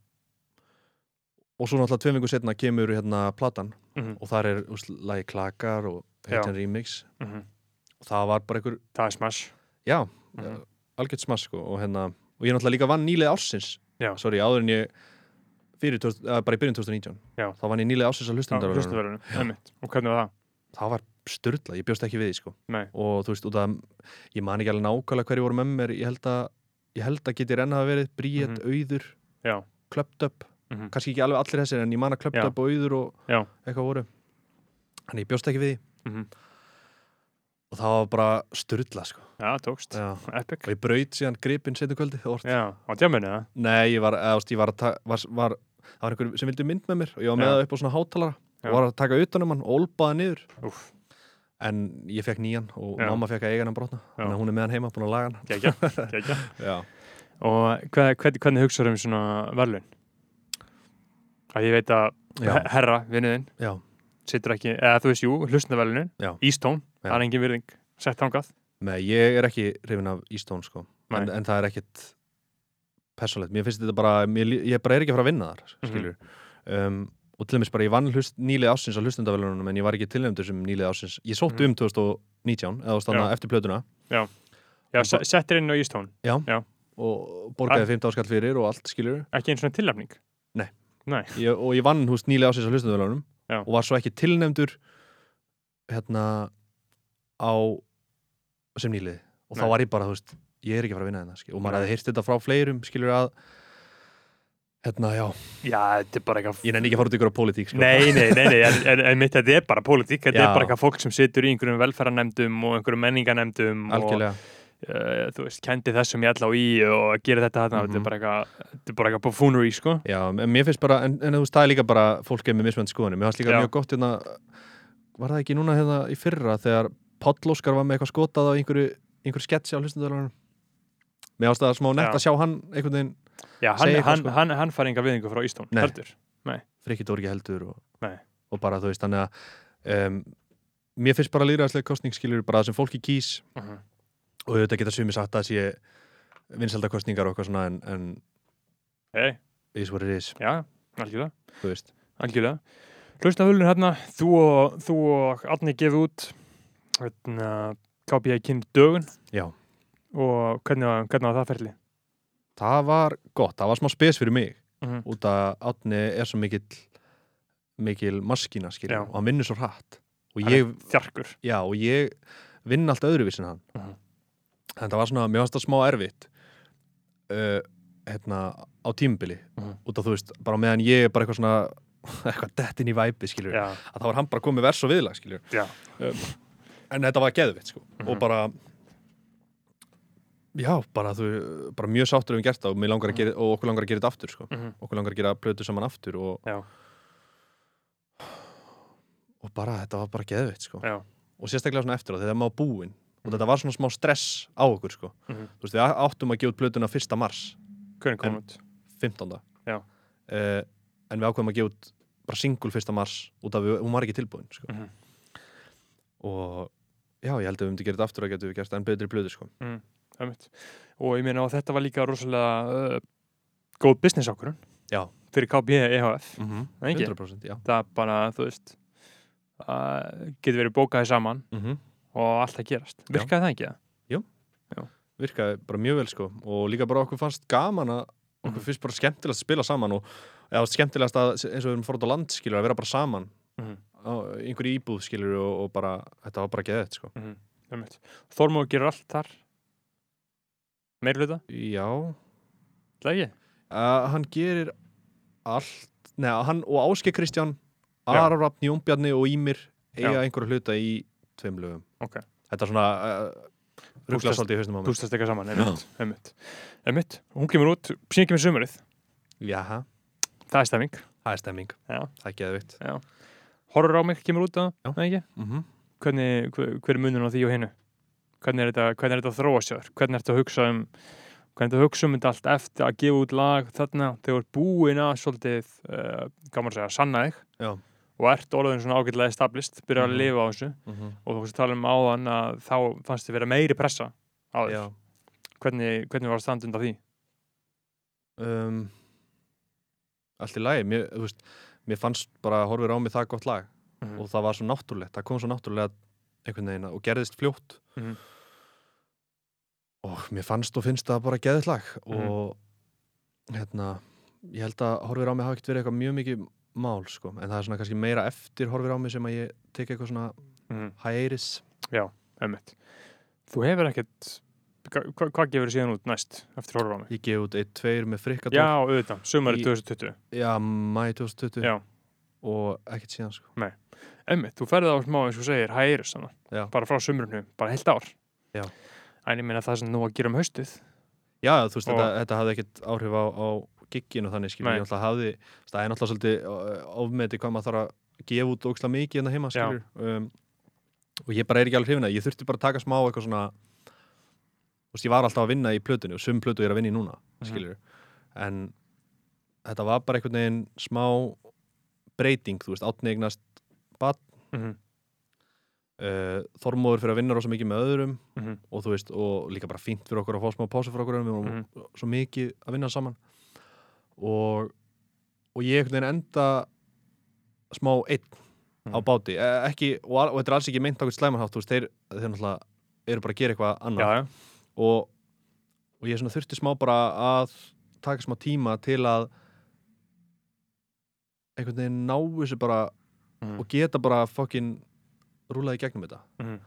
Speaker 2: og svo náttúrulega tveim vingur setna kemur hérna platan
Speaker 1: Mhm.
Speaker 2: og þar er úst, lagi klakar og heitin remix
Speaker 1: Mhm.
Speaker 2: og það var bara einhver,
Speaker 1: það er smash
Speaker 2: já,
Speaker 1: Mhm.
Speaker 2: mm. algjört smass sko, og hérna, og ég náttúrulega líka vann nýlega ársins
Speaker 1: Já.
Speaker 2: sorry, áður en ég fyrir, tjórst, að, bara í byrjun 2019
Speaker 1: Já.
Speaker 2: þá vann ég nýlega ársins að
Speaker 1: Já,
Speaker 2: hlustendarverðunum
Speaker 1: hlustaverðunum, einmitt. og hvernig var það?
Speaker 2: það var styrla, ég bjóst ekki við því sko
Speaker 1: Nei.
Speaker 2: og þú veist, út að ég man ekki alveg nákvæmlega hverju voru með mér ég held að, ég held að geti renn hafa verið bríet,
Speaker 1: Mhm.
Speaker 2: auður,
Speaker 1: Já.
Speaker 2: klöpt upp
Speaker 1: Mhm.
Speaker 2: kannski ekki alveg allir þessir en ég man að klöpt
Speaker 1: Já.
Speaker 2: upp og auður og
Speaker 1: Já.
Speaker 2: eitthvað voru en ég bjóst ekki við því
Speaker 1: Mhm.
Speaker 2: og það var bara styrla sko.
Speaker 1: já, tókst,
Speaker 2: Já.
Speaker 1: epic
Speaker 2: og ég braut síðan gripin setju kvöldi orð.
Speaker 1: já, á djáminu það?
Speaker 2: nei, ég var, eða, ást, ég var, að ta- var, var það var einhver sem vildi mynd með mér og ég var
Speaker 1: Já.
Speaker 2: með það upp á svona hátalara
Speaker 1: Já.
Speaker 2: og var að taka utan um hann og olbaða niður
Speaker 1: Úff.
Speaker 2: en ég fekk nýjan og
Speaker 1: Já.
Speaker 2: mamma fekk að eiga hann brotna
Speaker 1: Já.
Speaker 2: þannig að hún er með hann heima búin að laga hann
Speaker 1: Gegja, gegja.
Speaker 2: Já.
Speaker 1: Og hver, hver, hvernig hugsaður um svona verðlun? Að ég veit að
Speaker 2: Já.
Speaker 1: he- herra, vinnuðinn,
Speaker 2: Já.
Speaker 1: situr ekki, eða þú veist, jú, hlustunaverðlunin,
Speaker 2: Já.
Speaker 1: Ístón,
Speaker 2: Já.
Speaker 1: það er engin virðing, sett hangað.
Speaker 2: Nei, ég er ekki hrifin af Ístón sko.
Speaker 1: Nei.
Speaker 2: en, en það er ekkit persónlegt, mér finnst þetta bara mér, lí- ég bara er ekki að fara að vinna þar
Speaker 1: Mhm.
Speaker 2: skilur um, og til dæmis bara ég vann hlust, nýlið ásins á hlustundavælunum en ég var ekki tilnæmdur sem nýlið ásins ég sótti
Speaker 1: Mhm.
Speaker 2: um 2019 eða stanna
Speaker 1: Já.
Speaker 2: eftir plötuna
Speaker 1: Já,
Speaker 2: Og
Speaker 1: se-
Speaker 2: bara-
Speaker 1: settir inn á Ístón,
Speaker 2: og borgaði 15 áskall fyrir og allt skilur
Speaker 1: ekki einn svona tilefning.
Speaker 2: ég, og ég vann húst nýlega ásins á hlustendavælunum
Speaker 1: Já.
Speaker 2: og var svo ekki tilnefndur hérna á sem nýlið og þá
Speaker 1: Nei.
Speaker 2: var ég bara, þú veist, ég er ekki að fara að vinna hérna skilur. og maður
Speaker 1: Nei.
Speaker 2: hefði heyrt þetta frá fleirum, skilur að hérna, já,
Speaker 1: Já, þetta er bara eitthvað...
Speaker 2: ég nenni ekki að fara út ykkur á pólitík, sko
Speaker 1: Nei, nei, nei, nei, en, en, en mitt þetta er bara pólitík, þetta er
Speaker 2: Já.
Speaker 1: bara eitthvað fólk sem situr í einhverjum velferðarnemdum og einhverjum menningarnemdum
Speaker 2: algjörlega,
Speaker 1: og uh, þú veist, kendi þessum ég allá í og gera þetta þarna,
Speaker 2: Mhm.
Speaker 1: þetta er bara eitthvað, þetta er bara eitthvað buffoonery, sko.
Speaker 2: já, en mér finnst bara en, en þú veist, það er líka bara, fólk er með mismönd skoðunum mér finnst líka
Speaker 1: Já.
Speaker 2: mjög gott, hérna var það ekki núna hérna í fyrra, þegar Páll Óskar var með eitthvað skotað á einhverju einhverju sketsi á hlustendalunum mér finnst það smá
Speaker 1: Já.
Speaker 2: nett að sjá hann einhvern veginn
Speaker 1: Já, hann,
Speaker 2: Segja eitthvað,
Speaker 1: hann,
Speaker 2: sko.
Speaker 1: hann, hann fær enga viðingu frá Ístón,
Speaker 2: Nei.
Speaker 1: heldur.
Speaker 2: Frikki Dórgi heldur og,
Speaker 1: Nei.
Speaker 2: og bara þú veist þannig að um, mér finnst bara líðræðslega kostningsskilur bara það sem fólki kýs
Speaker 1: Mhm.
Speaker 2: og auðvitað geta sumi sagt að það sé vinsalda kostningar og eitthvað svona en, en
Speaker 1: Hei,
Speaker 2: is what it is,
Speaker 1: já, algjörlega,
Speaker 2: þú veist
Speaker 1: algjörlega. Hlustafölun hérna, þú og, þú og Arni gefið út, hérna, KPI kynnt dögun
Speaker 2: Já.
Speaker 1: og hvernig, var- hvernig var það ferli?
Speaker 2: það var gott, það var smá spes fyrir mig
Speaker 1: Mhm.
Speaker 2: út að Átni er svo mikill mikil maskína
Speaker 1: Já.
Speaker 2: skilur og hann vinnur svo hratt og
Speaker 1: Hann
Speaker 2: ég,
Speaker 1: Þjarkur.
Speaker 2: já, og ég vinn allt öðruvísin hann
Speaker 1: Mhm.
Speaker 2: en það var svona, mér fannst það smá erfitt uh, hérna á tímbili
Speaker 1: Mhm.
Speaker 2: út af þú veist, bara meðan ég er bara eitthvað svona eitthvað dett inn í væpi skilur
Speaker 1: Já,
Speaker 2: að þá var hann bara komið vers og viðlag skilur
Speaker 1: Já.
Speaker 2: um, en þetta var geðvitt sko og
Speaker 1: Mhm.
Speaker 2: bara já, bara þú bara mjög sáttur hefum gert það og, mig langar að gera, og okkur langar að gera þetta aftur sko
Speaker 1: Mhm.
Speaker 2: okkur langar að gera plötu saman aftur og,
Speaker 1: Já.
Speaker 2: og bara, þetta var bara geðvitt sko
Speaker 1: já,
Speaker 2: og sérstaklega svona eftir á þegar maður búinn og þetta var svona smá stress á okkur sko
Speaker 1: Mhm.
Speaker 2: þú veist, við áttum að gefa út plötuna 1. mars
Speaker 1: hvernig kom
Speaker 2: En-
Speaker 1: út?
Speaker 2: 15.
Speaker 1: Já.
Speaker 2: Eh, en við ákveðum að gefa út bara single 1. mars út af við, hún var ekki tilbúin sko.
Speaker 1: Mhm.
Speaker 2: og já, ég held að við myndum að gera þetta aftur og getum við gert enn betri blöðu sko.
Speaker 1: Ömmit. Og ég meina, og þetta var líka rosalega uh, góð business ákvörðun.
Speaker 2: Já.
Speaker 1: fyrir KB EHF
Speaker 2: mm -hmm.
Speaker 1: Það ekki.
Speaker 2: 100% já.
Speaker 1: það bara, þú veist að getur verið bókaði saman
Speaker 2: Mm
Speaker 1: og allt að gerast
Speaker 2: Já.
Speaker 1: virkaði það ekki það?
Speaker 2: virkaði bara mjög vel sko og líka bara okkur fannst gaman að okkur
Speaker 1: Mhm.
Speaker 2: finnst bara skemmtilegast að spila saman og eða skemmtilegast að eins og við erum fórt á land skilur að vera bara saman
Speaker 1: Mhm.
Speaker 2: á einhverju íbúð skilur og, og bara þetta var bara geðið sko
Speaker 1: -hmm. Þormóð gerir allt þar meirluta,
Speaker 2: já
Speaker 1: ætla ekki
Speaker 2: uh, hann gerir allt neða hann og Áske Kristján
Speaker 1: Já.
Speaker 2: Ara Rafn Jónbjarni og Ímir
Speaker 1: Já.
Speaker 2: eiga einhverju hluta í tveim lögum
Speaker 1: Ok.
Speaker 2: þetta er svona uh, ruggla
Speaker 1: Púslast-
Speaker 2: svolítið í hausnum á mér
Speaker 1: pústast eitthvað saman, einmitt, einmitt. einmitt. hún kemur út, síðan kemur sumarið
Speaker 2: já,
Speaker 1: það er stemming,
Speaker 2: það er stemming
Speaker 1: Já.
Speaker 2: það er geðvikt
Speaker 1: horror á mig kemur út á,
Speaker 2: Já.
Speaker 1: það ekki
Speaker 2: mm -hmm.
Speaker 1: hvernig, hver, hver er munun á því og hinnu hvernig er þetta, hvernig er þetta að þróa sér hvernig ertu að hugsa um hvernig ertu að hugsa um þetta allt eftir að gefa út lag þarna þegar þú ert búin að svolítið uh, gaman að segja, sanna þig
Speaker 2: Já.
Speaker 1: og ert orðin svona ágætlega establist byrjar
Speaker 2: Mhm.
Speaker 1: að lifa á þessu og þú veist að tala um áðan að þá fannst þið vera meiri pressa á þér
Speaker 2: já
Speaker 1: hvernig, hvernig var stand undan því
Speaker 2: um, allt í lagi mér, þú veist, mér fannst bara að horfir á mig það gott lag
Speaker 1: Mhm.
Speaker 2: og það var svo náttúrulegt, það kom svo náttúrulega einhvern veginn og gerðist fljótt
Speaker 1: Mhm.
Speaker 2: og mér fannst og finnst það bara geðið lag
Speaker 1: Mhm.
Speaker 2: og hérna ég held að horfir á mig hafa ekkert verið eitthvað mjög mikið mál sko, en það er svona kannski meira eftir horfir á mig sem að ég tek eitthvað svona
Speaker 1: mm.
Speaker 2: hæris
Speaker 1: Einmitt. þú hefur ekkert hva, hva- hvað gefur síðan út næst eftir horror á mig
Speaker 2: ég gef út eitt tveir með frikka
Speaker 1: já, auðvitað, sumarið
Speaker 2: Í-
Speaker 1: 2020
Speaker 2: já, mæ 2020
Speaker 1: Já.
Speaker 2: og ekkert síðan sko
Speaker 1: Einmitt, þú ferði á smá eins og þú segir hægirist
Speaker 2: Já.
Speaker 1: hana, bara frá sumrunu, bara heilt ár
Speaker 2: Já.
Speaker 1: En ég meina það sem nú að gera um haustið
Speaker 2: Já, já, þú veist,
Speaker 1: Og-
Speaker 2: þetta, þetta hafði ekkert áhrif á, á giggin og þannig, skilur,
Speaker 1: Nei.
Speaker 2: ég náttúrulega hafði þú veist, það er náttúrulega svolítið ö, ofmetið hvað maður þarf að gefa út ókslega mikið en það heima,
Speaker 1: Já.
Speaker 2: skilur um, og ég bara er ekki alveg hrifin að ég þurfti bara að taka smá eitthvað svona þú veist, ég var alltaf að vinna í plötunni og sum plötu ég er að vinna í núna,
Speaker 1: Mhm.
Speaker 2: skilur en þetta var bara einhvern veginn smá breyting, þú veist, átnegnast
Speaker 1: mm
Speaker 2: Mhm.
Speaker 1: -hmm.
Speaker 2: uh, þormóður fyrir að vinna rosa mikið með öðrum
Speaker 1: mm -hmm.
Speaker 2: og þú veist, og líka bara fínt fyrir okkur að fá smá pásu fyrir okkur, við vorum
Speaker 1: Mhm.
Speaker 2: svo mikið að vinna saman og, og ég einhvern veginn enda smá einn á
Speaker 1: Mhm.
Speaker 2: báti e ekki, og, al- og þetta er alls ekki meint okkur slæmanhátt, þú veist, þeir, þeir náttúrulega eru bara að gera eitthvað
Speaker 1: Já,
Speaker 2: annað
Speaker 1: já,
Speaker 2: og, og ég svona þurfti smá bara að taka smá tíma til að einhvern veginn ná þessu bara
Speaker 1: Mhm.
Speaker 2: og geta bara fokkin rúlaði gegnum þetta
Speaker 1: Mhm.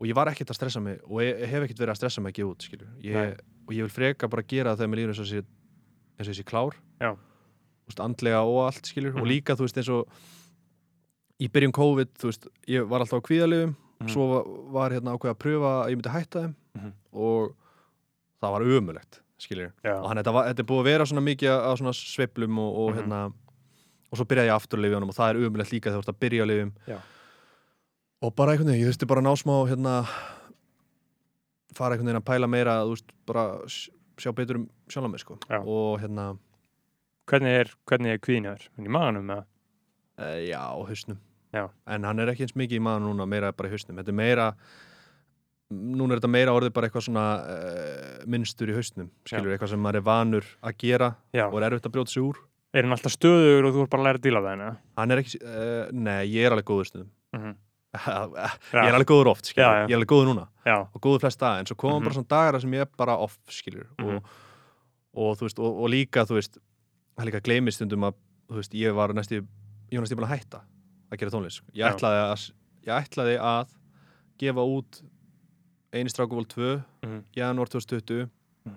Speaker 2: og ég var ekkert að stressa mig og ég hef ekkert verið að stressa mig að gefa út skilur.
Speaker 1: Nei.
Speaker 2: ég, og ég vil freka bara gera það þegar mér líður eins og sé, eins og sé klár
Speaker 1: Já.
Speaker 2: Þú veist, andlega og allt skilur og
Speaker 1: Mhm.
Speaker 2: líka þú veist eins og í byrjun COVID, þú veist, ég var alltaf á kvíðalöfum
Speaker 1: Mhm.
Speaker 2: svo var, var hérna ákveð að pröfa að ég myndi hætta þeim
Speaker 1: Mhm.
Speaker 2: og það var ömulegt skilur,
Speaker 1: já.
Speaker 2: og hann þetta, var, þetta er búið að vera svona mikið á svona sveiflum og, og
Speaker 1: Mhm.
Speaker 2: hérna og svo byrjaði ég aftur að lifja honum og það er ömulegt líka þegar þú ert að byrja að lifjum
Speaker 1: Já.
Speaker 2: og bara einhvern veginn, ég þurfti bara að ná smá hérna fara einhvern veginn að pæla meira þú veist, bara sj- sjá betur um sjálf mig sko
Speaker 1: Já.
Speaker 2: og hérna,
Speaker 1: Hvernig er, hvernig er kvíðinjar? Í maganum með
Speaker 2: e, já, á hausnum
Speaker 1: Já.
Speaker 2: en hann er ekki eins mikið í maður núna meira bara í hausnum, þetta er meira núna er þetta meira orðið bara eitthvað svona e, minnstur í hausnum skilur, eitthvað sem maður er vanur að gera
Speaker 1: Já,
Speaker 2: og er erfitt að brjóta sig úr
Speaker 1: er hann alltaf stöðugur og þú er bara að læra að díla það henni?
Speaker 2: hann er ekki, uh, nei, ég er alveg góður stundum
Speaker 1: Mm -hmm.
Speaker 2: Mhm. ég er alveg góður oft, skilur,
Speaker 1: Já, já.
Speaker 2: ég er alveg góður núna
Speaker 1: Já,
Speaker 2: og góður flest dag, en svo komum
Speaker 1: Mhm.
Speaker 2: bara svona dagar þar sem ég er bara off, skilur og, og þú veist, og, og líka, þú veist það líka gleymist stundum að þú veist, ég var næstu, ég var næstu búin að hætta að gera tónlist, sko. ég
Speaker 1: Já.
Speaker 2: ætlaði að ég ætlaði að gefa út eini strákuvól 2
Speaker 1: Mhm.
Speaker 2: janúar 2020
Speaker 1: Mhm.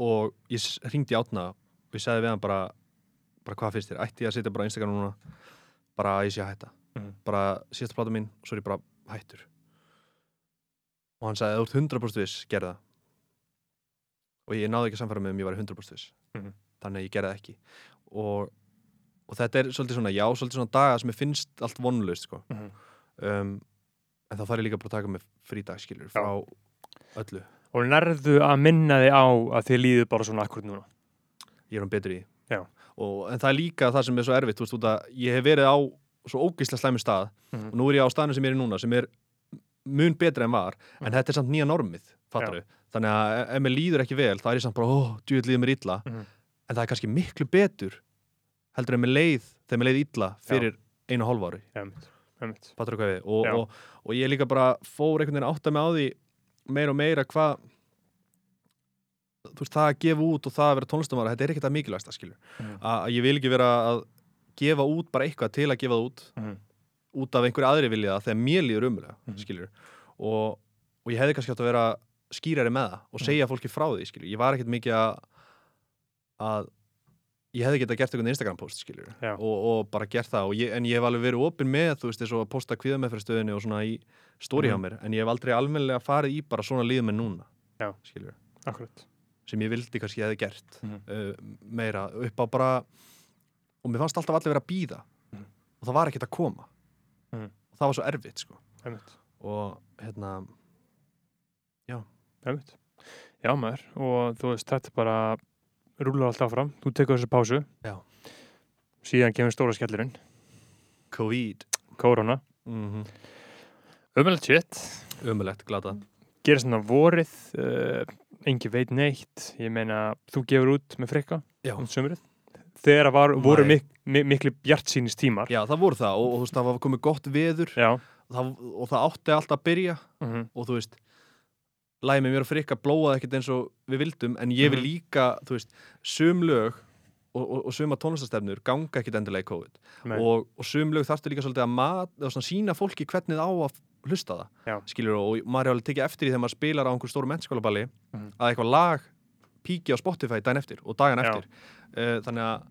Speaker 2: og ég ringdi átna og ég sagði við hann bara bara hvað finnst þér, ætti ég að setja bara á Instagram núna bara að ég sé að hætta
Speaker 1: Mhm.
Speaker 2: bara síðasta plata mín, svo er ég bara hættur og hann sagði, ef þú ert 100% viss, gerð það og ég náði ekki að samfæra mig um ég var 100% viss
Speaker 1: Mhm.
Speaker 2: þannig að ég gerði það ekki og, og þetta er svolítið svona, já, svolítið svona daga sem ég finnst allt vonlaust, sko
Speaker 1: Mhm.
Speaker 2: um, en þá þarf ég líka bara að taka mig frídagskilur frá öllu
Speaker 1: og nærðu að minna þig á að þið líður bara svona akkur núna
Speaker 2: ég er hann betur í
Speaker 1: Já.
Speaker 2: og, en það er líka það sem er svo erfitt þú veist, út að ég hef verið á svo ógeislega slæmi stað
Speaker 1: Mhm.
Speaker 2: og nú er ég á staðinu sem ég er í núna sem er mun betra en var en
Speaker 1: Mm.
Speaker 2: þetta er samt e, nýja normið, fattar við þannig að ef mér líður ekki vel, þá er ég samt bara ó, djúið líður mér illa
Speaker 1: Mhm.
Speaker 2: en það er kannski miklu betur heldur en með leið, þegar með leið illa fyrir einu og hálf ári
Speaker 1: Einmitt, einmitt.
Speaker 2: Patrik Hauði og,
Speaker 1: Já.
Speaker 2: og, og ég líka bara fór einhvern veginn að átta mig á því meira og meira hvað þú veist, það að gefa út og það að vera tónlistamara, þetta er ekkert það mikilvægsta skilur
Speaker 1: Mm.
Speaker 2: að að ég vil ekki vera að gefa út bara eitthvað til að gefa það út
Speaker 1: Mhm.
Speaker 2: út af einhverju aðri vilja það þegar mér líður umulega,
Speaker 1: Mhm.
Speaker 2: skilur og, og ég hefði kannski átt að vera skýrari með það
Speaker 1: Mhm.
Speaker 2: og segja fólki frá því, skilur ég var ekkert mikið að, að ég hefði getað gert einhvern Instagram post, skilur
Speaker 1: Já.
Speaker 2: og, og bara gert það, og ég, en ég hef alveg verið opinn með, þú veist, eins og að posta kviða með fyrir stöðinni og svona í stóri hjá
Speaker 1: Mhm.
Speaker 2: mér en ég hef aldrei almennilega farið í bara svona líðum en núna,
Speaker 1: Já.
Speaker 2: skilur
Speaker 1: Akkurat.
Speaker 2: sem ég vildi kannski ég hefði gert
Speaker 1: Mhm.
Speaker 2: uh, meira upp á bara og mér fannst alltaf allir vera að býða
Speaker 1: Mhm.
Speaker 2: og það var ekkert að koma
Speaker 1: Mhm.
Speaker 2: og það var svo erfitt sko
Speaker 1: Einmitt.
Speaker 2: og hérna
Speaker 1: Einmitt. Já maður og þú veist þetta bara rúlar allt áfram, þú tekur þessu pásu
Speaker 2: Já.
Speaker 1: síðan kemur stóra skellurinn
Speaker 2: COVID
Speaker 1: korona,
Speaker 2: mm
Speaker 1: Mhm.
Speaker 2: -hmm.
Speaker 1: ömulegt shit
Speaker 2: ömulegt glata
Speaker 1: Mhm. gerist svona vorið uh, engi veit neitt ég meina þú gefur út með frikka
Speaker 2: já.
Speaker 1: um sömurið þegar var, voru
Speaker 2: Nei.
Speaker 1: mik mi mikli bjartsýnist tímar
Speaker 2: já það voru það og, og þú veist það var komið gott veður
Speaker 1: já.
Speaker 2: og það, og það átti alltaf að byrja
Speaker 1: mhm,
Speaker 2: og þú veist lagið með mér og frikka blóaði ekkert eins og við vildum en ég vil
Speaker 1: Mhm.
Speaker 2: líka, þú veist, sum lög og, og, og suma tónlistastefnur ganga ekkert endilega í COVID
Speaker 1: nei,
Speaker 2: og, og sum lög þarftu líka svolítið að mat, eða svona, sína fólki hvernig það á að hlusta það
Speaker 1: Já.
Speaker 2: skilur og maður er alveg tekið eftir í þegar maður spilar á einhver stóru mennskólaballi
Speaker 1: Mhm.
Speaker 2: að eitthvað lag píki á Spotify daginn eftir og dagan
Speaker 1: Já.
Speaker 2: eftir uh, þannig að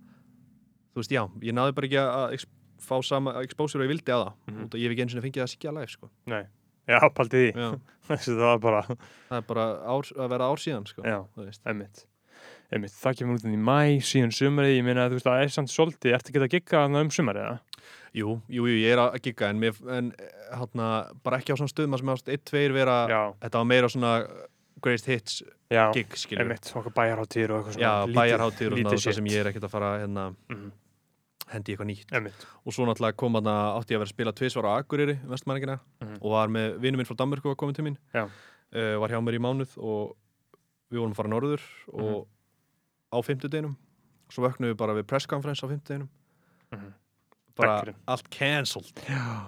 Speaker 2: þú veist já, ég náði bara ekki að ex- fá sama exposure og ég vildi að það
Speaker 1: Mhm.
Speaker 2: út að ég hef ekki eins og fengið að sikja live sko.
Speaker 1: nei. já, paldið því
Speaker 2: já,
Speaker 1: þessu það var bara
Speaker 2: það er bara ár, að vera ár síðan sko,
Speaker 1: já,
Speaker 2: þú veist.
Speaker 1: einmitt Einmitt, það kemur út inn í mæ, síðan sumarið, ég meina að þú veist að það er samt svolítið, ertu ekki að gigga þarna um sumarið, eða?
Speaker 2: jú, jú, jú, ég er að gigga en, mér, en eh, hátna, bara ekki á svona stöðum að sem ást 1-2 vera,
Speaker 1: Já,
Speaker 2: þetta var meira svona greatest hits
Speaker 1: já,
Speaker 2: gig skilur
Speaker 1: einmitt, okkar bæjarháttir og eitthvað svona
Speaker 2: já,
Speaker 1: lítið-
Speaker 2: bæjarháttir og
Speaker 1: lítið
Speaker 2: svona það
Speaker 1: shit.
Speaker 2: sem ég er ekkert að fara hérna,
Speaker 1: Mhm,
Speaker 2: hendi í eitthvað nýtt
Speaker 1: Einmitt,
Speaker 2: og svo náttúrulega kom hann að átti ég að vera að spila tvisvar á Akureyri, vestmæringina
Speaker 1: Mhm.
Speaker 2: og var með vinnu minn frá Danmörku var komin til mín
Speaker 1: Já.
Speaker 2: Eh, var hjá mér í mánuð og við vorum að fara norður
Speaker 1: Mhm.
Speaker 2: og á fimmtudeginum svo vöknum við bara við presskonferens á fimmtudeginum
Speaker 1: Mhm.
Speaker 2: bara
Speaker 1: Bekkurinn.
Speaker 2: allt cancelled
Speaker 1: já,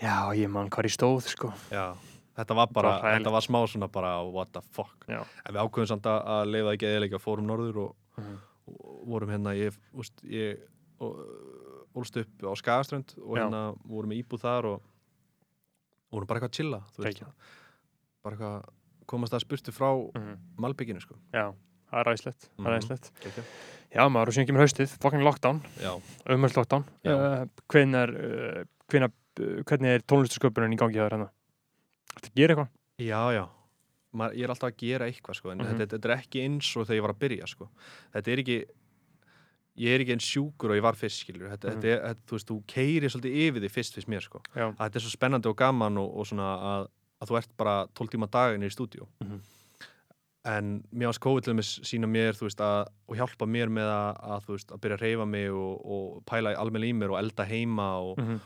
Speaker 1: já, ég man hvar ég stóð, sko
Speaker 2: já. þetta var bara,
Speaker 1: Bara hræðilegt.
Speaker 2: þetta var smá svona bara what the fuck
Speaker 1: Já.
Speaker 2: en við ákveðum samt að- að leiða ekki eðilega fórum norður og
Speaker 1: Mhm.
Speaker 2: og vorum hérna ég, úst, ég ó- ólst upp á Skagaströnd og
Speaker 1: Já.
Speaker 2: hérna vorum við íbúð þar og og vorum bara eitthvað að chilla þú veist,
Speaker 1: Geggjað.
Speaker 2: bara eitthvað komast að spurtu frá
Speaker 1: Mhm.
Speaker 2: Malbygginu sko
Speaker 1: Já, það er ræðislegt, það er
Speaker 2: Mhm.
Speaker 1: ræðislegt
Speaker 2: Kekja.
Speaker 1: Já, maður, og síðan kemur haustið, fucking lockdown
Speaker 2: já,
Speaker 1: umhverf lockdown
Speaker 2: Já.
Speaker 1: uh, hvenar, uh, hvenar, uh, hvernig er tónlistasköpunin í gangi hjá þér hérna? Þetta gerir eitthvað?
Speaker 2: já, já. Maður, ég er alltaf að gera eitthvað sko en
Speaker 1: Mhm.
Speaker 2: þetta, þetta er ekki eins og þegar ég var að byrja sko þetta er ekki ég er ekki eins sjúkur og ég var fyrst skilur þetta,
Speaker 1: Mhm.
Speaker 2: þetta er, þetta, þú veist, þú keirir svolítið yfir því fyrst fyrst mér sko
Speaker 1: Já,
Speaker 2: að þetta er svo spennandi og gaman og, og svona að, að þú ert bara 12 tíma daginni í stúdíu
Speaker 1: Mhm.
Speaker 2: en mér ást COVID til dæmis sína mér þú veist að og hjálpa mér með að, að þú veist að byrja að reyfa mig og, og pæla almenn í mér og elda heima og,
Speaker 1: mhm,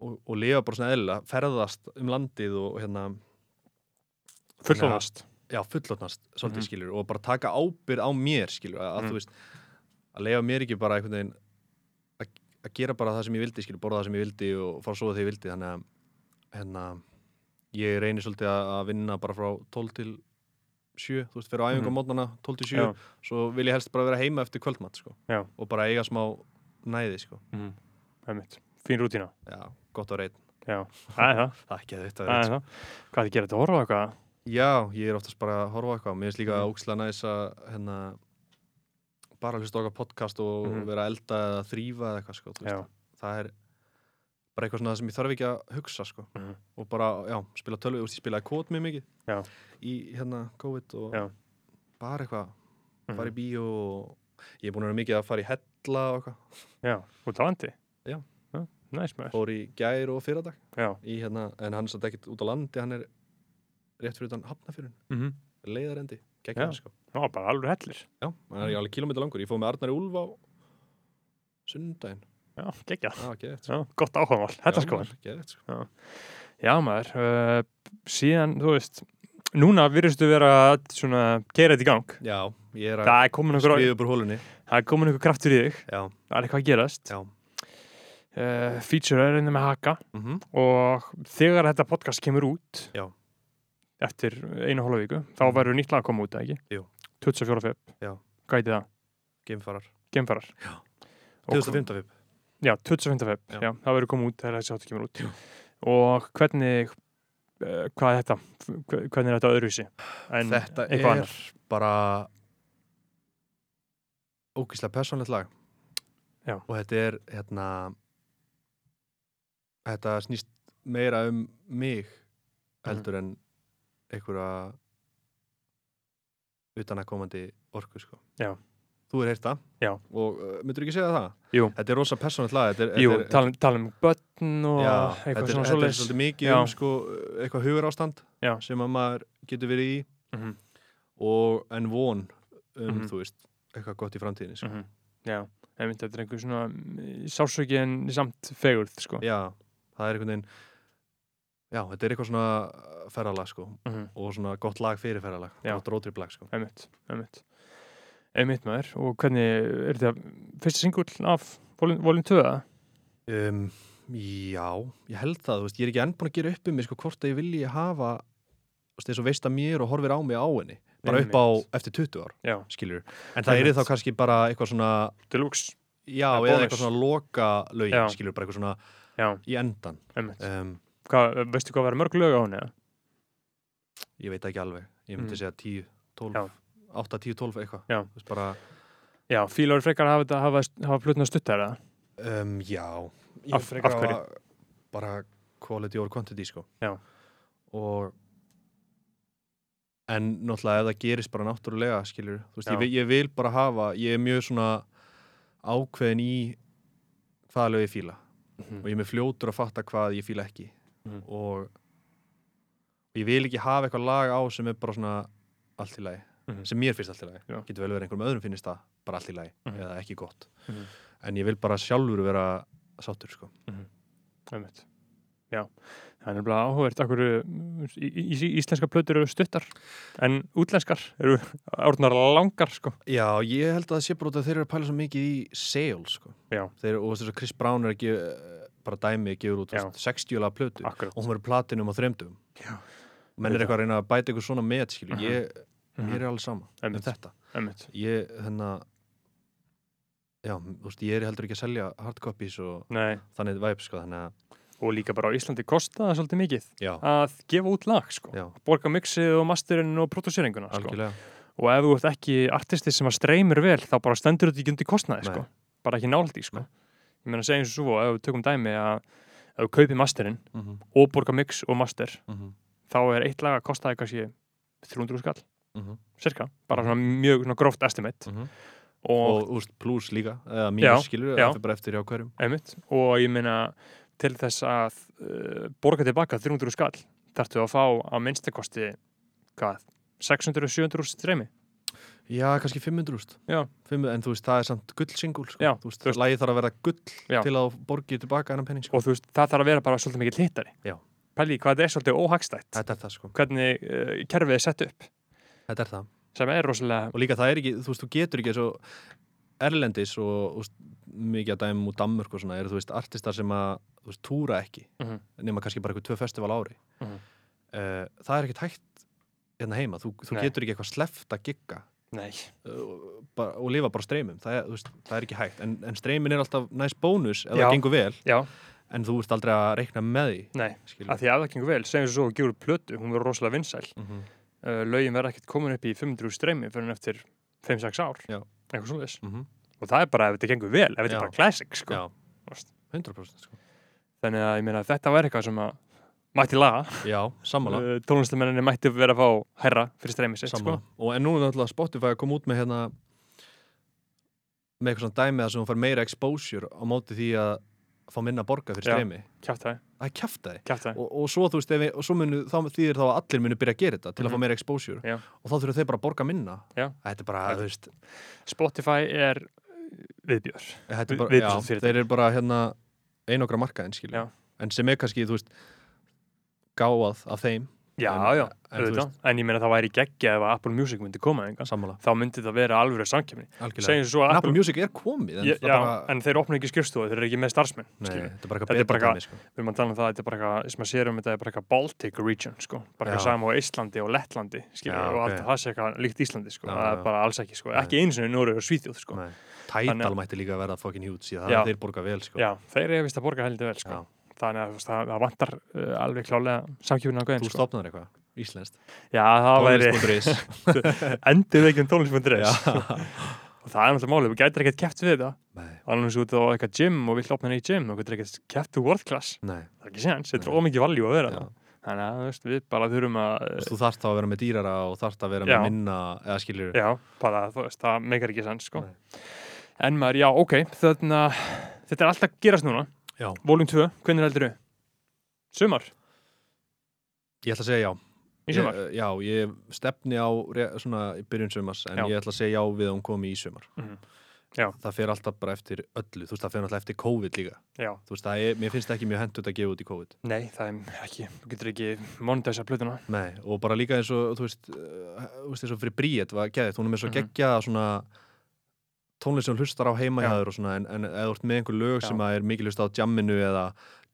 Speaker 2: og, og lifa bara svona eðla ferðast um landið og, og hérna
Speaker 1: fullofast
Speaker 2: já, fullotnast svolítið
Speaker 1: Mhm.
Speaker 2: skilur og bara taka ábyrð á mér skilur að, að
Speaker 1: Mhm.
Speaker 2: þú veist að leifa mér ekki bara einhvern veginn að, að gera bara það sem ég vildi skilur borða það sem ég vildi og fara að sofa þegar ég vildi þannig að hérna, ég reynir svolítið að, að vinna bara frá 12 til 7 þú veist, fyrir á æfingu
Speaker 1: Mhm.
Speaker 2: á mótnana 12 til 7
Speaker 1: Já,
Speaker 2: svo vil ég helst bara vera heima eftir kvöldmatt sko
Speaker 1: Já.
Speaker 2: og bara eiga smá næði sko
Speaker 1: mhm, einmitt, fín rútína
Speaker 2: já, gott að reyna
Speaker 1: Já, það er það
Speaker 2: það er ekki að þetta
Speaker 1: Það
Speaker 2: reyna
Speaker 1: er sko. það. Hvað þið gerir þetta horfa á eitthvað?
Speaker 2: Já, ég er oftast bara að horfa á eitthvað Mér finnst líka
Speaker 1: Mhm.
Speaker 2: ókslega næs að hérna, bara hlusta á okkar podcast og
Speaker 1: Mhm.
Speaker 2: vera að elda eða þrýfa eða eitthvað sko, þú
Speaker 1: Já,
Speaker 2: veist. það er bara eitthvað svona sem ég þarf ekki að hugsa sko.
Speaker 1: Mhm.
Speaker 2: og bara, já, spila tölvi úst, ég spilaði kót mjög mikið
Speaker 1: Já.
Speaker 2: í hérna COVID og
Speaker 1: Já.
Speaker 2: bara eitthvað,
Speaker 1: mhm.
Speaker 2: fara í bíó og ég er búin að vera mikið að fara í hella og eitthvað,
Speaker 1: Já, út á landi?
Speaker 2: Já.
Speaker 1: Næs með þér.
Speaker 2: fór í gær og fyrradag
Speaker 1: Já.
Speaker 2: í hérna, en hann er satt ekkert út á landi hann er rétt fyrir utan hafnafyrin
Speaker 1: Mhm.
Speaker 2: leiðarendi,
Speaker 1: Já.
Speaker 2: geggjað sko
Speaker 1: Það var bara alveg hellir.
Speaker 2: Já, það er alveg kilómetri langur. Ég fóð með Arnari Úlf á sundaginn.
Speaker 1: Já, geggjað.
Speaker 2: Já, geðvægt.
Speaker 1: Já, gott áhugamál. Þetta sko.
Speaker 2: Geðvægt, sko.
Speaker 1: Já, maður. Uh, Eh, síðan, þú veist, núna virðistu vera að svona keira þetta í gang.
Speaker 2: já, ég er að
Speaker 1: Það er komin einhver,
Speaker 2: skriða upp úr hólunni
Speaker 1: það er komin einhver kraftur í þig,
Speaker 2: já,
Speaker 1: það er eitthvað að gerast.
Speaker 2: já
Speaker 1: Uh, feature er einnig með haka
Speaker 2: mm
Speaker 1: og þegar þetta podcast kemur út
Speaker 2: Já. Mhm.
Speaker 1: eftir einu og hálfa viku, þá verður nýtt lag að koma út, eða ekki?
Speaker 2: Jú.
Speaker 1: 24. feb.
Speaker 2: Já.
Speaker 1: Hvað heiti það?
Speaker 2: geimfarar,
Speaker 1: Gemfarar. Já.
Speaker 2: 2015 fip
Speaker 1: Já, 25. feb,
Speaker 2: Já.
Speaker 1: já. það verður komið út þegar þessi áttu kemur út. Og hvernig, uh, hvað er þetta? Hve- Hvernig er þetta öðruvísi? En
Speaker 2: þetta er
Speaker 1: eitthvað annað.
Speaker 2: bara ógíslega persónlegt lag
Speaker 1: Já.
Speaker 2: og þetta er hérna þetta snýst meira um mig
Speaker 1: Mhm.
Speaker 2: heldur en einhverja utan að komandi orku sko.
Speaker 1: Já.
Speaker 2: þú er heyrta
Speaker 1: Já.
Speaker 2: og uh, myndur ekki segja það?
Speaker 1: Jú.
Speaker 2: þetta er rosa persónlegt lag þetta er,
Speaker 1: Jú,
Speaker 2: þetta er,
Speaker 1: tala, tala um börn og
Speaker 2: já,
Speaker 1: eitthvað
Speaker 2: þetta er,
Speaker 1: svona
Speaker 2: þetta er
Speaker 1: svoleiðis.
Speaker 2: svolítið mikið
Speaker 1: Já.
Speaker 2: um sko, eitthvað hugur ástand
Speaker 1: Já.
Speaker 2: sem að maður getur verið í
Speaker 1: Mhm,
Speaker 2: og en von um,
Speaker 1: Mhm.
Speaker 2: þú veist, eitthvað gott í framtíðinni sko.
Speaker 1: mhm. Já, en myndi þetta er einhver svona mm, sásauki en samt fegurð, sko.
Speaker 2: já, það er einhvern veginn já, þetta er eitthvað svona ferralag sko,
Speaker 1: Mhm,
Speaker 2: og svona gott lag fyrir ferralag
Speaker 1: Já.
Speaker 2: gott rótriplag sko.
Speaker 1: Einmitt, einmitt. Einmitt maður. Og hvernig, er þetta fyrsta singull af volin 2? eða?
Speaker 2: um, já, ég held það þú veist, ég er ekki enn búin að gera upp um mig sko, hvort að ég vilji hafa þú veist, eins og veist að mér og horfir á mig á henni bara upp á
Speaker 1: Einmitt.
Speaker 2: eftir 20 ár,
Speaker 1: Já,
Speaker 2: skiljur en það er
Speaker 1: Einmitt.
Speaker 2: þá kannski bara eitthvað svona
Speaker 1: deluxe.
Speaker 2: já,
Speaker 1: Það er
Speaker 2: eða
Speaker 1: bónus.
Speaker 2: eitthvað svona loka
Speaker 1: Já.
Speaker 2: lögin, skiljur, bara eitthvað svona
Speaker 1: Já,
Speaker 2: í endan
Speaker 1: einmitt.
Speaker 2: um,
Speaker 1: Hvað, veistu hvað verður mörg lög á hún eða?
Speaker 2: ég veit ekki alveg, ég myndi
Speaker 1: Mm.
Speaker 2: segja 10,
Speaker 1: Já.
Speaker 2: 12 8, 10, 12 eitthvað
Speaker 1: Já.
Speaker 2: Þú veist bara,
Speaker 1: Já, fílar frekar að hafa, þetta- hafa, hafa plötna stuttar eða?
Speaker 2: um, já ég
Speaker 1: Af-
Speaker 2: vil frekar
Speaker 1: af hverju?
Speaker 2: hafa bara quality over quantity sko
Speaker 1: Já.
Speaker 2: og en náttúrulega ef það gerist bara náttúrulega skilur, þú veist,
Speaker 1: Já.
Speaker 2: ég, vil- ég vil bara hafa ég er mjög svona ákveðin í hvaða lög ég fíla og ég er mjög fljótur að fatta hvað ég fíla ekki
Speaker 1: Mhm.
Speaker 2: og, og ég vil ekki hafa eitthvað lag á sem er bara svona allt í lagi
Speaker 1: Mhm.
Speaker 2: sem mér finnst allt í lagi
Speaker 1: Já.
Speaker 2: getur vel verið einhverjum öðrum finnist það bara allt í lagi
Speaker 1: Mhm.
Speaker 2: eða ekki gott
Speaker 1: Mhm.
Speaker 2: en ég vil bara sjálfur vera sáttur sko.
Speaker 1: Einmitt. Já, það er nefnilega áhugavert akkur í, í, í, íslenska plötur eru stuttar en útlenskar eru árnar langar sko.
Speaker 2: já, ég held að það sé bara út að þeir eru að pæla svo mikið í sales sko.
Speaker 1: Já.
Speaker 2: þeir, og þess að Chris Brown er að gefa, eh, bara dæmi gefur út þú
Speaker 1: Já.
Speaker 2: veist, 60 laga plötu
Speaker 1: Akkurat.
Speaker 2: og hún verður platinum á þremdum
Speaker 1: Já.
Speaker 2: menn er eitthvað að reyna að bæta eitthvað svona með skilur,
Speaker 1: Mhm.
Speaker 2: ég, mér er alveg sama um
Speaker 1: Einmitt,
Speaker 2: þetta
Speaker 1: einmitt.
Speaker 2: ég, hérna já, þú veist, ég er heldur ekki að selja hardcopies og
Speaker 1: Nei,
Speaker 2: þannig væp, sko, þannig að
Speaker 1: og líka bara á Íslandi kosta það svolítið mikið
Speaker 2: já,
Speaker 1: að gefa út lag sko.
Speaker 2: já,
Speaker 1: Borga mixið og masterinn og produseringuna sko.
Speaker 2: algjörlega
Speaker 1: og ef þú ert ekki artisti sem að streymir vel þá bara stendur þetta ekki undir kostnaði
Speaker 2: Nei.
Speaker 1: sko. bara ekki náldi sko.
Speaker 2: Nei.
Speaker 1: ég meina að segja eins og svo, ef við tökum dæmi að ef við kaupir masterinn
Speaker 2: mm -hmm,
Speaker 1: og borga mix og master
Speaker 2: mm -hmm,
Speaker 1: þá er eitt lag að kostaði kannski 300 skall,
Speaker 2: mm -hmm,
Speaker 1: cirka bara svona mjög svona gróft estimate
Speaker 2: mhm.
Speaker 1: og,
Speaker 2: og úrst pluss líka eða
Speaker 1: Já,
Speaker 2: mínus skilur,
Speaker 1: já.
Speaker 2: það er bara eftir hjá hverjum
Speaker 1: einmitt, og ég meina til þess að uh, borga tilbaka 300 skall þarftu að fá að minnstakosti hvað, 600-700 streymi
Speaker 2: já, kannski 500 úrst
Speaker 1: Já.
Speaker 2: 500, en þú veist, það er samt gullsingul sko.
Speaker 1: Já,
Speaker 2: þú veist,
Speaker 1: þú veist-
Speaker 2: lagið þarf að vera gull
Speaker 1: Já.
Speaker 2: til að þú borgið tilbaka hennan penning sko.
Speaker 1: og þú veist, það þarf að vera bara svolítið mikill hittari
Speaker 2: Já.
Speaker 1: pæli í hvað þetta er svolítið óhagstætt
Speaker 2: þetta er það, sko,
Speaker 1: hvernig uh, kerfið er sett upp
Speaker 2: þetta er það
Speaker 1: sem er rosalega
Speaker 2: og líka það er ekki, þú veist, þú getur ekki svo erlendis og þú veist, mikið að dæmum úr Danmörk og svona, eru þú veist, artistar sem að þú veist, túra ekki
Speaker 1: Mhm.
Speaker 2: nema kannski bara eitthvað tvö festival á ári mm
Speaker 1: Mhm.
Speaker 2: það er ekkert hægt hérna heima, þú, þú
Speaker 1: Nei.
Speaker 2: getur ekki eitthvað sleft að gigga
Speaker 1: Nei,
Speaker 2: uh, bara, og lifa bara streymum það er, þú veist, það er ekki hægt, en, en streymin er alltaf næst bónus ef
Speaker 1: Já.
Speaker 2: það gengur vel
Speaker 1: já,
Speaker 2: en þú ert aldrei að reikna með því
Speaker 1: nei
Speaker 2: skilur.
Speaker 1: að því að það gengur vel, segjum svo að gefur út plötu hún verður rosalega vinsæl
Speaker 2: mm -hmm.
Speaker 1: uh, lögin verða ekkert komin upp í 500 streymi fyrir en eftir 5-6 ár
Speaker 2: Já.
Speaker 1: eitthvað svoleiðis og það er bara ef þetta gengur vel, ef þetta
Speaker 2: Já.
Speaker 1: er bara classic sko.
Speaker 2: mhm, Já, 100% sko.
Speaker 1: þannig að ég meina að þetta væri eitthvað sem að mætti laga,
Speaker 2: já, sammála,
Speaker 1: uh, tónlistamenninni mætti vera að fá herra fyrir streymi sitt
Speaker 2: sammála.
Speaker 1: sko.
Speaker 2: og en nú er náttúrulega Spotify að koma út með hérna með eitthvað svona dæmi að sem hún fær meira exposure á móti því að fá minna borga fyrir
Speaker 1: Já.
Speaker 2: streymi
Speaker 1: kjáftæði,
Speaker 2: það er kjaftaði
Speaker 1: kjáftæði
Speaker 2: og, og svo þú veist, ef, við- og svo munu, þá þýðir þá að allir munu byrja að gera þetta til að fá
Speaker 1: Mhm.
Speaker 2: meira exposure
Speaker 1: Já.
Speaker 2: og þá þurfum þeir bara að borga minna
Speaker 1: Já.
Speaker 2: þetta er bara,
Speaker 1: Þetta-
Speaker 2: þú veist
Speaker 1: Spotify er viðbjör
Speaker 2: þetta er
Speaker 1: Vi-
Speaker 2: bara, já,
Speaker 1: viðbjóðsfyrirtæki.
Speaker 2: þeir eru bara hérna einokra markaðin skilur,
Speaker 1: Já.
Speaker 2: en sem er kannski þú veist gáað af þeim
Speaker 1: já,
Speaker 2: En-
Speaker 1: já,
Speaker 2: en þú
Speaker 1: auðvitað. En ég meina það væri geggja ef að Apple Music myndi koma enga.
Speaker 2: sammála,
Speaker 1: Þá myndi það vera alvöru samkjöfni.
Speaker 2: algjörlega
Speaker 1: Segjum svo að
Speaker 2: en
Speaker 1: Apple
Speaker 2: Apple Music er komið en
Speaker 1: Ég,
Speaker 2: það
Speaker 1: já,
Speaker 2: bara,
Speaker 1: en þeir opna ekki skrifstofu, þeir eru ekki með starfsmenn
Speaker 2: nei,
Speaker 1: skilurðu.
Speaker 2: þetta er bara
Speaker 1: Þetta er
Speaker 2: eitthvað
Speaker 1: bara
Speaker 2: beta dæmi, sko.
Speaker 1: Við erum að tala um það, þetta er bara eitthvað, sem að sér um þetta er bara eitthvað Baltic region, sko bara eitthvað
Speaker 2: Já.
Speaker 1: sama á Íslandi og Lettlandi skilur,
Speaker 2: Já,
Speaker 1: og
Speaker 2: ok.
Speaker 1: allt það sé eitthvað líkt Íslandi, sko
Speaker 2: Já,
Speaker 1: það
Speaker 2: já.
Speaker 1: er bara alls ekki, sko,
Speaker 2: Nei.
Speaker 1: ekki eins og Nóri og Svíþjóð, sko
Speaker 2: Nei.
Speaker 1: Þannig
Speaker 2: Tidal
Speaker 1: að-
Speaker 2: mætti líka að verða fucking huge því að
Speaker 1: Já.
Speaker 2: það er þeir borga vel sko.
Speaker 1: Já, þeir eru vist að borga heldur vel, sko
Speaker 2: Já.
Speaker 1: þannig að þú veist, það, það vantar uh, alveg klálega samkjöfuna á
Speaker 2: þú
Speaker 1: gæðin, sko
Speaker 2: stopnaður eitthvað Íslenskt
Speaker 1: Já, það væri
Speaker 2: Tónlist.is.
Speaker 1: endur veikjum tónlist.res
Speaker 2: Já.
Speaker 1: og það er náttúrulega málið, við gætir ekkert keft við þetta
Speaker 2: Nei,
Speaker 1: alveg eins og út á eitthvað gym og vill opna neitt gym og getur ekkert keft við world class
Speaker 2: nei,
Speaker 1: það er ekki séns, þetta er
Speaker 2: Nei.
Speaker 1: ómikið valjú að vera
Speaker 2: já.
Speaker 1: það þannig að þú veist, við bara þurfum að
Speaker 2: Þú veist, þú þarft þá að vera með dýrara og þarft að vera með
Speaker 1: Já.
Speaker 2: minna eða skiljur
Speaker 1: Já, bara þú veist, það meikar ekki sens sko.
Speaker 2: Nei.
Speaker 1: En maður, já, ok þarna, Þetta er alltaf að gerast núna
Speaker 2: Já.
Speaker 1: Volum 2, hvernig heldur þau? Sumar,
Speaker 2: Ég ætla að segja já
Speaker 1: í sumar
Speaker 2: Ég, já, ég stefni á re- svona í byrjun sumars en
Speaker 1: Já.
Speaker 2: ég ætla að segja já við að hún komi í sumar
Speaker 1: Mhm. Já.
Speaker 2: Það fer alltaf bara eftir öllu þú veist, það fer alltaf eftir COVID líka
Speaker 1: Já,
Speaker 2: þú veist, það er, mér finnst ekki mjög hendur að gefa út í COVID
Speaker 1: nei, það er ekki Þú getur ekki monetæsa plötuna
Speaker 2: Nei, og bara líka eins og þú veist, uh, þú veist eins og fyrir Bríett var geðið, hún er með svo
Speaker 1: Mhm.
Speaker 2: geggja svona tónlist sem hún hlustar á heima hjá
Speaker 1: Já.
Speaker 2: þér og svona, en, en eða þú ert með einhver lög
Speaker 1: Já.
Speaker 2: sem að er mikið hlust á jamminu eða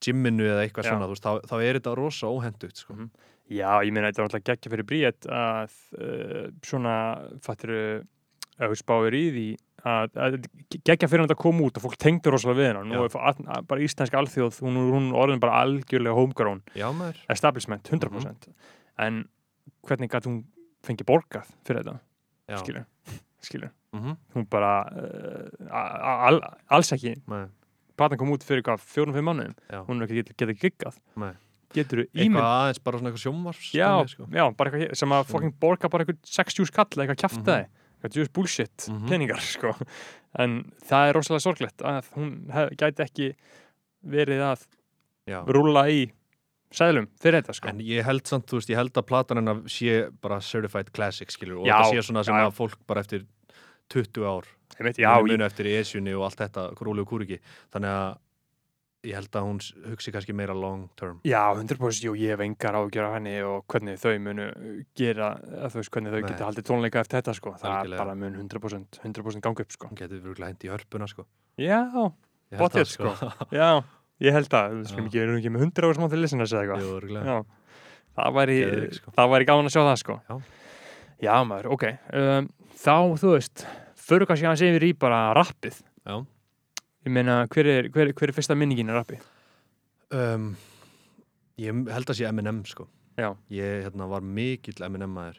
Speaker 2: gymminu eða eitthvað
Speaker 1: Já.
Speaker 2: svona, þú veist, þá, þá er þetta rosa óhendugt, sko.
Speaker 1: Mhm. Já, ég meina þetta var alltaf geggja fyrir bríett að uh, svona eh, fattur ef við spáir í því að, að geggja fyrir hann að koma út og fólk tengdur rosalega við hennar
Speaker 2: Já.
Speaker 1: og bara íslensk alþjóð, hún, hún orðin bara algjörlega homegrown
Speaker 2: Já, maður.
Speaker 1: establishment
Speaker 2: Mhm.
Speaker 1: 100% en hvernig gæti hún fengið borgað fyrir þetta,
Speaker 2: Já.
Speaker 1: skilur skilur,
Speaker 2: Mm
Speaker 1: hún bara uh, a- a- al- alls ekki
Speaker 2: Nei,
Speaker 1: platan kom út fyrir hvað, fjórum, fimm mánuðum
Speaker 2: já.
Speaker 1: hún er ekki get, getið giggað
Speaker 2: Nei.
Speaker 1: getur þú
Speaker 2: Eitthvað
Speaker 1: ímynd
Speaker 2: aðeins, bara svona eitthvað sjómvars.
Speaker 1: já,
Speaker 2: sko.
Speaker 1: já, bara eitthvað hér- sem að fokkin borga bara eitthvað 60 skall eða eitthvað kjaftaði eitthvað just bullshit
Speaker 2: Mhm.
Speaker 1: peningar sko. en það er rosalega sorglegt að hún hef, gæti ekki verið að
Speaker 2: Já.
Speaker 1: rúlla í sæðlum fyrir þetta sko.
Speaker 2: En ég held samt, þú veist, ég held að platan hennar sé bara certified classic, skilur, og
Speaker 1: Já,
Speaker 2: þetta sé svona sem
Speaker 1: já, já.
Speaker 2: að fólk bara eftir 20 ár
Speaker 1: Einmitt,
Speaker 2: já,
Speaker 1: já,
Speaker 2: muni
Speaker 1: ég,
Speaker 2: muni eftir ESU-ni og allt þetta, Króli og Kúriki þannig að ég held að hún s- hugsi kannski meira long term
Speaker 1: Já, 100% jú, ég hef engar ágjör af henni og hvernig þau munu gera, eða þú veist, hvernig þau
Speaker 2: Nei.
Speaker 1: geta haldið tónleika eftir þetta, sko. Það
Speaker 2: Algjörlega.
Speaker 1: bara mun 100%, 100% gangi upp, sko.
Speaker 2: hún getur verið hendt í hörpuna sko,
Speaker 1: Já,
Speaker 2: Ég held sko.
Speaker 1: Pottet,
Speaker 2: það,
Speaker 1: já, ég held að, við skulum
Speaker 2: Já.
Speaker 1: ekki, við erum ekki með 100 ára smá til listeners eða eitthvað.
Speaker 2: Jú, örugglega.
Speaker 1: Já, það væri,
Speaker 2: Geðveik, sko.
Speaker 1: það væri gaman að sjá það, sko.
Speaker 2: Já.
Speaker 1: Já, maður, ok. Um, þá, þú veist, förum kannski aðeins yfir í bara rappið.
Speaker 2: Já.
Speaker 1: Ég meina, hver er, hver, hver er fyrsta minningin að rappið?
Speaker 2: um, ég held að sé M&M sko
Speaker 1: Já.
Speaker 2: ég hérna, var mikill M&M maður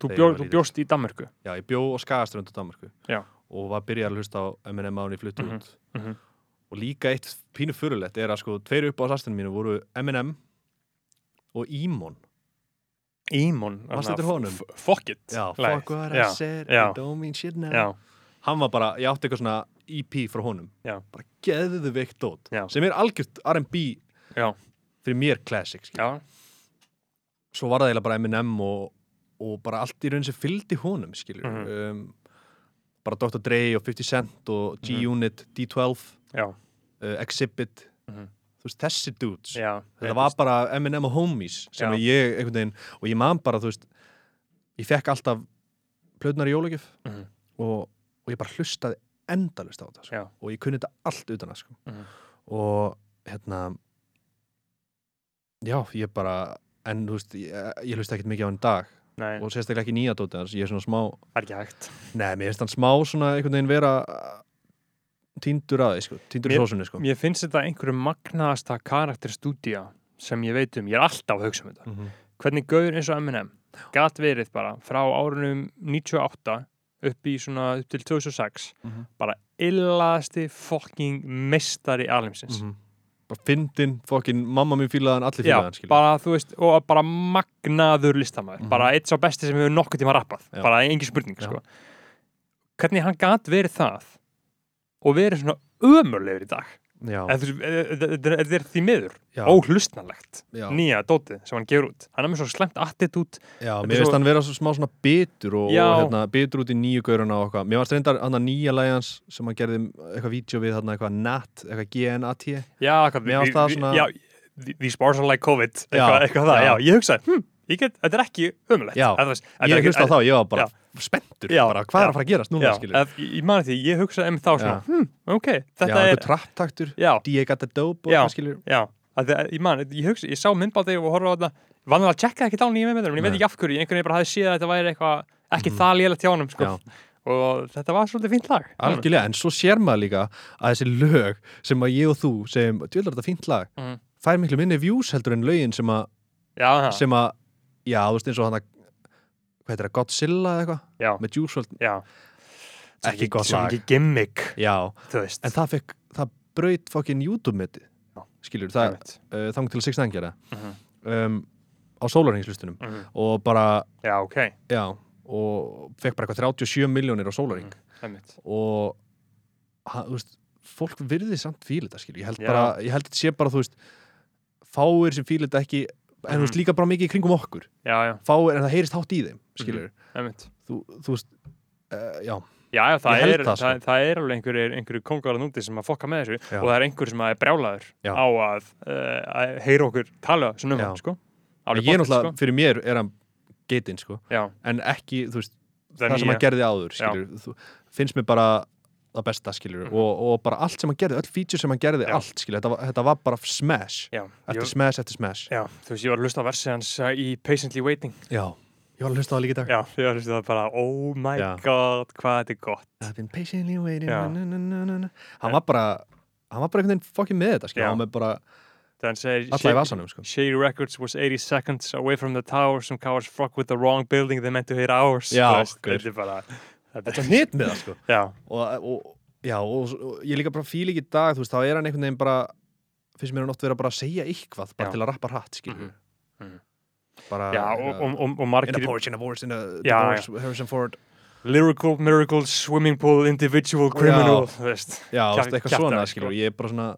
Speaker 1: Þú,
Speaker 2: Þegar
Speaker 1: bjó,
Speaker 2: ég var
Speaker 1: þú
Speaker 2: lítill.
Speaker 1: bjóst í Danmörku.
Speaker 2: já, ég bjó á Skagaströnd á Danmarku
Speaker 1: Já.
Speaker 2: og var byrjar að hlusta á M&M á henni fluttu
Speaker 1: Mhm,
Speaker 2: út
Speaker 1: mhm.
Speaker 2: og líka eitt pínu furulegt er að sko tveir upp á sastinu mínu voru M&M og Ímon
Speaker 1: Ímon.
Speaker 2: Varstu
Speaker 1: þarna,
Speaker 2: eftir honum?
Speaker 1: f- Fuck it.
Speaker 2: já,
Speaker 1: lagið.
Speaker 2: fuck what
Speaker 1: Já,
Speaker 2: I said
Speaker 1: já.
Speaker 2: I don't mean shit now
Speaker 1: Já,
Speaker 2: hann var bara, ég átti eitthvað svona EP frá honum,
Speaker 1: Já.
Speaker 2: bara geðuðu veikt dót,
Speaker 1: Já.
Speaker 2: sem er algjört R&B
Speaker 1: Já.
Speaker 2: fyrir mér classic
Speaker 1: já,
Speaker 2: skilur. svo var það eiginlega bara M&M og, og bara allt í raun sem fylgdi honum skilur
Speaker 1: Mhm.
Speaker 2: um, bara Dr. Dre og 50 Cent og
Speaker 1: Mhm.
Speaker 2: G-Unit, D12
Speaker 1: já,
Speaker 2: uh, Exhibit
Speaker 1: Mhm.
Speaker 2: þú veist, þessi dudes
Speaker 1: já.
Speaker 2: þetta var bara M&M og homies sem
Speaker 1: Já.
Speaker 2: ég einhvern veginn, og ég man bara þú veist, ég fekk alltaf plöðnar í jólagjöf
Speaker 1: Mhm.
Speaker 2: og, og ég bara hlustaði endalust á þetta sko.
Speaker 1: Já.
Speaker 2: og ég kunni þetta allt utan að sko.
Speaker 1: Mhm.
Speaker 2: og hérna já, ég bara en þú veist, ég, ég hlusta ekkert mikið á hann í dag
Speaker 1: Nei,
Speaker 2: og sérstaklega ekki nýja dótið hans, ég er svona smá
Speaker 1: það er ekki hægt.
Speaker 2: nei, mér finnst hann smá svona einhvern veginn vera uh, tíndur aðeins, sko, tíndur
Speaker 1: Mér-
Speaker 2: hrósunni sko.
Speaker 1: Mér finnst þetta einhverju magnaðasta karakterstúdía sem ég veit um. Ég er alltaf að hugsa um þetta.
Speaker 2: mm -hmm.
Speaker 1: Hvernig gaur eins og M&M gat verið bara frá árunum 98 upp í svona upp til 2006
Speaker 2: Mhm.
Speaker 1: bara illaðasti fucking mestari alheimsins.
Speaker 2: Mhm. bara fyndin, fokkin, mamma mín fílaðan allir fílaðan,
Speaker 1: Já,
Speaker 2: skilur
Speaker 1: bara, þú veist, og bara magnaður listamæður,
Speaker 2: Mhm.
Speaker 1: bara eitt sá besti sem hefur nokkuð tíma rappað,
Speaker 2: Já.
Speaker 1: bara engin spurning,
Speaker 2: Já.
Speaker 1: sko. Hvernig hann gat verið það og verið svona ömurlegur í dag,
Speaker 2: já,
Speaker 1: En þú veist, e- e- e- þetta er- þetta er því miður,
Speaker 2: já,
Speaker 1: óhlustnanlegt,
Speaker 2: já.
Speaker 1: nýja dótið sem hann gefur út. Hann er með svo slemt attitút,
Speaker 2: Já,
Speaker 1: Þetta
Speaker 2: mér
Speaker 1: er
Speaker 2: finnst
Speaker 1: svo-
Speaker 2: hann vera svo smá svona bitur og,
Speaker 1: Já.
Speaker 2: og hérna, bitur út í nýju gauruna og eitthvað. Mér varst reyndar hann að nýja lægjans sem hann gerði eitthvað vídeo við þarna eitthvað NAT, eitthvað GNAT.
Speaker 1: já, hvað,
Speaker 2: Mér fannst það svona-
Speaker 1: já, the- these bars are like COVID,
Speaker 2: Já,
Speaker 1: eitthvað, eitthvað það, já,
Speaker 2: já.
Speaker 1: ég hugsaði, hm, Ég get, þetta er ekki umulegt
Speaker 2: Já, Ég hlusta á þá, ég var bara spenntur,
Speaker 1: Já.
Speaker 2: bara hvað er
Speaker 1: Já.
Speaker 2: að fara að gerast núna,
Speaker 1: Já,
Speaker 2: skilur.
Speaker 1: að, ég mani því, ég hugsaði um þá svona,
Speaker 2: Já.
Speaker 1: hm, ok,
Speaker 2: já,
Speaker 1: þetta
Speaker 2: einhver
Speaker 1: er,
Speaker 2: trapptaktur,
Speaker 1: já,
Speaker 2: D.A. got the dope og
Speaker 1: Já.
Speaker 2: eitthvað, skilur.
Speaker 1: já, að, því að- ég mani, ég hugsa, ég sá myndbátti og horfa á þetta, vanlega tjekkaði ekki á nýjum myndbáttum, en ég veit
Speaker 2: Nei. Mm.
Speaker 1: ekki af hverju, einhvern veginn bara hafði séð að þetta væri eitthvað, ekki það lélega tjánum, sko,
Speaker 2: Já.
Speaker 1: og þetta var svolítið fínt lag.
Speaker 2: Algjörlega, en svo sér maður líka að þessi lög sem að ég og þú segjum, djöldar þetta fínt lag,
Speaker 1: Mhm.
Speaker 2: fær miklu minni views heldur en lögin sem að,
Speaker 1: Já, það,
Speaker 2: sem að já, þú veist eins og hann að, hvað heitir það, Godzilla eða eitthvað,
Speaker 1: já,
Speaker 2: með Juice WRLD,
Speaker 1: já.
Speaker 2: Ekki gott
Speaker 1: Svo
Speaker 2: lag.
Speaker 1: mikið gimmick,
Speaker 2: já,
Speaker 1: þú veist.
Speaker 2: en það fekk, það braut fokkin YouTube-metið,
Speaker 1: Já.
Speaker 2: skilur, það,
Speaker 1: Einmitt.
Speaker 2: uh, þang til að 6 gera
Speaker 1: Mhm.
Speaker 2: um, á sólarhengslustunum
Speaker 1: Mhm.
Speaker 2: og bara,
Speaker 1: Já, ok,
Speaker 2: já, og fekk bara eitthvað 37 miljónir á sólarheng
Speaker 1: Mhm. einmitt.
Speaker 2: og ha, þú veist, fólk virði samt fíl þetta skilur, ég held
Speaker 1: Já.
Speaker 2: bara, ég held þetta sé bara þú veist, fáir sem fíl þetta ekki en
Speaker 1: Mhm.
Speaker 2: þú veist líka bara mikið í kringum okkur
Speaker 1: Já, já,
Speaker 2: fáir en það heyrist hátt í þeim skilur,
Speaker 1: einmitt.
Speaker 2: þú, þú veist uh, já,
Speaker 1: Já, já, það
Speaker 2: Ég held
Speaker 1: er,
Speaker 2: það,
Speaker 1: það,
Speaker 2: sko.
Speaker 1: það, er alveg einhverju, einhverju kongar að núti sem að fokka með þessu
Speaker 2: Já.
Speaker 1: og það er einhver sem að er brjálaður
Speaker 2: Já.
Speaker 1: á að, uh, að heyra okkur tala svona um
Speaker 2: Já.
Speaker 1: hann, sko.
Speaker 2: ég
Speaker 1: Alveg
Speaker 2: er
Speaker 1: pottþétt,
Speaker 2: náttúrulega, fyrir mér er hann geitinn sko,
Speaker 1: sko. Já,
Speaker 2: en ekki þú veist,
Speaker 1: það
Speaker 2: það
Speaker 1: er
Speaker 2: sem
Speaker 1: nýja.
Speaker 2: hann gerði áður skilur, þú, finnst mér bara það besta skilur,
Speaker 1: Mhm.
Speaker 2: og, og bara allt sem hann gerði öll feature sem hann gerði,
Speaker 1: Já.
Speaker 2: allt skilur þetta, var- þetta var bara smash,
Speaker 1: Já,
Speaker 2: eftir
Speaker 1: ég,
Speaker 2: smash eftir smash,
Speaker 1: já, þú veist, ég var að hlusta á versi hans uh, í Patiently Waiting.
Speaker 2: já, ég var að hlusta á það líka í dag
Speaker 1: Já, ég var að hlusta á það bara, oh my
Speaker 2: Já.
Speaker 1: god, hvað þetta er gott.
Speaker 2: I've been patiently waiting
Speaker 1: Já.
Speaker 2: na, na, na, na, na. Hann var bara hann var bara einhvern veginn fokkin með þetta skilur,
Speaker 1: Já.
Speaker 2: hann var bara
Speaker 1: Þegar hann segir,
Speaker 2: alla í
Speaker 1: Shady-
Speaker 2: vasanum sko.
Speaker 1: Shady Records was 80 seconds away from the tower, some cowards fuck with the wrong building, they meant to hit ours.
Speaker 2: Já,
Speaker 1: Þú veist,
Speaker 2: gaur.
Speaker 1: þetta er bara,
Speaker 2: þetta er hnit með það sko.
Speaker 1: já,
Speaker 2: og, og, já, og, og ég líka bara fíl ekki í dag þú veist, þá er hann einhvern veginn bara finnst mér hann oft vera bara að segja eitthvað bara
Speaker 1: Já.
Speaker 2: til að rappa hratt skilur
Speaker 1: Mhm. Mhm.
Speaker 2: bara
Speaker 1: já, og, og, og, og
Speaker 2: in a
Speaker 1: margir
Speaker 2: porch, in a divorce, in a
Speaker 1: Já,
Speaker 2: divorce Harrison Ford
Speaker 1: Lyrical Miracle Swimming Pool Individual Criminal þú veist.
Speaker 2: já,
Speaker 1: Kjafta-
Speaker 2: þú veist, eitthvað
Speaker 1: kjaftaði,
Speaker 2: svona
Speaker 1: sko.
Speaker 2: skilur, ég er bara svona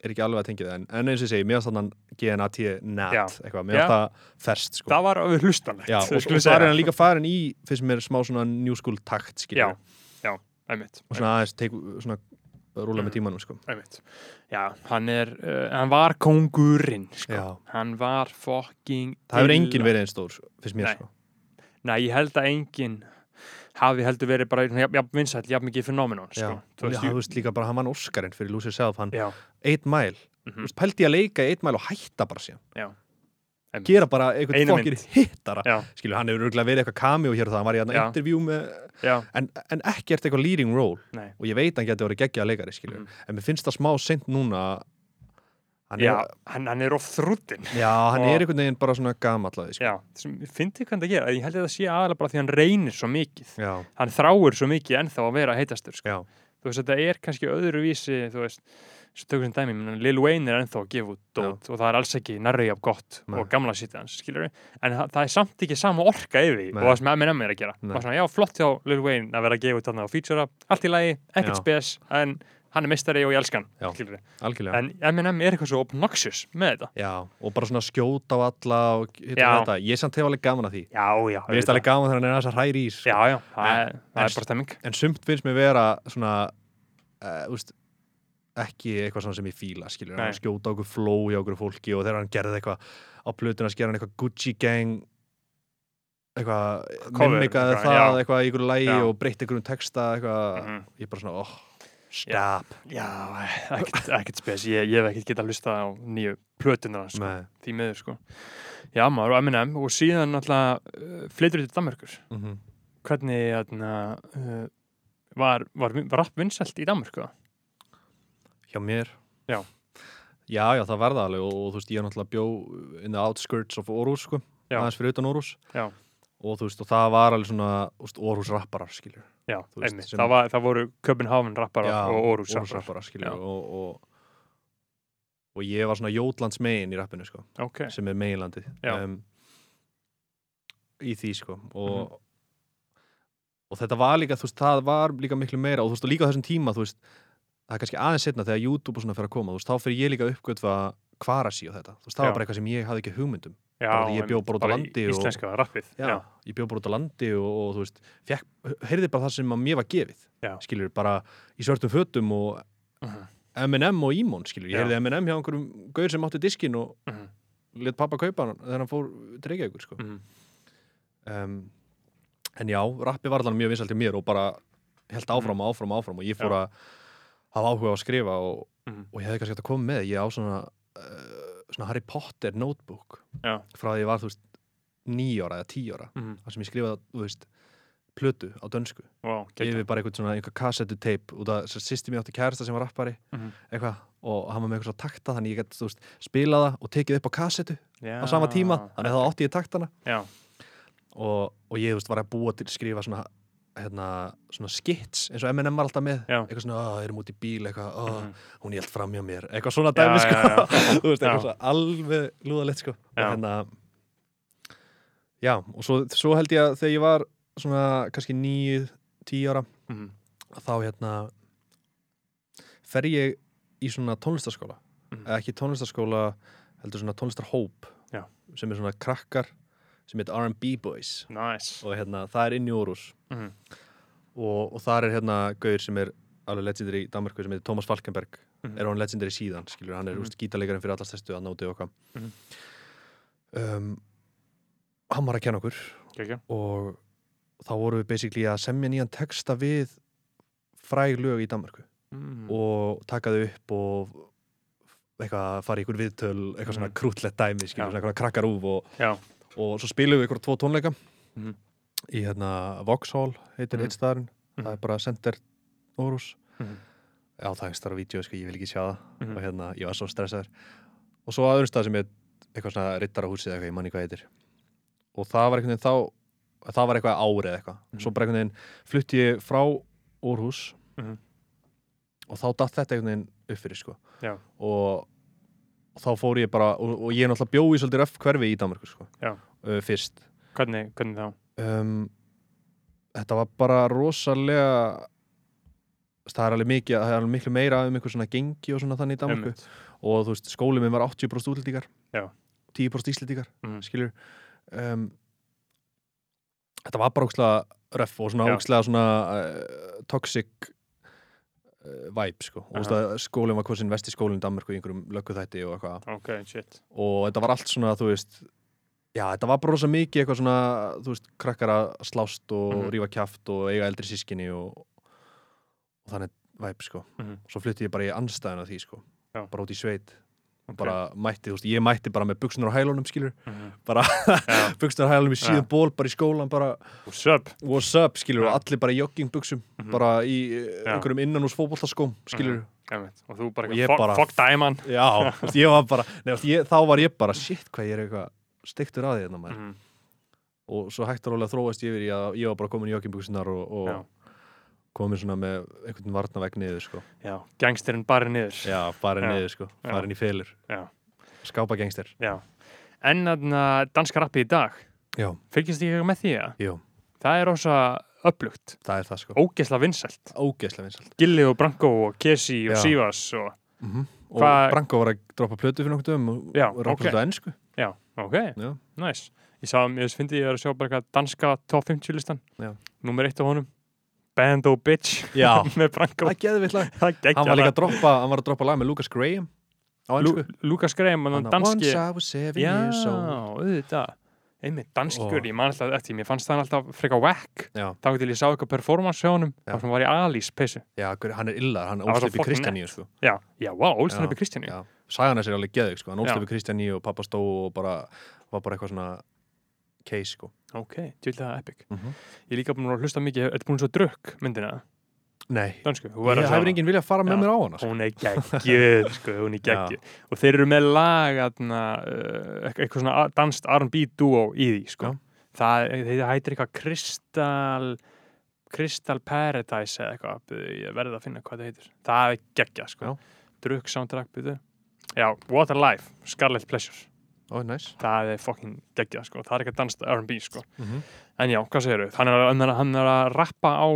Speaker 2: er ekki alveg að tengja það en, en eins og ég segi, mér finnst þannig GNAT
Speaker 1: Já.
Speaker 2: NAT eitthvað, mér
Speaker 1: Já.
Speaker 2: finnst það ferst sko.
Speaker 1: Það var alveg hlustanlegt
Speaker 2: Já, og,
Speaker 1: við
Speaker 2: og
Speaker 1: skulum
Speaker 2: það er
Speaker 1: segja.
Speaker 2: hann líka farin í finnst mér smá svona new school takt skilur,
Speaker 1: Já, já, einmitt,
Speaker 2: og svona aðeins teik, svona rúla
Speaker 1: Mhm.
Speaker 2: með tímanum sko.
Speaker 1: einmitt Já, hann er, uh, hann var kongurinn sko.
Speaker 2: Já.
Speaker 1: Hann var fucking
Speaker 2: það hefur
Speaker 1: illa-
Speaker 2: enginn verið einn stór finnst mér
Speaker 1: Nei.
Speaker 2: sko.
Speaker 1: Nei, ég held að enginn hafi heldur verið bara jafn, jafn vinsæll, jafn mikið fenómenon sko.
Speaker 2: Já.
Speaker 1: Þú
Speaker 2: Já,
Speaker 1: veist,
Speaker 2: þú
Speaker 1: jú-
Speaker 2: veist líka bara, hann vann Óskarinn fyrir Lose Yourself hann,
Speaker 1: Já,
Speaker 2: 8 Mile,
Speaker 1: Mhm.
Speaker 2: þú veist, pældi ég að leika 8 Mile og hætta bara síðan
Speaker 1: Já. Einmitt.
Speaker 2: gera bara einhvern
Speaker 1: Eina
Speaker 2: fokkir hittara
Speaker 1: Já.
Speaker 2: skilur, hann hefur örgulega verið eitthvað cameo hér og það hann var í
Speaker 1: Já.
Speaker 2: þarna interview með
Speaker 1: já,
Speaker 2: en, en ekki ert eitthvað leading role
Speaker 1: nei
Speaker 2: og ég veit hann getur verið geggjaða leikari skilur,
Speaker 1: Mhm.
Speaker 2: en mér finnst það smá seint núna hann
Speaker 1: Já,
Speaker 2: er,
Speaker 1: hann, hann er of þrútin
Speaker 2: já, hann
Speaker 1: Og-
Speaker 2: er einhvern veginn bara svona gamallaði sko.
Speaker 1: Já, finnst þið hvernig að gera Ég held að það sé aðalega bara því hann reynir svo mikið
Speaker 2: já,
Speaker 1: hann þráir svo mikið ennþá að vera heitastur sko.
Speaker 2: já,
Speaker 1: þú veist, þetta er kannski öðruvísi þú veist, svo tökum sem dæmi menn, Lil Wayne er ennþá að gefa út dót og það er alls ekki nærri af gott
Speaker 2: Nei.
Speaker 1: og gamla sýtti hans, skilur við, en það, það er samt ekki sama orka yfir því
Speaker 2: Nei.
Speaker 1: og það sem M&M er að gera
Speaker 2: Nei.
Speaker 1: og svona, já, flott hjá Lil Wayne að vera að gefa út þarna og feature allt í lagi, ekkert
Speaker 2: Já.
Speaker 1: spes en hann er mistari og ég elskan
Speaker 2: Já.
Speaker 1: skilur við,
Speaker 2: algjörlega
Speaker 1: en M&M er eitthvað svo obnoxious með þetta
Speaker 2: Já, og bara svona skjóta á alla og hitt
Speaker 1: Já.
Speaker 2: og þetta. Ég samt hefur alveg gaman að því.
Speaker 1: já, já,
Speaker 2: Mér finnst alveg gaman þegar hann er aðeins að hræri í sko.
Speaker 1: já, já, það er, það
Speaker 2: en-
Speaker 1: er bara stemming
Speaker 2: En sumt finnst mér vera svona, uh, úst, ekki eitthvað svona sem ég fíla, skilur.
Speaker 1: Nei.
Speaker 2: Hann skjóta á okkur flow hjá okkur fólki og þegar hann gerði eitthvað á plötuna, skera hann eitthvað Gucci gang, eitthvað,
Speaker 1: Cover,
Speaker 2: mimikaði
Speaker 1: eitthvað,
Speaker 2: það,
Speaker 1: já.
Speaker 2: eitthvað í ykkur lægi
Speaker 1: Já.
Speaker 2: og breytti ykkur um texta, eitthvað.
Speaker 1: Mhm.
Speaker 2: Ég bara svona, oh, stop.
Speaker 1: Já, ekkert, ekkert spes, ég, ég hef ekkert getað að hlusta á nýju plötunar hans, sko,
Speaker 2: Nei.
Speaker 1: því miður, sko. Já, maður og M&M og síðan alltaf uh, flytur til Danmörkur.
Speaker 2: Mm
Speaker 1: Hvernig, þarna, uh, var, var, var rapp vinsælt í Danmörku? eða?
Speaker 2: hjá mér
Speaker 1: Já.
Speaker 2: já, já, það verða alveg og, og þú veist, ég er náttúrulega bjó in the outskirts of Orús sko,
Speaker 1: Já.
Speaker 2: aðeins fyrir utan Orús
Speaker 1: Já.
Speaker 2: og þú veist, og það var alveg svona úst, Orús rapparar, skiljur
Speaker 1: Já,
Speaker 2: Þú veist,
Speaker 1: einmitt,
Speaker 2: sem-
Speaker 1: það, var, það voru Köpenháfn rappara og Órús rappara.
Speaker 2: rapparar,
Speaker 1: Já.
Speaker 2: skiljur og, og, og ég var svona Jótlands megin í rappinu, sko,
Speaker 1: Ok,
Speaker 2: sem er meginlandið
Speaker 1: Já.
Speaker 2: um, í því, sko og
Speaker 1: Mhm.
Speaker 2: og þetta var líka, þú veist, það var líka miklu meira og þú veist, og líka á þessum tíma, þú veist það er kannski aðeins setna þegar YouTube og svona fyrir að koma þú veist, þá fyrir ég líka að uppgötva hvar að sí og þetta þú veist, það
Speaker 1: Já.
Speaker 2: var bara eitthvað sem ég hafði ekki hugmyndum
Speaker 1: já,
Speaker 2: bara því ég
Speaker 1: einmitt,
Speaker 2: bjó bara út á
Speaker 1: í-
Speaker 2: landi og-
Speaker 1: Íslenska rappið, já.
Speaker 2: ég bjó bara út á landi og, og þú veist fekk, heyrði bara það sem að mér var gefið
Speaker 1: Já.
Speaker 2: skilur, bara í svörtum fötum og
Speaker 1: Mhm,
Speaker 2: M&M og Ímón, skilur, ég
Speaker 1: Já.
Speaker 2: heyrði M&M hjá einhverjum gaur sem átti diskin og
Speaker 1: mhm.
Speaker 2: let pappa kaupa hann þegar hann fór til Reykjavíkur sko.
Speaker 1: mm.
Speaker 2: um, en já, rappi var allan mjög vinsalt í mér og bara held áfram og áfram og áfram og ég fór
Speaker 1: Mm. Já.
Speaker 2: að hafa áhuga á að skrifa og,
Speaker 1: Mhm.
Speaker 2: og ég hefði kannski hægt að koma með ég á svona, uh, svona Harry Potter notebook
Speaker 1: Já.
Speaker 2: frá því ég var þú veist nýjóra eða tíjóra
Speaker 1: Mm.
Speaker 2: þar sem ég skrifaði þú veist plötu á dönsku
Speaker 1: Wow,
Speaker 2: gefið
Speaker 1: geggjað.
Speaker 2: bara einhvern svona einhver kassettu teip út af þess að sýsti mér átti kærasta sem var rappari
Speaker 1: Mhm.
Speaker 2: eitthvað og hann var með eitthvað svona takta þannig ég gæti þú veist spilað það og tekið upp á kassettu
Speaker 1: Mhm. Já.
Speaker 2: á sama tíma þannig að þá átti ég taktana
Speaker 1: Já,
Speaker 2: og, og ég þú veist var að búa til skrifa svona hérna svona skits eins og M&M var alltaf með
Speaker 1: Já.
Speaker 2: eitthvað svona "Ah, erum út í bíl eitthvað oh,
Speaker 1: Mhm.
Speaker 2: hún held fram hjá mér eitthvað svona
Speaker 1: Já, já,
Speaker 2: dæmi sko
Speaker 1: já.
Speaker 2: þú veist
Speaker 1: Já.
Speaker 2: eitthvað svona alveg lúðalegt sko og
Speaker 1: Já.
Speaker 2: hérna já og svo, svo held ég að þegar ég var svona kannski nýju, tíu ára
Speaker 1: Mhm.
Speaker 2: þá hérna fer ég í svona tónlistaskóla
Speaker 1: Mhm.
Speaker 2: eða ekki tónlistaskóla heldur svona tónlistarhóp
Speaker 1: Já.
Speaker 2: sem er svona krakkar sem heit R&B Boys
Speaker 1: nice
Speaker 2: og hérna það er inn í Úrús
Speaker 1: Mhm.
Speaker 2: og, og þar er hérna gaur sem er alveg legendary í Danmarku sem heitir Thomas Falkenberg
Speaker 1: Mhm.
Speaker 2: er hann legendary síðan, skilur, hann er
Speaker 1: Mhm.
Speaker 2: mm -hmm. gítarleikarinn fyrir allast testu að nóti og hvað
Speaker 1: Mhm.
Speaker 2: um, hann var að kenna okkur
Speaker 1: Gekkja,
Speaker 2: og þá vorum við basically að semja nýjan texta við fræg lög í Danmarku
Speaker 1: mm.
Speaker 2: og taka þau upp og eitthvað fara í ykkur viðtöl eitthvað svona
Speaker 1: Mhm.
Speaker 2: krútlegt dæmi skilur,
Speaker 1: Já.
Speaker 2: svona eitthvað krakkar úf og,
Speaker 1: Já.
Speaker 2: og svo spilum við ykkur tvo tónleika
Speaker 1: Mhm.
Speaker 2: í hérna Vauxhall heitir
Speaker 1: Mhm.
Speaker 2: mm. eitt staðarinn það
Speaker 1: Mhm.
Speaker 2: er bara Center Órus
Speaker 1: Mhm.
Speaker 2: já það er starra vídeo sko, ég vil ekki sjá það
Speaker 1: Mhm.
Speaker 2: og hérna ég var svo stressaður og svo aðurinn stað sem er eitthvað svona rittarahúsið eða eitthvað, ég manni hvað heitir og það var einhvern veginn þá það var eitthvað árið eitthvað
Speaker 1: Mm.
Speaker 2: svo bara einhvern veginn flutti ég frá Órhus
Speaker 1: Mhm.
Speaker 2: og þá datt þetta einhvern veginn upp fyrir sko
Speaker 1: Já.
Speaker 2: og og þá fór ég bara og, og ég er náttúrulega bjóði svolítið röf hverfi í Danmarku sko
Speaker 1: Já.
Speaker 2: uh, fyrst
Speaker 1: Hvernig, hvernig þá?
Speaker 2: um, þetta var bara rosalega það er alveg mikið, það er alveg miklu meira um einhver svona gengi og svona þannig í Danmarku
Speaker 1: Einmitt.
Speaker 2: og þú veist, skólið minn var 80% útlendingar
Speaker 1: Já.
Speaker 2: 10% íslendingar,
Speaker 1: Mhm.
Speaker 2: skilur um, þetta var bara ókslega röf og svona
Speaker 1: Já.
Speaker 2: ókslega svona uh, toxic uh, vibe, sko, og þú veist að skólinn var hversin vesti skólinn í Danmarku í einhverjum lögguþætti og eitthvað
Speaker 1: Ok, shit
Speaker 2: og þetta var allt svona, þú veist já, þetta var bara rosa mikið eitthvað svona þú veist, krakkar að slást og
Speaker 1: Mhm.
Speaker 2: rífa kjaft og eiga eldri sískinni og, og þannig væp, sko
Speaker 1: Mhm.
Speaker 2: svo flytti ég bara í anstæðan að því, sko
Speaker 1: Já.
Speaker 2: bara út í sveit,
Speaker 1: Ok.
Speaker 2: bara mætti þú veist, ég mætti bara með buksunar á hælunum, skilur
Speaker 1: Mhm.
Speaker 2: bara-
Speaker 1: Já,
Speaker 2: buksunar á hælunum í síðan
Speaker 1: Já.
Speaker 2: ból, bara í skólan, bara
Speaker 1: what's up?
Speaker 2: what's up, skilur,
Speaker 1: Já.
Speaker 2: og allir bara í joggingbuksum
Speaker 1: Mhm.
Speaker 2: bara í eh,
Speaker 1: Já.
Speaker 2: einhverjum innan hús fótboltaskóm, skilur
Speaker 1: Einmitt. Og þú bara,
Speaker 2: Og ég
Speaker 1: fuck,
Speaker 2: bara-
Speaker 1: fuck dæman
Speaker 2: já, þú veist, ég var bara nei, þú veist, ég, þá var ég bara, shit, hvað ég er eitthvað steiktur að því hérna, maður
Speaker 1: mm.
Speaker 2: og svo hægt að rólega þróast yfir í að ég var bara komin í joggingbuxunar og,
Speaker 1: Já.
Speaker 2: og komin svona með einhvern varnavegg niður sko.
Speaker 1: Já, gangsterinn barið niður
Speaker 2: já, farin
Speaker 1: Já.
Speaker 2: niður sko,
Speaker 1: Já.
Speaker 2: farin í felur
Speaker 1: Já.
Speaker 2: skápa gengster
Speaker 1: Já. En þarna danska rappi í dag
Speaker 2: já,
Speaker 1: Fylgist þið ekki með því að?
Speaker 2: Jú.
Speaker 1: Það er ósa upplugt,
Speaker 2: það er það sko,
Speaker 1: ógeðsla vinsælt
Speaker 2: ógeðslega vinsalt
Speaker 1: Gilli og Branko og Kesi og
Speaker 2: Já.
Speaker 1: Sivas og...
Speaker 2: mm -hmm. og
Speaker 1: Hvað-
Speaker 2: Branko var að droppa plötu fyrir nokkuð um og
Speaker 1: Já,
Speaker 2: rappa
Speaker 1: ok.
Speaker 2: svolítið á ennsku
Speaker 1: Já, ok,
Speaker 2: Já.
Speaker 1: nice Ég sá, ég finnst ég er að sjá bara eitthvað danska top 50 listan
Speaker 2: Já.
Speaker 1: Númer eitt á honum Bando Bitch
Speaker 2: já,
Speaker 1: með Branko
Speaker 2: það geði við lag
Speaker 1: Það
Speaker 2: hann var líka
Speaker 1: geggjala
Speaker 2: að droppa, hann var að droppa lag með Lucas Graham á ennsku
Speaker 1: Lukas Graham, hann
Speaker 2: á,
Speaker 1: danski
Speaker 2: once I was seven
Speaker 1: Já,
Speaker 2: years old
Speaker 1: auðvitað einmitt
Speaker 2: Og-
Speaker 1: danskur, ég man alltaf eftir, mér fannst það alltaf freka whack,
Speaker 2: Já.
Speaker 1: þá til ég sá eitthvað performance hjá honum,
Speaker 2: Já.
Speaker 1: þá sem var ég Alice peysu,
Speaker 2: já, hver- hann er illar, hann
Speaker 1: Það var
Speaker 2: ólst
Speaker 1: svo
Speaker 2: upp í
Speaker 1: fucking
Speaker 2: Kristjaníu sko.
Speaker 1: já, já, wow, ólst hann
Speaker 2: Já,
Speaker 1: upp í Kristjáni,
Speaker 2: Já, sagan þess er alveg geðug sko, hann ólst
Speaker 1: Já.
Speaker 2: upp í Kristjaní og pappa stó og bara, var bara eitthvað svona case sko.
Speaker 1: ok, djúlega það er epic
Speaker 2: Mhm.
Speaker 1: ég er líka búin að hlusta mikið, ertu búin svo drukk myndina,
Speaker 2: Nei,
Speaker 1: dansku þú verður
Speaker 2: ég
Speaker 1: að sjá
Speaker 2: hefur
Speaker 1: hana.
Speaker 2: enginn viljað fara
Speaker 1: Já.
Speaker 2: með mér á hana sko.
Speaker 1: hún er geggjöð, sko, hún er geggjöð og þeir eru með lag atna, uh, eitthvað svona a- danst R&B duo í því, sko
Speaker 2: Já.
Speaker 1: það, þeir hættir eitthvað Crystal Crystal Paradise eða eitthvað, Bíðu, ég verði að finna hvað það heitir það er geggjað, sko
Speaker 2: Já.
Speaker 1: drukk soundtrack, byrðu já, What a Life, Scarlet Pleasure
Speaker 2: Ó, næs
Speaker 1: það er fucking geggjað, sko það er eitthvað danst R&B, sko
Speaker 2: Mhm.
Speaker 1: en já, hvað segirðu, hann er, hann er, hann er að rappa á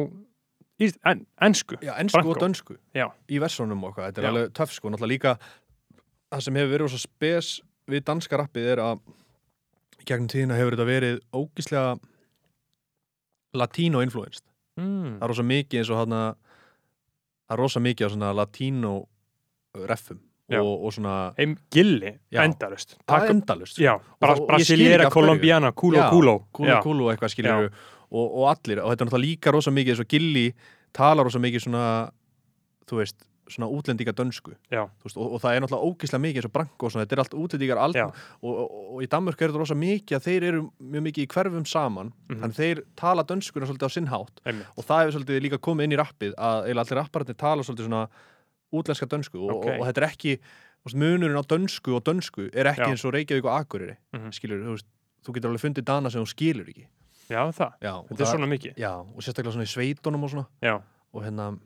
Speaker 1: ís- en, ensku
Speaker 2: Já, ennsku
Speaker 1: Franco.
Speaker 2: og dönsku
Speaker 1: Já.
Speaker 2: í versónum og eitthvað, þetta er
Speaker 1: Já.
Speaker 2: alveg töff sko, náttúrulega líka það sem hefur verið svo spes við danska rappið er að í gegnum tíðina hefur þetta verið ógíslega latino influenced
Speaker 1: mm.
Speaker 2: það er rosa mikið eins og hann það er rosa mikið á svona latino reffum og
Speaker 1: Já.
Speaker 2: og, og svona
Speaker 1: Heim gilli,
Speaker 2: Já.
Speaker 1: endalust
Speaker 2: það er endalust
Speaker 1: Já, bra,
Speaker 2: þá- ég skil ekki af
Speaker 1: Brasiliera,
Speaker 2: hverju.
Speaker 1: Kolumbiana, Kulo,
Speaker 2: Já,
Speaker 1: Kulo
Speaker 2: kúlu
Speaker 1: Já.
Speaker 2: kúlu og eitthvað skilur og, og allir, og þetta er náttúrulega líka rosa mikið þess að Gilli talar rosa mikið svona þú veist, svona útlendinga dönsku
Speaker 1: Já.
Speaker 2: veist, og, og það er náttúrulega ógislega mikið eins og branko og svona, þetta er allt útlendingar ald,
Speaker 1: Já.
Speaker 2: og, og, og í Danmörk er þetta rosa mikið að þeir eru mjög mikið í hverfum saman
Speaker 1: Mhm.
Speaker 2: þannig þeir tala dönskuna svolítið á sinnhátt
Speaker 1: Einmitt.
Speaker 2: og það hefur svolítið líka komið inn í rappið að eiginlega allir rappararnir tala svolítið svona útlenska dönsku og,
Speaker 1: Ok.
Speaker 2: og, og þetta er ekki þú veist, munurinn á dönsku og dönsku er ekki
Speaker 1: Já.
Speaker 2: eins og Reykjavík og Akureyri
Speaker 1: Mhm.
Speaker 2: skilur, þú, veist, þú getur alveg fundið dana sem þú skilur ekki
Speaker 1: Já, það,
Speaker 2: já, um og
Speaker 1: þetta er svona mikið
Speaker 2: já, og sérstaklega svona í sveitunum og svona
Speaker 1: Já,
Speaker 2: og hérna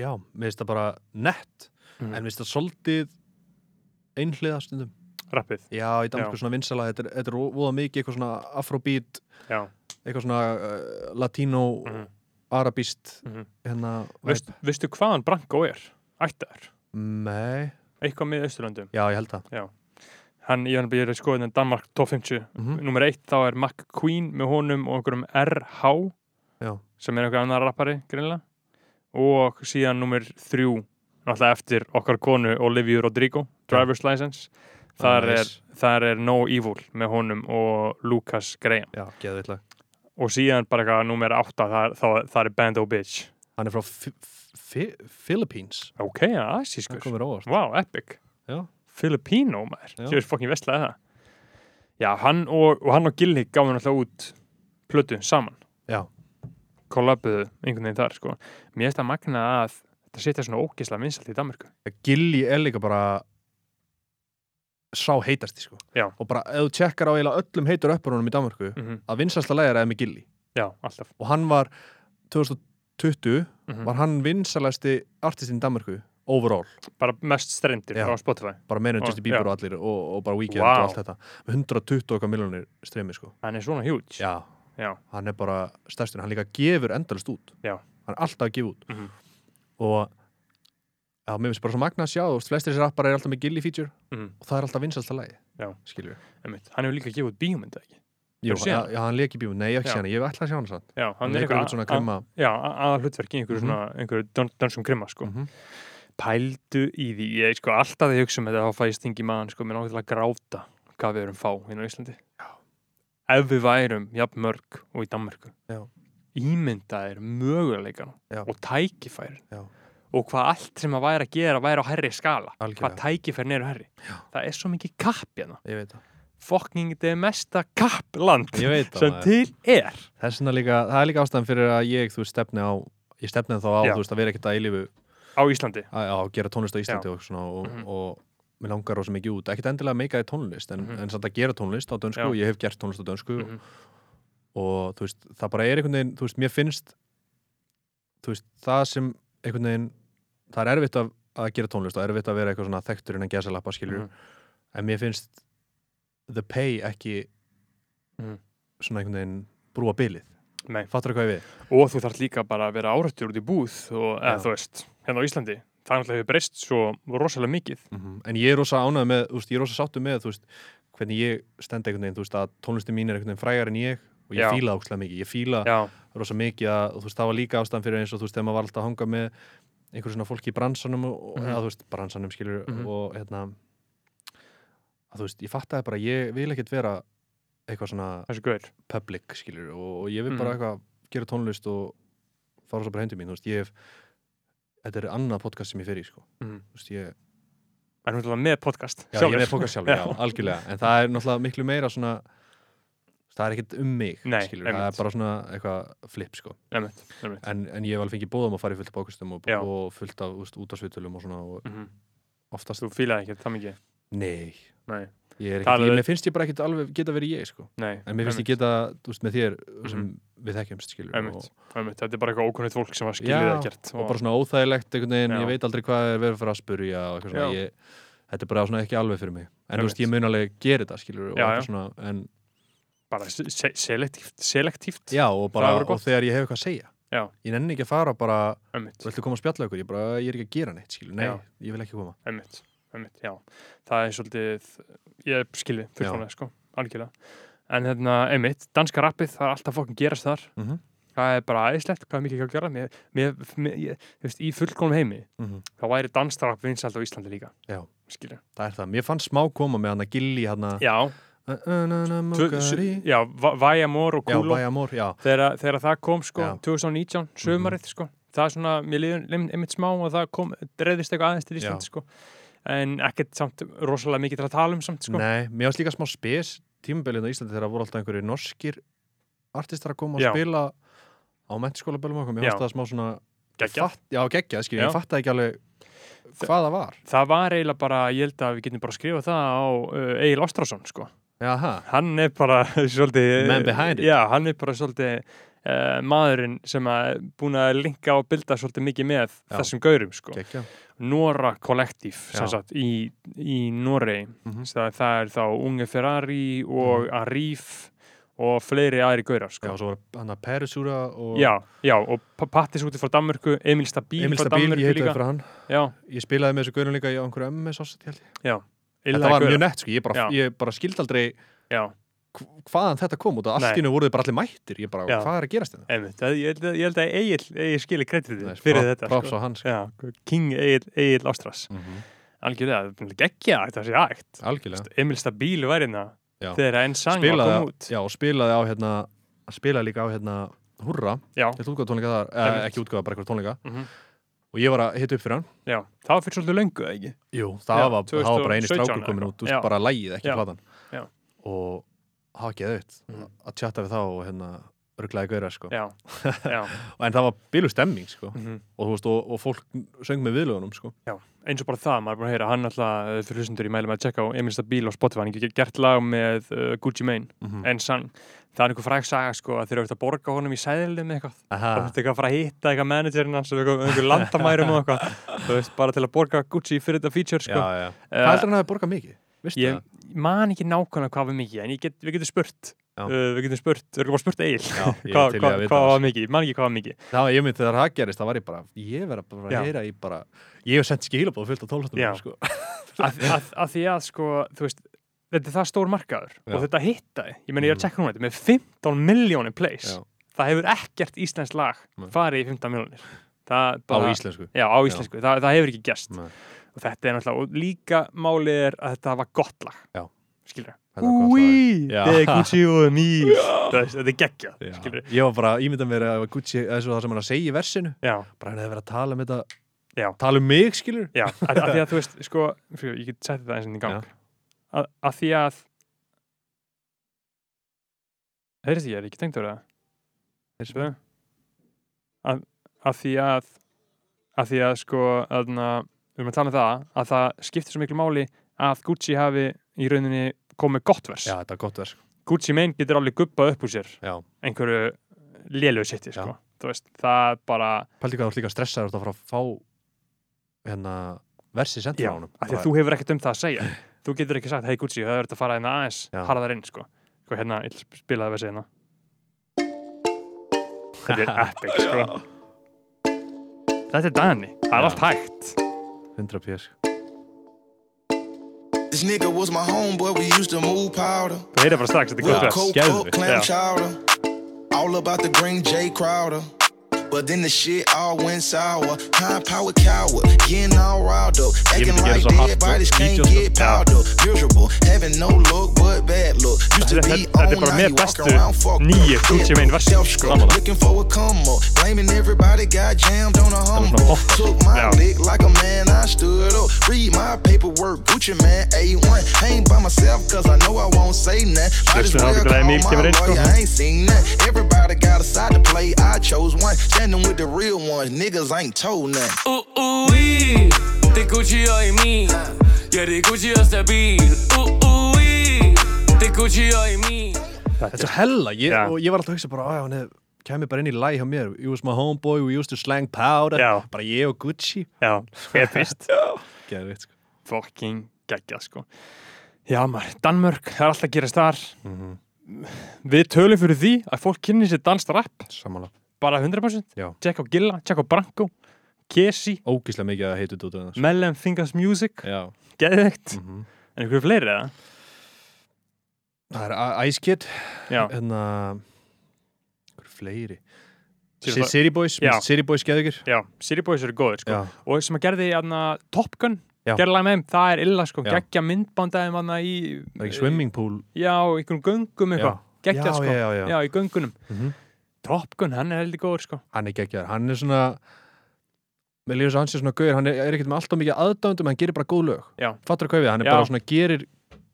Speaker 2: já, mér finnst það bara nett
Speaker 1: Mhm.
Speaker 2: en mér finnst það svolítið einhliða stundum
Speaker 1: rappið
Speaker 2: já, í dansku svona vinsala, þetta er, þetta er óða mikið eitthvað svona afrobeat,
Speaker 1: Já,
Speaker 2: eitthvað svona uh, latino,
Speaker 1: Mhm.
Speaker 2: arabist
Speaker 1: Mhm.
Speaker 2: hérna,
Speaker 1: Veist, veistu hvaðan Branko er? Ættaður,
Speaker 2: nei,
Speaker 1: eitthvað með Östurlöndum
Speaker 2: já, ég held það
Speaker 1: Hann, ég hann býr að skoða þennan Danmark top 50
Speaker 2: Mhm.
Speaker 1: Númer eitt þá er McQueen með honum og einhverjum RH
Speaker 2: já,
Speaker 1: sem er einhver annar rappari greinlega og síðan nummer þrjú náttúrulega eftir okkar konu Olivia Rodrigo, Driver's License þar,
Speaker 2: Ah,
Speaker 1: er,
Speaker 2: nice.
Speaker 1: þar er No Evil með honum og Lucas Graham
Speaker 2: já, geðveitlega
Speaker 1: og síðan bara eitthvað nummer átta þar, þar, þar er Bando Bitch
Speaker 2: hann er frá Fi- Fi- Philippines
Speaker 1: ok, það er
Speaker 2: það
Speaker 1: asískur
Speaker 2: komur óvart
Speaker 1: wow, epic
Speaker 2: Já.
Speaker 1: Filipino maður,
Speaker 2: Já.
Speaker 1: þú veist fokkin vestlaði það já, hann og, og hann og Gilli gáði náttúrulega út plötu saman
Speaker 2: Já.
Speaker 1: kollabuðu einhvern veginn þar sko mér finnst það magna að þetta setja svona ógislega vinsalt í Danmarku
Speaker 2: Gilli er líka bara sá heitasti sko
Speaker 1: Já.
Speaker 2: og bara ef þú tjekkar á eiginlega öllum heitur uppurunum í Danmarku
Speaker 1: mm
Speaker 2: að vinsælsta lægir eða með Gilli
Speaker 1: já, alltaf
Speaker 2: og hann var 2020
Speaker 1: mm
Speaker 2: var hann vinsælasti artistinn í Danmarku overall,
Speaker 1: bara mest strendir
Speaker 2: Já.
Speaker 1: frá Spotify
Speaker 2: bara meira en
Speaker 1: Ó,
Speaker 2: Justin Bieber
Speaker 1: já.
Speaker 2: og allir og, og bara Weekend
Speaker 1: Vá.
Speaker 2: og allt þetta með 120 okkar miljonir streymi sko
Speaker 1: hann er svona huge
Speaker 2: já.
Speaker 1: Já.
Speaker 2: hann er bara stærstur, hann líka gefur endalist út
Speaker 1: Já.
Speaker 2: hann er alltaf að gefa út
Speaker 1: Mhm.
Speaker 2: og já, mér finnst bara svo magna að sjá þú veist, flestir þessir rappar er alltaf með Gilli feature
Speaker 1: Mhm,
Speaker 2: og það er alltaf vinsælsta lægi
Speaker 1: Já.
Speaker 2: skilur
Speaker 1: einmitt. hann hefur líka gefið út bíómynda ekki
Speaker 2: Jú,
Speaker 1: Hefurðu séð
Speaker 2: já,
Speaker 1: hana?
Speaker 2: já, hann leik í bíó, nei, ég hef ekki
Speaker 1: Já.
Speaker 2: séð hann, ég hef ætlað að sjá hann sann
Speaker 1: já, hann,
Speaker 2: Hann
Speaker 1: er
Speaker 2: leikur
Speaker 1: eitthvað
Speaker 2: eitthvað
Speaker 1: að-
Speaker 2: svona grimma
Speaker 1: að- já, a- aða hlutverk í einhverju
Speaker 2: Mhm.
Speaker 1: svona einhverju dön- dönskum grimma sko
Speaker 2: Mhm.
Speaker 1: pældu í því, ég sko alltaf þegar ég hugsa um þetta þá fæ ég stingi maðan sko, mér náttúrulega gráta hvað við erum fá hérna á Íslandi
Speaker 2: Já.
Speaker 1: ef við værum jafn mörg og í Danmörku
Speaker 2: Já.
Speaker 1: ímyndaðir möguleikan
Speaker 2: Já.
Speaker 1: og tækifærin
Speaker 2: Já.
Speaker 1: og hvað allt sem að væri að gera væri á herri skala
Speaker 2: Algjörlega.
Speaker 1: hvað tækifærin eru herri Já. það er svo mikið kapp hérna
Speaker 2: Ég veit það
Speaker 1: fucking þetta er mesta kappland
Speaker 2: Ég veit það,
Speaker 1: sem
Speaker 2: maður.
Speaker 1: til er
Speaker 2: Þess vegna líka, það er líka ástæðan fyrir að ég, þú veist, stefni á Ég stefni þá á,
Speaker 1: Já.
Speaker 2: þú veist, að vera ekkert að eilífu
Speaker 1: á Íslandi
Speaker 2: að, að gera tónlist á Íslandi
Speaker 1: Já.
Speaker 2: og svona og,
Speaker 1: Mhm.
Speaker 2: og mér langar rosa mikið út Ekkert endilega að meika í tónlist, en,
Speaker 1: Mhm.
Speaker 2: en samt að gera tónlist á dönsku
Speaker 1: Já.
Speaker 2: og ég hef gert tónlist á dönsku
Speaker 1: mm
Speaker 2: og, og þú veist, það bara er einhvern veginn þú veist, mér finnst þú veist, það sem einhvern veginn það er erfitt að, að gera tónlist og erfitt að vera eitthvað svona þekktur innan gæsalappa skilur
Speaker 1: Mhm.
Speaker 2: en mér finnst the pay ekki
Speaker 1: Mhm.
Speaker 2: svona einhvern veginn brúa bilið
Speaker 1: Nei.
Speaker 2: fattur hvað ég við?
Speaker 1: og þú þarf líka bara að vera árættur út í búð og eða,
Speaker 2: Já.
Speaker 1: þú veist, hérna á Íslandi það náttúrulega hefur breyst svo rosalega mikið
Speaker 2: Mhm. en ég er rosa ánægð með, þú veist, ég er rosa sáttu með þú veist, hvernig ég stend einhvern veginn þú veist, að tónlistin mín er einhvern veginn frægar en ég og ég
Speaker 1: Já.
Speaker 2: fíla ákslega mikið, ég fíla
Speaker 1: já,
Speaker 2: rosa mikið að, og þú veist, það var líka ástæðan fyrir eins og þú veist, þegar maður var alltaf að hanga með einhverjum svona fólki í bransanum og, mm
Speaker 1: Mhm.
Speaker 2: eða, þú veist, bransanum skilur
Speaker 1: Mhm.
Speaker 2: og hérna að þú veist, ég fattaði bara, ég vil ekkert vera eitthvað svona
Speaker 1: þessu gaur
Speaker 2: public skilur og, og ég vil bara
Speaker 1: Mhm.
Speaker 2: eitthvað gera tónlist og fara svo bara heim til mín, þú veist, ég hef þetta er annað podcast sem ég fer í, sko
Speaker 1: Mhm.
Speaker 2: þú veist, ég,
Speaker 1: en hún er alltaf með podcast
Speaker 2: já,
Speaker 1: sjálfur.
Speaker 2: ég er með podcast sjálfur, já,
Speaker 1: Já.
Speaker 2: algjörlega en það er náttúrulega miklu meira svona það er ekkert um mig,
Speaker 1: Nei,
Speaker 2: skilur það
Speaker 1: einmitt.
Speaker 2: er bara svona eitthvað flip, sko
Speaker 1: Einmitt, einmitt.
Speaker 2: en, en ég hef alveg fengið bóðum að fara í fullt af bókustum og,
Speaker 1: Já.
Speaker 2: og fullt af úst, útarsvitulum og svona og
Speaker 1: Mhm.
Speaker 2: oftast
Speaker 1: þú fílaði ekki það mikið
Speaker 2: nei,
Speaker 1: nei,
Speaker 2: ég er
Speaker 1: Það
Speaker 2: ekki,
Speaker 1: er-
Speaker 2: ég, mér finnst ég bara ekkit alveg geta verið ég sko,
Speaker 1: nei,
Speaker 2: en mér finnst
Speaker 1: einmitt,
Speaker 2: ég
Speaker 1: Mhm.
Speaker 2: geta þú veist, með þér sem við þekkjumst skilur
Speaker 1: Einmitt.
Speaker 2: og,
Speaker 1: einmitt. þetta er bara eitthvað ókunnigt fólk sem var
Speaker 2: Já,
Speaker 1: skilið ekkert
Speaker 2: og bara svona óþægilegt einhvern veginn,
Speaker 1: Já.
Speaker 2: ég veit aldrei hvað er verið að fara að spurja og eitthvað svona,
Speaker 1: Já.
Speaker 2: ég, þetta er bara svona ekki alveg fyrir mig en þú
Speaker 1: Einmitt.
Speaker 2: veist, ég mun alveg gera þetta skilur
Speaker 1: Já,
Speaker 2: og eitthvað
Speaker 1: já.
Speaker 2: svona, en,
Speaker 1: bara se- se- selektíft selektíft
Speaker 2: já, og bara,
Speaker 1: verður
Speaker 2: og
Speaker 1: gott.
Speaker 2: þegar ég hef eitthvað að segja
Speaker 1: Já.
Speaker 2: ég nenni ekki að fara bara,
Speaker 1: einmitt.
Speaker 2: viltu koma að spjalla ykkur ég, bara, ég er ekki að gera neitt, skilur, nei,
Speaker 1: Já.
Speaker 2: ég vil ekki koma
Speaker 1: einmitt, einmitt, já það er svolítið, ég skilði fullkomlega sko, algjörlega en hérna, einmitt, danska rappið, það er alltaf fokkin gerast þar
Speaker 2: Mhm.
Speaker 1: það er bara aðeinslegt hvað er mikið ekki að gera mér, mér, mér, ég, þú veist, í fullkonum heimi
Speaker 2: Mhm.
Speaker 1: þá væri dansdrapp vinsælt á Íslandi líka
Speaker 2: Já.
Speaker 1: skilja
Speaker 2: Það er það, mér fannst smá koma með hann að gilli hann að
Speaker 1: já, tvö-
Speaker 2: Mókari
Speaker 1: sjö- já, Va- Vajamor og
Speaker 2: Já,
Speaker 1: Kúló
Speaker 2: Bæjamór, já
Speaker 1: þegar, þegar það kom sko
Speaker 2: Já. Mhm.
Speaker 1: 2019, sömarið sko það er svona, mér liður einmitt smá og það kom, dreðist eitthvað aðeins til Ísland
Speaker 2: Já.
Speaker 1: sko en ekkert samt rosalega mikið til að tala um samt sko
Speaker 2: Nei, mér varst líka smá spes tímabilið á Íslandi þegar voru alltaf einhverju norskir artistar að koma að
Speaker 1: Já.
Speaker 2: spila á mentiskóla bölum okkur, mér
Speaker 1: Já.
Speaker 2: varst það smá svona
Speaker 1: Geggjað.
Speaker 2: fatt, Já, geggja, skil,
Speaker 1: Já.
Speaker 2: ég fattaði ekki alveg hvað það var
Speaker 1: það var eiginlega bara, ég held að við getum bara að skrifa það á uh, Egil Ostrásson sko
Speaker 2: Jaha,
Speaker 1: hann er bara svolítið
Speaker 2: Man behind it.
Speaker 1: já, hann er bara svolítið uh, maðurinn sem að búin að linka og bilda svolítið mikið með
Speaker 2: Já.
Speaker 1: þessum gaurum sko
Speaker 2: geggja
Speaker 1: Nora Collective sem
Speaker 2: Já.
Speaker 1: sagt, í, í Noregi
Speaker 2: Mhm.
Speaker 1: það, það er þá Unge Ferrari og Arif og fleiri aðri gaurar
Speaker 2: Já,
Speaker 1: sko.
Speaker 2: svo var hann að Perisúra og
Speaker 1: já, já, og Pa- Pattis úti frá Danmörku Emil Stabil
Speaker 2: Emil
Speaker 1: frá
Speaker 2: Stabil,
Speaker 1: Danmörku
Speaker 2: ég heitaði
Speaker 1: líka
Speaker 2: frá hann
Speaker 1: já,
Speaker 2: Ég spilaði með þessu gaurum líka í einhverju MS ásatt, held ég
Speaker 1: illaði
Speaker 2: Þetta var
Speaker 1: gaurar.
Speaker 2: mjög nett, sko, ég bara,
Speaker 1: Já.
Speaker 2: ég bara skildi aldrei
Speaker 1: já,
Speaker 2: hv- hvaðan þetta kom út og allt
Speaker 1: Nei.
Speaker 2: í nú voru þið bara allir mættir ég bara,
Speaker 1: Já.
Speaker 2: hvað er að gerast hérna?" þetta?
Speaker 1: einmitt, Það- ég held að, ég held að Egil, Egil skili kreditið
Speaker 2: Nei,
Speaker 1: fyrir
Speaker 2: prop-
Speaker 1: þetta
Speaker 2: props
Speaker 1: sko.
Speaker 2: á hann, sko.
Speaker 1: já, King Egil, Egil Ástras
Speaker 2: mm -hmm.
Speaker 1: algjörlega, það er geggja þetta sé hægt
Speaker 2: algjörlega
Speaker 1: Emil Stabil var hérna
Speaker 2: Já.
Speaker 1: þegar enn sang var að koma
Speaker 2: spilaði,
Speaker 1: út
Speaker 2: já, og spilaði á hérna, spilaði líka á hérna Hurra,
Speaker 1: já,
Speaker 2: þetta útgáða tónleika þar eh,
Speaker 1: Einmitt.
Speaker 2: ekki útgáða, bara eitthvað tónleika
Speaker 1: Mhm.
Speaker 2: og ég var að hitta upp fyrir hann
Speaker 1: já, það var fyrir svolítið löngu eða ekki
Speaker 2: Jú, það,
Speaker 1: Já,
Speaker 2: var, það var bara eini
Speaker 1: 2017
Speaker 2: strákur komin
Speaker 1: eða
Speaker 2: út, þú
Speaker 1: eitthvað.
Speaker 2: veist, bara lægið, ekki
Speaker 1: Já.
Speaker 2: platan
Speaker 1: Já.
Speaker 2: og það var geðvitt
Speaker 1: Mhm.
Speaker 2: að tjatta við þá og hérna rugglaði gauðra, sko
Speaker 1: já, já
Speaker 2: en það var bílu stemming, sko
Speaker 1: mhm.
Speaker 2: og, þú veist, og, og fólk söng með viðlögunum, sko
Speaker 1: eins og bara það, maður er búin að heyra hann alltaf eh, fyrir hlustendur í mælum að checka á Emil Stabil á Spotify, hann getur gert lag með uh, Gucci Mane,
Speaker 2: Mhm.
Speaker 1: en sang það er einhver fræg saga sko að þeir eru að borga honum í sæðilum eitthvað,
Speaker 2: Aha,
Speaker 1: það er eitthvað að fara að hitta eitthvað managerinn hans, eða eitthvað, eitthvað landamærum og eitthvað, þú veist, bara til að borga Gucci fyrir þetta feature
Speaker 2: já,
Speaker 1: sko
Speaker 2: já Hvað
Speaker 1: Eh,
Speaker 2: heldur hann hafi borgað mikið? Vistu
Speaker 1: ég
Speaker 2: það?
Speaker 1: man ekki nákvæmlega hvað var mikið en ég get, við getum spurt
Speaker 2: Já.
Speaker 1: uh, við getum spurt, við getum bara spurt Egil
Speaker 2: Já, ég er
Speaker 1: hvað
Speaker 2: til í
Speaker 1: hva,
Speaker 2: að vita
Speaker 1: hva
Speaker 2: það, sko.
Speaker 1: var mikið, ég man ekki hvað var mikið
Speaker 2: Það var, ég myndi þegar það gerist, það var ég bara, ég verða bara
Speaker 1: Já.
Speaker 2: að heyra í bara, ég hef sendt skilabóð fullt á tólhastum,
Speaker 1: Já.
Speaker 2: sko.
Speaker 1: að, að, að því að sko, þú veist þetta er það stór markaður
Speaker 2: Já.
Speaker 1: og þetta hittaði ég meina ég er
Speaker 2: Mhm.
Speaker 1: að checka hún þetta með 15 miljónir plays
Speaker 2: Já.
Speaker 1: það hefur ekkert íslensk lag
Speaker 2: Nei.
Speaker 1: farið í 15 miljónir það
Speaker 2: Á
Speaker 1: bara
Speaker 2: íslensku.
Speaker 1: Já, á íslensku, það, það hefur ekki gerst
Speaker 2: Nei.
Speaker 1: og þetta er náttúrulega, og líka málið er að þetta var gott lag
Speaker 2: Já.
Speaker 1: skilur
Speaker 2: Þetta var gott lag.
Speaker 1: Úi,
Speaker 2: Já.
Speaker 1: det er Gucci og mý Það veist, þetta er geggjað,
Speaker 2: Já.
Speaker 1: skilur
Speaker 2: Ég var bara, ég myndi að vera að Gucci, þessu það sem hann er að segja í versinu,
Speaker 1: Já,
Speaker 2: bara hann hefði verið að tala um þetta,
Speaker 1: Já.
Speaker 2: tala um mig, skilur.
Speaker 1: já, að, að því að þú veist, sko fyrir, ég get sett þetta eins og í gang að, að því að heyrðist ég, er ekki tengt að vera
Speaker 2: Heyrðu?
Speaker 1: að, að því að að því að sko að, við erum að tala um það að það skiptir svo miklu máli að Gucci hafi í rauninni komið gott vers
Speaker 2: Já, þetta er gott verð, sko.
Speaker 1: Gucci mein getur alveg guppað upp úr sér
Speaker 2: Já.
Speaker 1: einhverju lélögu sitti
Speaker 2: Já.
Speaker 1: sko. þú veist, það er bara
Speaker 2: Pældi hvað þú ert líka stressaður út að fara að fá, hérna, versi sendt
Speaker 1: Já,
Speaker 2: frá honum.
Speaker 1: af því að þú hefur ekkert um það að segja þú getur ekki sagt, hei Gucci, það er þetta að fara hérna aðeins
Speaker 2: Já.
Speaker 1: harðar inn, sko, sko hérna, ég ætla að spila það við hérna þetta er epic, sko þetta er Dani það er
Speaker 2: Já.
Speaker 1: allt hægt
Speaker 2: 100 PS,
Speaker 3: This nigga was my homeboy, we used to move powder.
Speaker 1: þú heyrir bara strax, þetta er gott vers
Speaker 3: coke,
Speaker 2: Scared of
Speaker 3: coke,
Speaker 2: it.
Speaker 3: clam
Speaker 1: Yeah.
Speaker 3: chowder. All about the green J Crowder. But then the shit all went sour. High power coward, getting all riled up.
Speaker 2: Give it to
Speaker 3: Acting like
Speaker 2: Gator Hot
Speaker 3: dead
Speaker 2: Dog.
Speaker 3: bodies can't
Speaker 2: Eat
Speaker 3: get piled up. Miserable, having no look but bad look. Used to
Speaker 1: Þetta- þetta-
Speaker 3: be
Speaker 1: þetta er
Speaker 3: on,
Speaker 1: bara
Speaker 3: now
Speaker 1: með
Speaker 3: you walk
Speaker 1: bestu
Speaker 3: around fucked up.
Speaker 1: nýju Gucci Mane versin.
Speaker 3: Self scrub,
Speaker 2: Sammála.
Speaker 3: looking for a come up. Blaming everybody, got jammed on a humble.
Speaker 2: poppar.
Speaker 3: Took my
Speaker 1: Já.
Speaker 3: lick dick like a man, I stood up. Read my paperwork, Gucci man, A1. Ain't by myself, cause I know I won't say nothing. I just
Speaker 1: Listen, I'll
Speaker 3: well
Speaker 1: be glad Neil came
Speaker 3: call my
Speaker 1: in, sko.
Speaker 3: lawyer, I ain't seen nothing. Everybody got a side to play, I chose one. Standing with the real ones, niggas ain't told nothing.
Speaker 4: Uh, uh, uy, det er Gucci og Emil Ja, det er Gucci og Stabil Uh, uh, uy, det er Gucci og Emil
Speaker 2: Þetta er hella, ég,
Speaker 1: Já.
Speaker 2: og ég var alltaf að hugsa bara, að hann hef, kemur bara inn í læg hjá mér, he was my homeboy, we used to slang powder,
Speaker 1: Já.
Speaker 2: bara ég og Gucci,
Speaker 1: já, epist
Speaker 2: geðvitt, sko.
Speaker 1: fucking geggja, sko já, maður, Danmörk, það er alltaf að gerast þar við tölum fyrir því að fólk kynni sér danstrapp
Speaker 2: Samanlega.
Speaker 1: bara 100%
Speaker 2: Já.
Speaker 1: check á Gilla, check á Branko Kesi,
Speaker 2: Ógíslega mikið að heitu út af þessu.
Speaker 1: Mellem Fingers Music
Speaker 2: Já.
Speaker 1: geðveikt,
Speaker 2: mhm.
Speaker 1: en einhverju fleiri eða?
Speaker 2: Það er Ice Kid
Speaker 1: Já,
Speaker 2: hérna hver fleiri
Speaker 1: Síðan það-
Speaker 2: City Boys,
Speaker 1: Já.
Speaker 2: mér finnst City Boys geðugir
Speaker 1: Já, City Boys eru góðir sko.
Speaker 2: Já,
Speaker 1: og sem að gerði aðna, Top Gun
Speaker 2: Já.
Speaker 1: gerði lag með þeim, það er illa sko,
Speaker 2: Já.
Speaker 1: geggja myndbandaðum aðna í eh,
Speaker 2: það er ekki swimming pool
Speaker 1: já, í einhverjum göngum eitthvað, geggja
Speaker 2: já,
Speaker 1: sko
Speaker 2: já, já, já.
Speaker 1: í göngunum
Speaker 2: Mhm.
Speaker 1: Top Gun, hann er heldur góður sko
Speaker 2: Hann er geggjar, hann er svona Mér líður svo hans er svona gauður, hann er, er ekkert með alltaf mikið aðdándum, hann gerir bara góð lög
Speaker 1: Já.
Speaker 2: Fattur að kaufið, hann er
Speaker 1: Já.
Speaker 2: bara svona gerir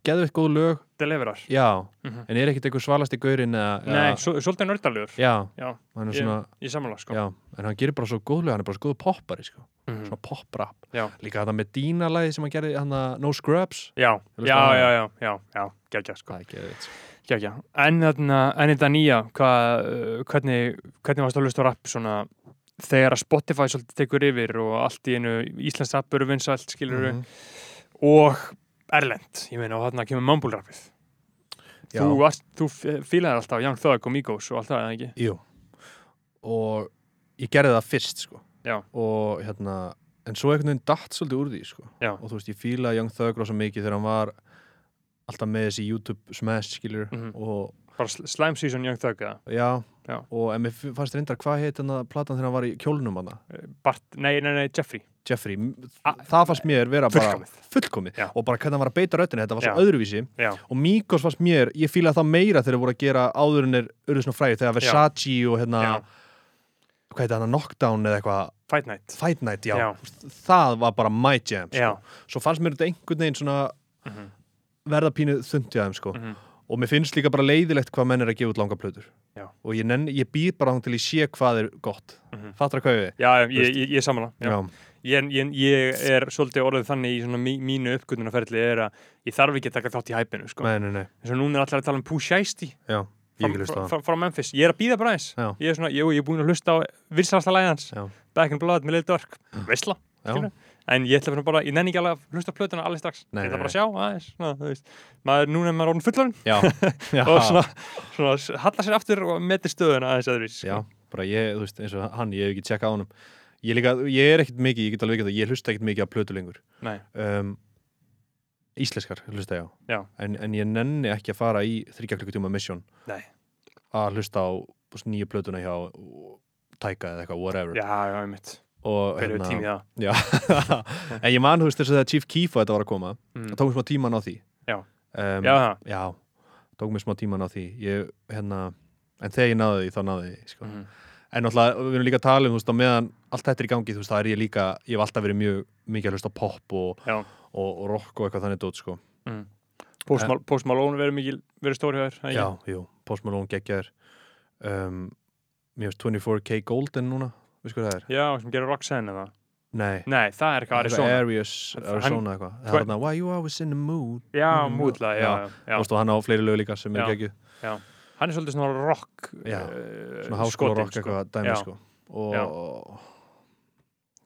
Speaker 2: geðveitt góð lög,
Speaker 1: deliverar,
Speaker 2: já
Speaker 1: Mhm.
Speaker 2: En er ekkert einhver svalasti gauðurinn eða,
Speaker 1: nei,
Speaker 2: eða-
Speaker 1: svo, svolítið nördalegur
Speaker 2: já,
Speaker 1: Já.
Speaker 2: hann er svona
Speaker 1: í samanlega sko
Speaker 2: Já, en hann gerir bara svo góð lög, hann er bara svo góð poppari sko.
Speaker 1: Mhm.
Speaker 2: svona pop-rap
Speaker 1: Já.
Speaker 2: Líka þetta með Dina-læði sem hann gerði, hann að No Scrubs
Speaker 1: já,
Speaker 2: Þú veist
Speaker 1: já,
Speaker 2: það?
Speaker 1: já, já, já, já geggja sko,
Speaker 2: Það er geðveitt sko.
Speaker 1: geggja en þarna, en þetta nýja hvað, uh, hvernig, hvernig varst að hlusta á rap svona þegar að Spotify svolítið tekur yfir og allt í einu Íslands app eru vinsælt skilur
Speaker 2: Mhm.
Speaker 1: og Erlend, ég meina og þarna kemur mambulrappið
Speaker 2: Já.
Speaker 1: þú, varst, þú f- fílaðir alltaf Young Thug og Migos og alltaf eða ekki
Speaker 2: Jú og ég gerði það fyrst sko.
Speaker 1: Já.
Speaker 2: og hérna en svo einhvern veginn datt svolítið úr því sko.
Speaker 1: Já.
Speaker 2: og þú veist, ég fílaði Young Thug rosa mikið þegar hann var alltaf með þessi YouTube smash skilur
Speaker 1: Mhm.
Speaker 2: og
Speaker 1: bara sl- Slime Season Young Thug eða
Speaker 2: já,
Speaker 1: Já.
Speaker 2: og en mér fannst reyndar hvað heit hann að platan þegar hann var í kjólnum hann
Speaker 1: Bart, nei, nei, nei, Jeffrey
Speaker 2: Jeffrey, m-
Speaker 1: A-
Speaker 2: það fannst mér vera bara
Speaker 1: Fullkomið.
Speaker 2: fullkomið
Speaker 1: Já.
Speaker 2: og bara hvernig hann var að beita röddina, þetta var svo
Speaker 1: Já.
Speaker 2: öðruvísi
Speaker 1: já,
Speaker 2: og Mikos fannst mér, ég fílaði það meira þegar þeir voru að gera áðurinnir urðu svona fræði þegar Versace og hérna
Speaker 1: já,
Speaker 2: hvað heit hann, Knockdown eða eitthvað
Speaker 1: Fight Night
Speaker 2: Fight Night, já,
Speaker 1: Já.
Speaker 2: það var bara my jam sko.
Speaker 1: já,
Speaker 2: svo fannst mér þetta einhvern veginn svona
Speaker 1: Mhm.
Speaker 2: verða pínu þundi aðeim sko.
Speaker 1: Mhm.
Speaker 2: og mér finnst líka bara leiðilegt hvað menn er að gefa út langa plötur
Speaker 1: Já.
Speaker 2: og ég, nenn, ég býð bara hann til ég sé hvað er gott
Speaker 1: Mhm.
Speaker 2: fattar hvað við
Speaker 1: já, ég, ég, ég samanlega já.
Speaker 2: Já.
Speaker 1: Ég, ég, ég er svolítið orðið þannig í svona mí, mínu uppgötunaferli er að ég þarf ekki að taka þátt í hæpinu sko.
Speaker 2: Nei, nei, nei.
Speaker 1: eins og núna er allir að tala um Pooh Shiesty
Speaker 2: Já. ég ekki hlusta á
Speaker 1: frá,
Speaker 2: það
Speaker 1: frá, frá Memphis, ég er að býða bara eins
Speaker 2: Já.
Speaker 1: ég er svona, jú, ég er búin að hlusta á vilsalasta lægi hans,
Speaker 2: Já.
Speaker 1: Back in Blood með Lil Durk veistla,
Speaker 2: Já.
Speaker 1: skilur en ég ætla bara, ég nenni ekki alveg að hlusta á plötuna alveg strax,
Speaker 2: Nei,
Speaker 1: ég ætla
Speaker 2: nei,
Speaker 1: bara að sjá aðeins, svona, þú veist, maður, núna er maður orðin fullorinn
Speaker 2: Já. Já.
Speaker 1: og svona, svona s- hallar sér aftur og metir stöðuna aðeins aðeins sko.
Speaker 2: Já, bara ég, þú veist, eins og hann, ég hef ekki tjekkað á honum ég, líka, ég er ekkert mikið, ég get alveg ekki það ég hlusta ekkert mikið á plötu lengur
Speaker 1: Nei.
Speaker 2: um, íslenskar hlusta ég á
Speaker 1: Já.
Speaker 2: En, en ég nenni ekki að fara í þryggja klukkutíma mission
Speaker 1: Nei.
Speaker 2: að hlusta á þú veist, nýju plötuna hjá tæka eða eitthvað, whatever
Speaker 1: já, já, ég mitt,
Speaker 2: og, hérna
Speaker 1: hverju er tími í það
Speaker 2: já. en ég man, þú veist, þess að Chief Keef og þetta var að koma,
Speaker 1: Mm.
Speaker 2: það tók mér smá tíman á því
Speaker 1: Já.
Speaker 2: um,
Speaker 1: já, það,
Speaker 2: já, tók mér smá tíman á því ég, hérna, en þegar ég náði því þá náði því, sko
Speaker 1: Mhm.
Speaker 2: En náttúrulega, við erum líka að tala um, þú veist, á meðan allt þetta er í gangi, þú veist, það er ég líka, ég hef alltaf verið mjög mikið að hlusta á pop og,
Speaker 1: Já.
Speaker 2: og, og rock og eitthvað þannig dót, sko.
Speaker 1: Post Mal- Post Malone verður mikil, verður stóri hjá þér það ekki?
Speaker 2: Já, jú, Post Malone geggjaður. Um, mér finnst 24K Golden núna, við sko hvað það er.
Speaker 1: já, sem gerir Roxanne eða
Speaker 2: Nei.
Speaker 1: nei, það er eitthvað Arizona
Speaker 2: Arius,
Speaker 1: Hann-
Speaker 2: Arizona eitthvað. Það er þarna, why you always in the mood.
Speaker 1: já, mútla, já,
Speaker 2: Mm, Já.
Speaker 1: já,
Speaker 2: Þú veist, og hann á fleiri lög líka sem
Speaker 1: Já.
Speaker 2: er geggjuð.
Speaker 1: hann er svolítið svona rock
Speaker 2: Já,
Speaker 1: eh,
Speaker 2: Svona háskóla rock
Speaker 1: skotinn, sko.
Speaker 2: eitthvað dæmi,
Speaker 1: Já.
Speaker 2: sko. Og,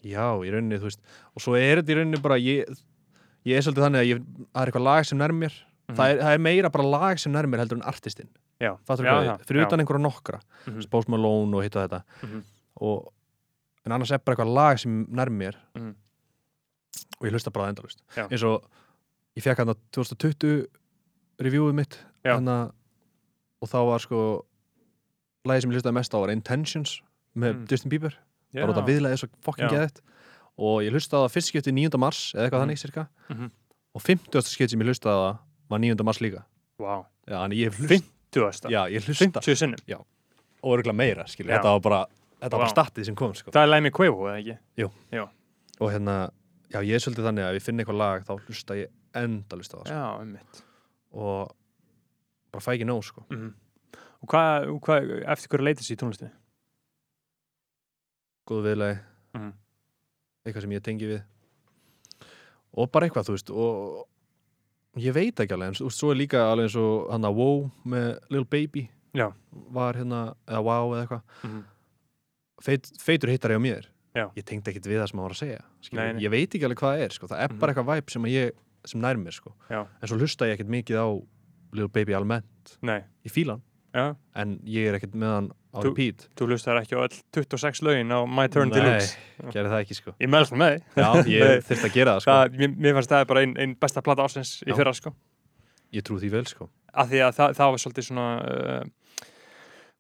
Speaker 2: já, í rauninni, þú veist, og svo er þetta í rauninni bara, ég, ég er svolítið þannig að ég, það er eitthvað lag sem nær mér
Speaker 1: Mhm.
Speaker 2: það, er, það er meira bara lag sem nærmir heldur en artistinn
Speaker 1: Já.
Speaker 2: Fattar
Speaker 1: Já,
Speaker 2: hvað
Speaker 1: já,
Speaker 2: við? Fyrir
Speaker 1: já.
Speaker 2: utan einhverja nokkra mm
Speaker 1: Mhm.
Speaker 2: -hmm. Spósm Malone og hitt og þetta
Speaker 1: Mhm.
Speaker 2: og, En annars er bara eitthvað lag sem nærmir
Speaker 1: Mhm.
Speaker 2: Og ég hlusta bara það endalust
Speaker 1: Já.
Speaker 2: Eins og ég fekk hann 2020 reviewið mitt
Speaker 1: Já.
Speaker 2: hana, Og þá var sko Lagið sem ég hlustaði mest á var Intentions Með
Speaker 1: Mm.
Speaker 2: Justin Bieber
Speaker 1: Já.
Speaker 2: bara út af viðlega svo fucking
Speaker 1: Já.
Speaker 2: geðett og ég hlustaði á það fyrst skipti 9. mars eða eitthvað þannig cirka
Speaker 1: Mhm.
Speaker 2: og 50. skipti sem ég hlustaði á það var 9. mars líka
Speaker 1: Vá.
Speaker 2: já, þannig ég hef hlust,
Speaker 1: 50.
Speaker 2: já, ég hlusta
Speaker 1: 50 sinnum
Speaker 2: og örgulega meira, skilur,
Speaker 1: Já.
Speaker 2: þetta var bara þetta var bara
Speaker 1: Vá.
Speaker 2: statið sem kom, sko
Speaker 1: það er Læmi Kvevo, eða ekki?
Speaker 2: og hérna, já, ég er svolítið þannig að ef ég finn eitthvað lag þá hlusta ég enda hlusta á það sko.
Speaker 1: já, einmitt
Speaker 2: og bara fæ ekki nóg, sko
Speaker 1: mm. og hvað, og hvað, eftir hverju leitast í tónlistu?
Speaker 2: góðu viðlagi
Speaker 1: Mhm.
Speaker 2: eitthvað sem ég tengi við og bara eitthvað, þú veist og ég veit ekki alveg en þú veist, svo er líka alveg eins og hann að Wow með Lil Baby
Speaker 1: Já.
Speaker 2: var hérna, eða Wow eða eitthvað
Speaker 1: Mhm.
Speaker 2: Feit, feitur hittari á mér
Speaker 1: Já.
Speaker 2: ég tengdi ekkit við það sem hann var að segja skilur.
Speaker 1: Nei, nei.
Speaker 2: ég veit ekki alveg hvað það er, sko það er
Speaker 1: Mhm.
Speaker 2: bara eitthvað væp sem, að ég, sem nær mér, sko
Speaker 1: Já.
Speaker 2: en svo hlusta ég ekkit mikið á Lil Baby almennt,
Speaker 1: nei,
Speaker 2: ég fíla hann
Speaker 1: já,
Speaker 2: en ég er ekkit með hann á
Speaker 1: Þú-
Speaker 2: repeat
Speaker 1: þú hlustar ekki á öll 26 lögin á My Turn Deluxe
Speaker 2: Nei, gerði það ekki, sko
Speaker 1: ég meðl það með því.
Speaker 2: Já,
Speaker 1: Nei.
Speaker 2: ég þurfti að gera það, sko.
Speaker 1: það, mér, mér fannst það bara einn ein besta plata ásins í
Speaker 2: Já.
Speaker 1: fyrra sko
Speaker 2: Ég trú því vel, sko.
Speaker 1: af því að það, það var svolítið svona uh, eh,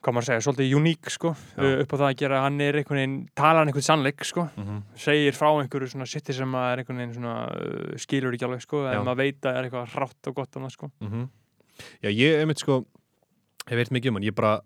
Speaker 1: hvað maður að segja, svolítið uník sko,
Speaker 2: Já.
Speaker 1: uh, upp á það að gera að hann er einhvern veginn, talar hann einhvern sannleik sko,
Speaker 2: mm -hmm.
Speaker 1: segir frá einhverju svona sitti sem maður er einhvern veginn svona uh, skilur ekki alveg sko,
Speaker 2: Já.
Speaker 1: en maður veit að það er eitthvað rátt og gott annað sko.
Speaker 2: Mhm. Já, ég einmitt sko hef veit mikið um hann, ég bara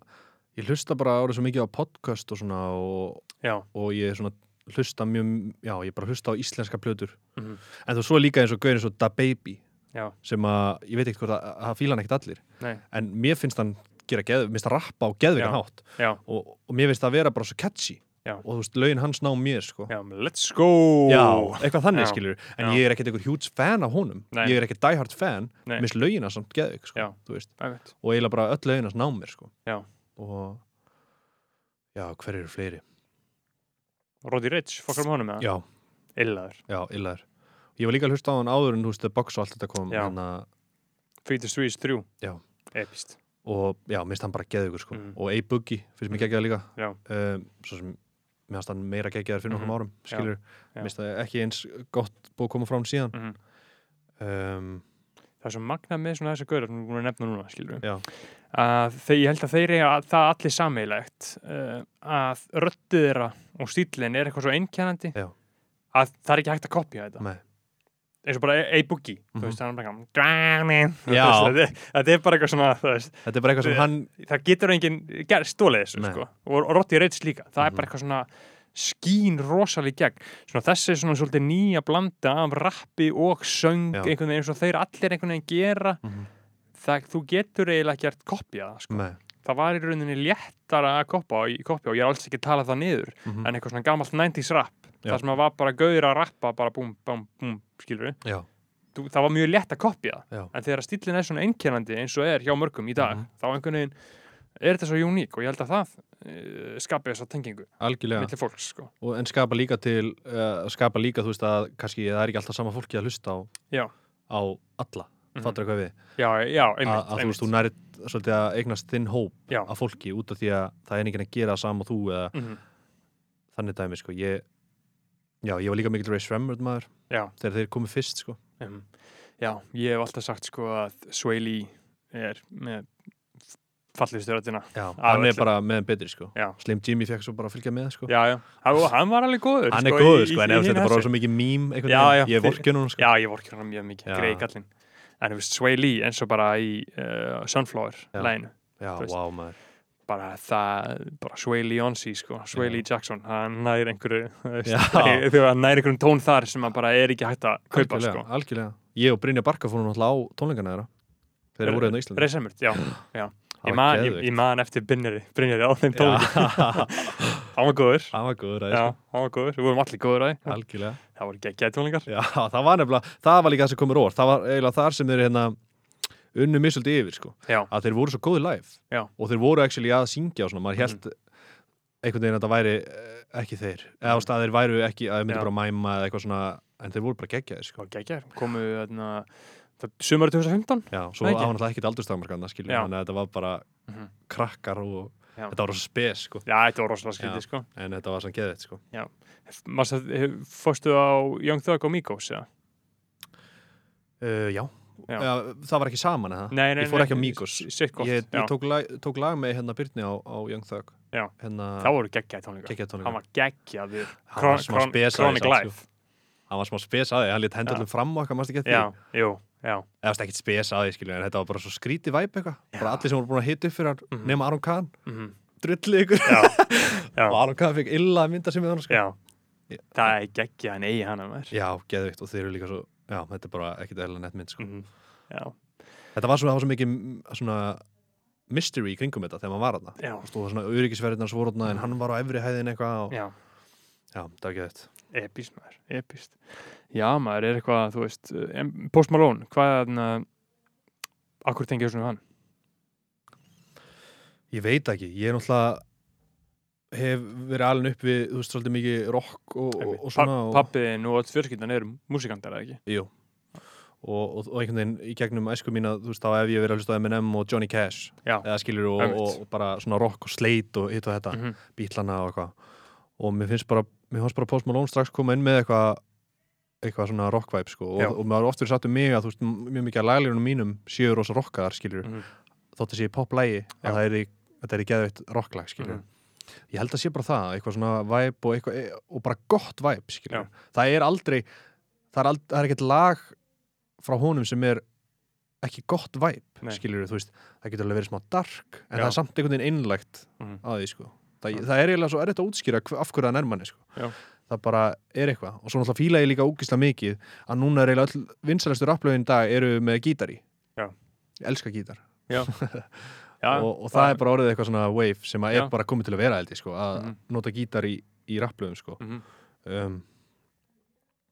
Speaker 2: ég hlusta bara árið svo mikið á podcast og svona og,
Speaker 1: Já,
Speaker 2: og ég svona hlusta mjög, já, ég bara hlusta á íslenska plötur
Speaker 1: Mhm.
Speaker 2: en þú svo er líka eins og gauðin eins og Da Baby
Speaker 1: Já.
Speaker 2: sem að, ég veit ekkert hvort að það fíla hann ekkert allir
Speaker 1: nei,
Speaker 2: en mér finnst hann gera geð, mér finnst hann rappa á geðveikan
Speaker 1: Já.
Speaker 2: hátt
Speaker 1: já,
Speaker 2: og, og mér finnst það vera bara svo catchy
Speaker 1: Já.
Speaker 2: og þú veist, lögin hans ná mér sko
Speaker 1: já, let's go!
Speaker 2: Já, eitthvað þannig
Speaker 1: Já.
Speaker 2: skilur En
Speaker 1: Já.
Speaker 2: ég er ekkert einhver huge fan af honum
Speaker 1: Nei.
Speaker 2: Ég er ekkert diehard fan
Speaker 1: Nei.
Speaker 2: Mér finnst lögina samt geðug
Speaker 1: Já.
Speaker 2: sko, þú veist.
Speaker 1: Æmitt.
Speaker 2: Og eiginlega bara öll lögina ná mér sko.
Speaker 1: Já.
Speaker 2: Og Já, hver eru fleiri?
Speaker 1: Roddy Rich, fokkar með honum með það?
Speaker 2: Já,
Speaker 1: Illaður.
Speaker 2: já, illaður Ég var líka að hlusta á hann áður en þú veist The Box og allt þetta kom hérna
Speaker 1: Já.
Speaker 2: hana,
Speaker 1: Feet is 3 is 3.
Speaker 2: Já.
Speaker 1: Epist.
Speaker 2: Og já, mér finnst hann bara geðugur sko.
Speaker 1: Mm.
Speaker 2: Og A-Boogie, finnst mér geggjaður líka
Speaker 1: Já.
Speaker 2: um, Svo sem mér finnst hann meira geggjaður fyrir nokkrum
Speaker 1: Mhm.
Speaker 2: árum Skilur,
Speaker 1: Já.
Speaker 2: mér finnst það ekki eins gott búið að koma frá hann síðan
Speaker 1: Mhm.
Speaker 2: um,
Speaker 1: það er svo magnað með svona þessa gauðar sem við erum búin að nefna núna, skilur
Speaker 2: Já.
Speaker 1: að þeir, ég held að þeir eiga að, það allir sameigilegt uh, að röddið þeirra og stílinn er eitthvað svo einkennandi
Speaker 2: Já.
Speaker 1: að það er ekki hægt að kopja þetta
Speaker 2: Nei.
Speaker 1: eins og bara A-Boogie
Speaker 2: Mhm.
Speaker 1: þú veist, hann er bara gaman
Speaker 2: Já.
Speaker 1: þetta er- þetta er bara eitthvað svona þú veist,
Speaker 2: Þetta er bara eitthvað sem
Speaker 1: Eh,
Speaker 2: hann
Speaker 1: það getur enginn ger- stólið þessu
Speaker 2: Nei.
Speaker 1: sko. og, og Rotti Reits líka, það er
Speaker 2: Mhm.
Speaker 1: bara eitthvað svona skín rosalega í gegn svona, þessi svona svolítið nýja blanda af rappi og söng
Speaker 2: Já.
Speaker 1: einhvern veginn eins og þeir allir einhvern veginn gera
Speaker 2: Mhm.
Speaker 1: það, þú getur eiginlega gert kopja sko.
Speaker 2: Nei,
Speaker 1: það var í rauninni léttara að kopja, kopja og ég er alls ekki að tala það niður
Speaker 2: Mhm.
Speaker 1: en eitthvað svona gamalt 90s rap
Speaker 2: Já.
Speaker 1: það sem að var bara gauður að rappa bara búm, búm, búm, skilur við
Speaker 2: Já.
Speaker 1: þú, það var mjög létt að kopja
Speaker 2: Já.
Speaker 1: en þegar stílinn er svona einkennandi eins og er hjá mörgum í dag
Speaker 2: Mhm.
Speaker 1: þá einhvern veginn er þetta svo uník og ég held að það uh, skapi þessa tengingu
Speaker 2: algjörlega
Speaker 1: milli fólks sko.
Speaker 2: og en skapa líka til uh, skapa líka, þú veist að kannski það er ekki alltaf sama fólki að hlusta á,
Speaker 1: Já.
Speaker 2: á alla,
Speaker 1: Mhm.
Speaker 2: fattur eitthvað við
Speaker 1: já, já,
Speaker 2: A,
Speaker 1: einmitt,
Speaker 2: að þú veist, þú
Speaker 1: einmitt.
Speaker 2: nærið svolítið að eignast þinn hóp
Speaker 1: Já.
Speaker 2: af fólki út af því að það er enginn að gera það sama og þú eða
Speaker 1: Mhm,
Speaker 2: þannig dæmi, sko ég, já, ég var líka mikill Ray Shremmerd maður
Speaker 1: Já.
Speaker 2: þegar þeir komið fyrst, sko
Speaker 1: mhm. já, ég hef alltaf sagt sko að Sveili er með fallið stjórnatina
Speaker 2: já,
Speaker 1: Ah,
Speaker 2: hann er
Speaker 1: ætli.
Speaker 2: bara meðan betri, sko
Speaker 1: Já.
Speaker 2: Slim Jimmy fekk svo bara að fylgja með, sko
Speaker 1: já, já, hann og hann var alveg góður
Speaker 2: hann er
Speaker 1: í-
Speaker 2: góður,
Speaker 1: í-
Speaker 2: sko, en
Speaker 1: í
Speaker 2: ef
Speaker 1: hinu
Speaker 2: þetta bara
Speaker 1: þessu.
Speaker 2: svo mikið mím, einhvern
Speaker 1: Já, já,
Speaker 2: veginn, ég
Speaker 1: þeir-
Speaker 2: vorkja núna, sko
Speaker 1: já, ég vorkir hann mjög mikið,
Speaker 2: Já.
Speaker 1: greið kallinn en þú veist, Sveili eins og bara í uh, Sunflower
Speaker 2: Já.
Speaker 1: læginu
Speaker 2: já,
Speaker 1: þú veist.
Speaker 2: wow, maður
Speaker 1: bara það, bara Sway Lee Onsi sko, Sway
Speaker 2: Já.
Speaker 1: Lee Jackson, hann nær einhverju þú veist,
Speaker 2: Já.
Speaker 1: þegar hann nær einhverjum tón þar sem hann bara er ekki hægt að kaupa sko.
Speaker 2: algjörlega, algjörlega. Ég og Brynja Barka fórum náttúrulega á tónleikana þeirra þeirra voru hérna í Íslandi
Speaker 1: Reisemurt, sko. já, já.
Speaker 2: Það
Speaker 1: Ég
Speaker 2: var
Speaker 1: man, ég,
Speaker 2: geðveikt.
Speaker 1: ég man eftir Brynjari, Brynjari á þeim tónleikum
Speaker 2: Já,
Speaker 1: hann var góður,
Speaker 2: það var góður
Speaker 1: já,
Speaker 2: aðeins
Speaker 1: hann var góður við vorum allir góður að því,
Speaker 2: algjörlega
Speaker 1: það voru geggjaði tónleikar
Speaker 2: Já, það var nefnilega, það var líka það sem komur orð það var eiginlega þar sem þeir hérna unnu misuldi yfir sko
Speaker 1: já,
Speaker 2: að þeir voru svo góði live
Speaker 1: Já.
Speaker 2: og þeir voru actually að syngja og svona maður held einhvern veginn að það væri eh, ekki þeir eða ást að þeir væru ekki að þeir myndi
Speaker 1: Já.
Speaker 2: bara mæma eða eitthvað svona en þeir voru bara geggjaðir sko
Speaker 1: það var geggjaði, komu þarna sumari 2015
Speaker 2: Já, svo
Speaker 1: Nei,
Speaker 2: á
Speaker 1: ekki.
Speaker 2: hann alltaf ekkit aldurstakmarkan það skilur
Speaker 1: Já.
Speaker 2: þannig að þetta var bara
Speaker 1: Mhm.
Speaker 2: krakkar og
Speaker 1: Já.
Speaker 2: þetta var rosa spes sko
Speaker 1: já, þetta var rosalega
Speaker 2: Já.
Speaker 1: skildið sko
Speaker 2: en þetta var svona geðið sko
Speaker 1: Massa, fórstu á Young Thug og Migos, eða?
Speaker 2: Uh, já.
Speaker 1: Já.
Speaker 2: Já, það var ekki saman eða?
Speaker 1: Nei, nei,
Speaker 2: ég fór
Speaker 1: nei,
Speaker 2: ekki á Migos.
Speaker 1: s- sitt gott,
Speaker 2: Ég,
Speaker 1: já.
Speaker 2: ég tók, lag, tók lag með hérna Byrni á, á Young Thug.
Speaker 1: Já.
Speaker 2: Hérna,
Speaker 1: það voru geggjaði tónleikar
Speaker 2: Kekkja tónleika.
Speaker 1: hann var geggjaði
Speaker 2: Hann var smá spes að
Speaker 1: Chronic
Speaker 2: því samt,
Speaker 1: Life
Speaker 2: Hann var smá spes að því, hann lét
Speaker 1: Já.
Speaker 2: henda allum fram og eitthvað, maður ekki eftir
Speaker 1: já,
Speaker 2: því.
Speaker 1: jú, já,
Speaker 2: Eða þú veist, ekkert spes að því, skilju, en þetta var bara svo skrítið væp eitthvað. Bara
Speaker 1: Já.
Speaker 2: allir sem voru búin að hita upp fyrir hann,
Speaker 1: Mhm.
Speaker 2: nema Aron Kahn,
Speaker 1: mhm,
Speaker 2: drullið ykkur.
Speaker 1: já,
Speaker 2: og
Speaker 1: já,
Speaker 2: Aron Kahn fekk illa að mynda sem við hann, sko.
Speaker 1: já. það er geggja en eigi hana maður
Speaker 2: Já, geðvikt, og þeir eru líka svo, já, þetta er bara ekkert eðla nett mynd, sko.
Speaker 1: Mhm, já,
Speaker 2: Þetta var svona, það var svo mikið, mm, svona, mystery í kringum þetta þegar maður var þarna.
Speaker 1: já,
Speaker 2: Og svona öryggisverðinar svo þarna, en hann var á efri hæðin eitthvað og,
Speaker 1: Mhm. já
Speaker 2: já, það var geðvikt.
Speaker 1: epist maður, epist já maður er eitthvað, þú veist em, Post Malone, hvað hérna, na, akkur tengið þessum hann
Speaker 2: Ég veit ekki, ég er náttúrulega hef verið alveg upp við, þú veist, svolítið mikið rock og, og, og svona og,
Speaker 1: pappiðin og alls fjörskildan eru músikantar eða ekki
Speaker 2: Jú. og, og, og einhvern veginn í gegnum æsku mína, þú veist, þá hef ég verið að hlusta á M&M og Johnny Cash,
Speaker 1: já,
Speaker 2: eða skilur og,
Speaker 1: Einmitt.
Speaker 2: og, og bara svona rock og sleit og hitt og þetta,
Speaker 1: Mhm.
Speaker 2: bítlana og eitthvað og mér finnst bara, mér fannst bara Post Malone strax koma inn með eitthvað eitthvað svona rockvæp sko
Speaker 1: Já.
Speaker 2: og, og maður oft verið satt um mig að þú veist, m- mjög mikið að laglirunum mínum séu rosa rockaðar skilur
Speaker 1: Mhm.
Speaker 2: þótt að sé í poplægi
Speaker 1: Já. Mm.
Speaker 2: að það er þetta er í geðveitt rocklag skilur ég held að sé bara það, eitthvað svona væp og, eitthvað, eh, og bara gott væp skilur það er aldrei það er, ald, það er ekkert lag frá honum sem er ekki gott væp
Speaker 1: Nei.
Speaker 2: skilur þú veist, það getur alveg verið smá dark en
Speaker 1: Já.
Speaker 2: það er samt einhvern veginn einlægt
Speaker 1: Mhm.
Speaker 2: að því sko það, það er eiginlega svo erfitt að útskýra hv- af hverju það nærmanni sko.
Speaker 1: Já.
Speaker 2: það bara er eitthvað og svo náttúrulega fíla ég líka ógislega mikið að núna er eiginlega all vinsælustu rapplögin í dag eru með gítar í
Speaker 1: Já.
Speaker 2: ég elska gítar
Speaker 1: Já,
Speaker 2: og, og það er bara orðið eitthvað svona wave sem að
Speaker 1: Já.
Speaker 2: er bara komið til að vera held ég sko að
Speaker 1: Mhm.
Speaker 2: nota gítar í, í rapplögum sko
Speaker 1: Mhm.
Speaker 2: um,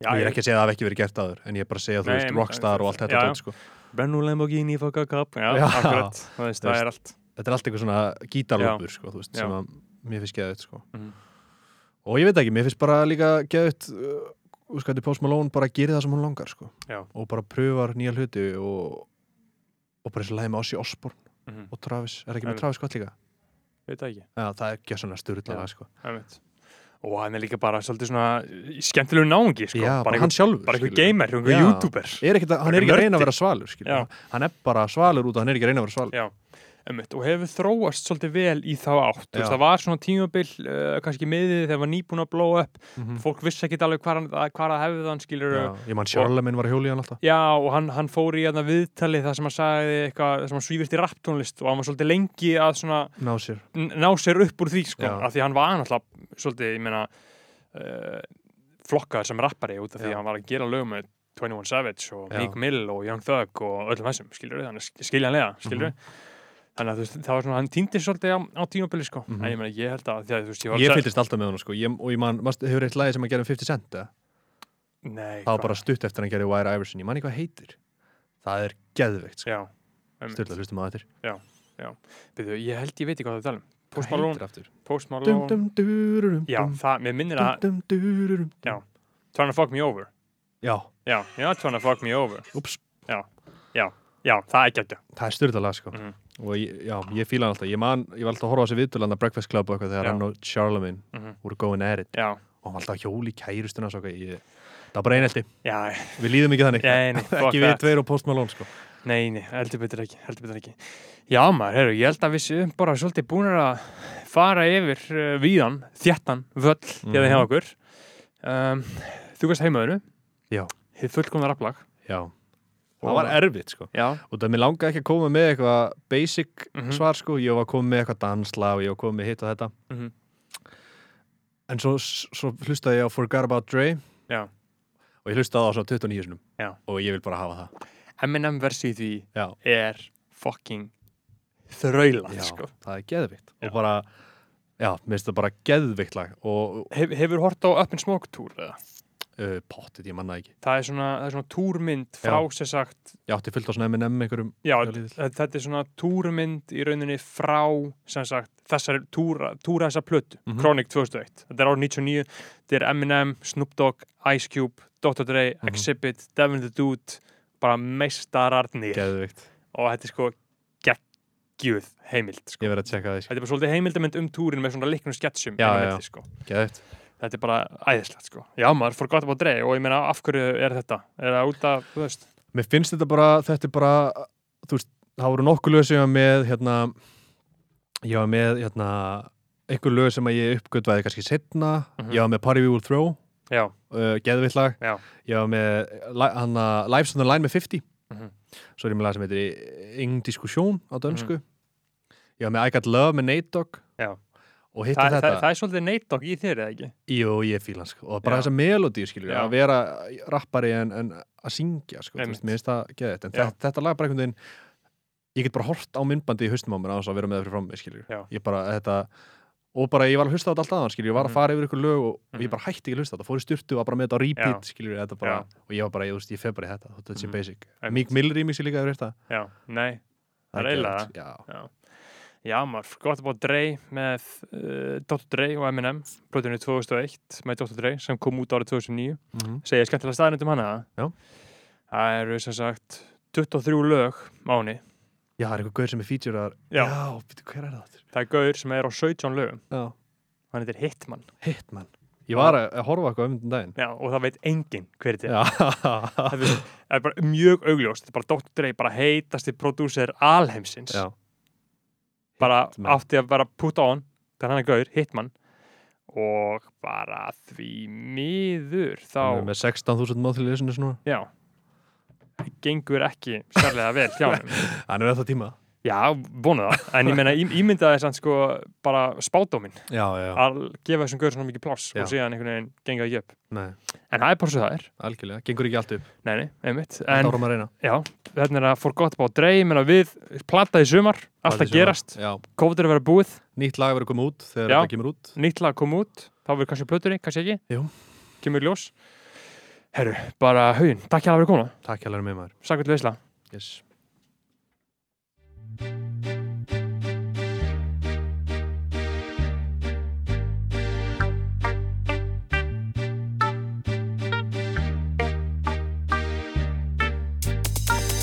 Speaker 1: já,
Speaker 2: ég er ekki að segja að það hafi ekki verið gert aður en ég er bara að segja þú
Speaker 1: Nei,
Speaker 2: veist
Speaker 1: em-
Speaker 2: rockstar og allt þetta
Speaker 1: Já, já.
Speaker 2: dót, sko.
Speaker 1: Bennu Lamborghini, fuck a cup Já,
Speaker 2: Já.
Speaker 1: akkurat, það, veist,
Speaker 2: Þú
Speaker 1: það er allt
Speaker 2: þetta er allt eitthvað svona gítarlópur sko, þú veist,
Speaker 1: Já.
Speaker 2: sem að mér finnst geðut sko.
Speaker 1: Mhm.
Speaker 2: og ég veit ekki, mér finnst bara líka geðut uh, þú veist, Post Malone bara gerir það sem hún langar sko.
Speaker 1: Já.
Speaker 2: og bara pröfar nýja hluti og, og bara eins og læði með Ossi Osborn
Speaker 1: Mhm.
Speaker 2: og Travis, er það ekki með
Speaker 1: Einmitt.
Speaker 2: Travis gott líka?
Speaker 1: Veit það ekki,
Speaker 2: Já, það er gjössanlega
Speaker 1: Já.
Speaker 2: styrla sko.
Speaker 1: einmitt Og hann er líka bara svolítið svona í skemmtilegu náungi, sko
Speaker 2: Já, bara
Speaker 1: bara
Speaker 2: hann
Speaker 1: einhver-
Speaker 2: sjálfur
Speaker 1: bara einhver
Speaker 2: skilur.
Speaker 1: gamer, einhver
Speaker 2: Já.
Speaker 1: youtuber
Speaker 2: er ekkit, að- hann er ekki að
Speaker 1: Bara
Speaker 2: reyna að
Speaker 1: nördi.
Speaker 2: vera svalur skilur.
Speaker 1: Já.
Speaker 2: hann er bara svalur út og hann er ekki að reyna að vera svalur
Speaker 1: Já. Einmitt, og hefur þróast svolítið vel í þá átt Þú veist,
Speaker 2: Já.
Speaker 1: það var svona tímabil, uh, kannski miðið þegar var nýbúin að blow up
Speaker 2: Mhm.
Speaker 1: fólk vissi ekki alveg hvar, hann- að- hvar að hefði þann skilur
Speaker 2: Já, ég man Charlemagne var að hjóla í hann alltaf
Speaker 1: Já, og hann, hann fór í þarna viðtali það sem hann sagði eitthvað, það sem hann svífist í rapptónlist og hann var svolítið lengi að svona
Speaker 2: ná sér
Speaker 1: n- ná sér upp úr því, sko,
Speaker 2: Já.
Speaker 1: af því hann var náttúrulega svolítið, ég meina uh, flokkaður sem rappari út af því
Speaker 2: Já.
Speaker 1: hann var að gera lög með 21 Savage og
Speaker 2: Já.
Speaker 1: Meek Mill og Young Thug og öllum þessum, skilur við, þannig að skiljanlega, skilur
Speaker 2: Mhm.
Speaker 1: við Þannig að þú veist, það var svona, hann týndi svolítið á, á tímabili, sko.
Speaker 2: Mhm.
Speaker 1: En ég meina, ég held að, því að þú veist, ég var...
Speaker 2: ég fylltist alltaf með hann sko. ég, og ég man, manstu, hefur eitt lagi sem að gera um 50 cent eða?
Speaker 1: Nei,
Speaker 2: það var
Speaker 1: hvað-
Speaker 2: bara stutt eftir að hann gerði Wire Iverson ég man ekki hvað heitir það er geðveikt sko.
Speaker 1: Já, einmitt.
Speaker 2: styrla, hlustum að þetta
Speaker 1: Byrju, ég held ég veit ekki hvað það tala um. Post
Speaker 2: hvað
Speaker 1: Malone,
Speaker 2: heitir aftur
Speaker 1: Post Malone...
Speaker 2: dum dum dururum
Speaker 1: Já,
Speaker 2: dum,
Speaker 1: það, mér minnir að
Speaker 2: dum, dum, dururum,
Speaker 1: Já.
Speaker 2: dum.
Speaker 1: Trying to fuck me over
Speaker 2: já,
Speaker 1: Já, já, trying to fuck me over
Speaker 2: ups
Speaker 1: Já, það er ekki ekki
Speaker 2: það er styrla lag sko.
Speaker 1: Mhm.
Speaker 2: og ég, já, ég fíla hann alltaf ég, man, ég var alltaf að horfa á þessi viðtölanda Breakfast Club og eitthvað þegar
Speaker 1: Já.
Speaker 2: hann og Charlemagne
Speaker 1: Mhm.
Speaker 2: voru going at it
Speaker 1: Já,
Speaker 2: og hann var alltaf hjóli kærustuna svo, ég, það var bara einelti,
Speaker 1: já,
Speaker 2: við líðum ekki þannig
Speaker 1: Nei, nei, fuck
Speaker 2: ekki við
Speaker 1: that.
Speaker 2: tveir og Post Malone sko.
Speaker 1: nei, nei, heldur betur ekki heldur betur ekki Já, maður, heyrðu, ég held að við séum bara svolítið búinir að fara yfir uh, víðan, þjættan, völl mm. hérna
Speaker 2: Mhm.
Speaker 1: hjá okkur um, Þú veist heimaðinu
Speaker 2: Já.
Speaker 1: Hið fullkomna rapplag
Speaker 2: já, það var erfitt sko.
Speaker 1: Já,
Speaker 2: og það mér langaði ekki að koma með eitthvað basic
Speaker 1: Mhm.
Speaker 2: svar sko, ég var að koma með eitthvað dansla og ég var að koma með hitt og þetta
Speaker 1: Mhm.
Speaker 2: en svo, svo hlustaði ég á Forgot About Dre
Speaker 1: Já.
Speaker 2: og ég hlustaði á svo 29 sinum
Speaker 1: Já.
Speaker 2: og ég vil bara hafa það
Speaker 1: Eminem versið því
Speaker 2: já,
Speaker 1: er fucking þraulað,
Speaker 2: já
Speaker 1: sko
Speaker 2: það er geðvikt
Speaker 1: Já.
Speaker 2: og bara, já, mér finnst það bara geðvikt lag og
Speaker 1: Hef, Hefur hort á Up and Smoke Tour, eða?
Speaker 2: uh, pottit, ég manna ekki
Speaker 1: Það er svona, það er svona túrmynd frá,
Speaker 2: Já.
Speaker 1: sér sagt
Speaker 2: ég átti fullt á svona M&M einhverjum
Speaker 1: Já,
Speaker 2: Já, lítill.
Speaker 1: þ- þetta er svona túrmynd í rauninni frá, sem sagt, þessar túra, túra þessa plötu,
Speaker 2: Mhm.
Speaker 1: Chronic 2001. Þetta er árið 99, þetta er Eminem, Snoop Dogg, Ice Cube, Dr. Dre,
Speaker 2: Mhm.
Speaker 1: Exhibit, Devin the Dude, bara meistararnir
Speaker 2: geðvikt,
Speaker 1: og þetta er sko geggjuð heimild, sko.
Speaker 2: ég verð að tjekka það sko.
Speaker 1: Þetta er bara svolítið heimildamönd um túrin með svona liknum sketsjum
Speaker 2: Já,
Speaker 1: inn á
Speaker 2: já,
Speaker 1: milli, sko.
Speaker 2: geðvikt
Speaker 1: Þetta er bara æðislegt, sko. Já, maður fór gott upp á Dre og ég meina, af hverju er þetta? Er það út af, þú veist?
Speaker 2: Mér finnst þetta bara, þetta er bara þú veist, það voru nokkuð lög sem ég var með hérna, ég var með hérna, einhver lög sem að ég uppgötvaði kannski setna,
Speaker 1: Mhm.
Speaker 2: ég var með Party We Will Throw
Speaker 1: Já,
Speaker 2: uh, geðvitt lag,
Speaker 1: já,
Speaker 2: ég var með li- hana, Lives on the Line með 50
Speaker 1: Mhm.
Speaker 2: svo er ég með lag sem heitir Ing Diskusjón á dönsku ég var með I Got Love með Nate Dogg
Speaker 1: Mhm. Já.
Speaker 2: og hitt
Speaker 1: Þa, það,
Speaker 2: og þetta
Speaker 1: það, það er svolítið neitdokk í þér, eða ekki?
Speaker 2: Jú, ég fíla hann sko og bara
Speaker 1: Já.
Speaker 2: þessa melodíu skilur
Speaker 1: Já.
Speaker 2: að vera rappari en, en að syngja sko, þú
Speaker 1: Einmitt.
Speaker 2: veist, mér finnst það geðið
Speaker 1: Já.
Speaker 2: en þetta, þetta lag bara einhvern veginn ég get bara hort á myndbandi í haustum á mér á þess að vera með það fyrir fram mig skilur
Speaker 1: Já.
Speaker 2: ég bara þetta og bara ég var að hlusta á þetta alltaf skilur ég var
Speaker 1: Mhm.
Speaker 2: að fara yfir ykkur lög og, og
Speaker 1: Mhm.
Speaker 2: ég bara hætti ekki að hlusta á þetta fór í styrtu og var bara með þetta á repeat skilur þetta bara
Speaker 1: Já.
Speaker 2: og ég var bara, ég, þú veist, ég fef bara í þetta þótt þetta sé
Speaker 1: Mhm.
Speaker 2: basic
Speaker 1: Einmitt.
Speaker 2: Mík Miller í mig sér líka yfir þetta
Speaker 1: Já, nei, Það er eiginlega það.
Speaker 2: Já,
Speaker 1: Já, maður, gott að bá Dre með uh, Dr. Dre og Eminem plötunni 2001 með Dr. Dre sem kom út árið 2009
Speaker 2: Mhm.
Speaker 1: segja skemmtilega staðnend um hana
Speaker 2: Já.
Speaker 1: það eru sem sagt 23 lög á henni
Speaker 2: já, það er einhver gaur sem er featurar
Speaker 1: Já.
Speaker 2: já býttu, hver er það? aftur?
Speaker 1: það er gaur sem er á 17 lögum
Speaker 2: Já.
Speaker 1: hann heitir Hitman
Speaker 2: Hitman Ég var að, að horfa á eitthvað um daginn
Speaker 1: Já, og það veit enginn hver þetta er
Speaker 2: Já,
Speaker 1: það er- það er bara mjög augljóst þetta er bara Dr. Dre, bara heitasti prodúser alheimsins
Speaker 2: Já.
Speaker 1: bara
Speaker 2: Hitman.
Speaker 1: átti að vera put on þannig hann er gaur, hitman og bara því miður
Speaker 2: Hann
Speaker 1: þá,
Speaker 2: er með 16.000 monthly listeners núna
Speaker 1: já gengur ekki sérlega vel hjá hann
Speaker 2: hann er þetta tíma
Speaker 1: já, vonu það, en ég meina í- ímyndaði þess að sko bara spádómin
Speaker 2: já, já,
Speaker 1: að gefa þessum gaur svona mikið pláss
Speaker 2: Já.
Speaker 1: og síðan einhvern veginn gengur það ekki upp
Speaker 2: nei,
Speaker 1: en það er bara svo það er,
Speaker 2: algjörlega, gengur ekki allt upp
Speaker 1: nei, nei, einmitt
Speaker 2: en,
Speaker 1: en
Speaker 2: árum að reyna
Speaker 1: já, þetta er að forgot about Dre, ég meina við platta í sumar, allt
Speaker 2: Allt í
Speaker 1: að
Speaker 2: sumar.
Speaker 1: gerast
Speaker 2: já,
Speaker 1: COVID er að vera búið,
Speaker 2: nýtt lag verður komið út þegar
Speaker 1: Já.
Speaker 2: þetta kemur út
Speaker 1: nýtt lag kom út þá verður kannski plötur í, kannski ekki
Speaker 2: Jú.
Speaker 1: kemur í ljós herru, bara haugin, takk hjá að vera koma
Speaker 2: takk hérlega með maður
Speaker 1: sækvært veisla
Speaker 2: yes.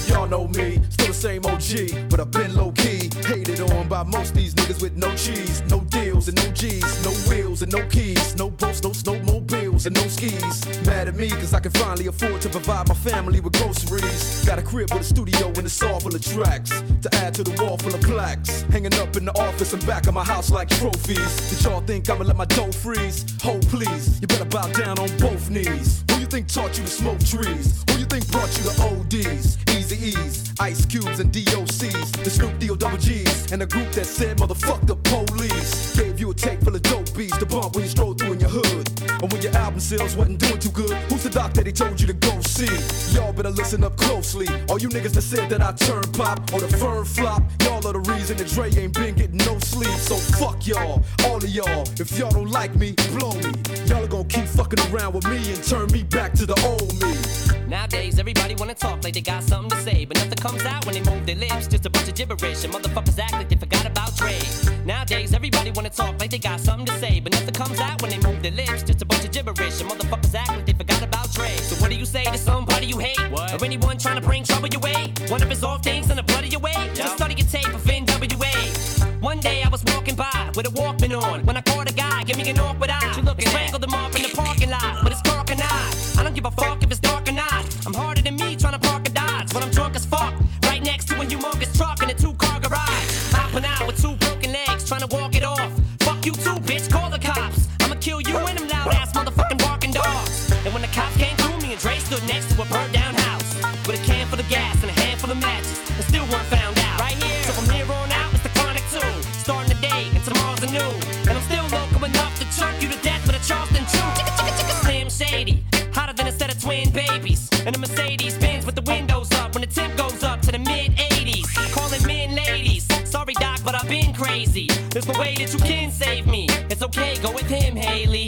Speaker 5: Y'all know me, still the same OG, but I've been low key. Hated on by most these niggas with no cheese, no deals and no G's, no wheels and no keys, no boats, no snowmobiles and no skis. Mad at me, cause I can finally afford to provide my family with groceries. Got a crib with a studio and it's all full of tracks to add to the wall full of plaques. Hanging up in the office and back of my house like trophies. Did y'all think I'ma let my dough freeze? Hold please, you better bow down on both knees. Who you think taught you to smoke trees? Who you think brought you to ODs? Easy E's, Ice Cubes and DOCs, the Snoop D-O double G's, and the group that said motherfuck the police. Gave you a tape full of dope beats to bump when you stroll through in your hood. And when your album sales wasn't doing too good, who's the doc that he told you to go see? Y'all better listen up closely. All you niggas that said that I turn pop or the firm flop, y'all are the reason that Dre ain't been getting no sleep. So fuck y'all, all of y'all. If y'all don't like me, blow me. Y'all are gonna keep fucking around with me and turn me back to the old me.
Speaker 6: Nowadays, everybody wanna talk like they got something to say, but nothing comes out when they move their lips. Just a bunch of gibberish, and motherfuckers act like they forgot about Dre. Nowadays, everybody wanna talk like they got something to say, but nothing comes out when they move their lips. Just a bunch of gibberish, and motherfuckers act like they forgot about Dre. So what do you say to somebody you hate, or anyone trying to bring trouble your way? One of his off things and the blood of your way. Just study your tape of NWA. One day I was walking by with a Walkman on when I caught a guy, give me an awkward eye. You looking strangled him off in the parking lot, but it's dark and I. I don't give a fuck if it's dark or not. I'm harder than me trying to park a Dodge when I'm drunk as fuck. Right next to a humongous truck in a two-car garage. Hopping out with two broken legs, trying to walk it off. Fuck you too, bitch. Call the cops. I'ma kill you and them loud ass motherfucking barking dogs. And when the cops came through, me and Dre stood next to a burnt down house with a can full of gas and a handful of matches, and still weren't found out. Right here. So from here on out, it's the chronic tune. Starting the day and tomorrow's a new. And I'm still local enough to choke you to death with a Charleston chew. Chicka, chicka, chicka. Slim Shady, hotter than a set of twin babies. And a Mercedes Benz with the windows up when the temp goes up to the mid 80s. Calling men ladies. Sorry, Doc, but I've been crazy. There's no way that you can save me. It's okay, go with him, Haley.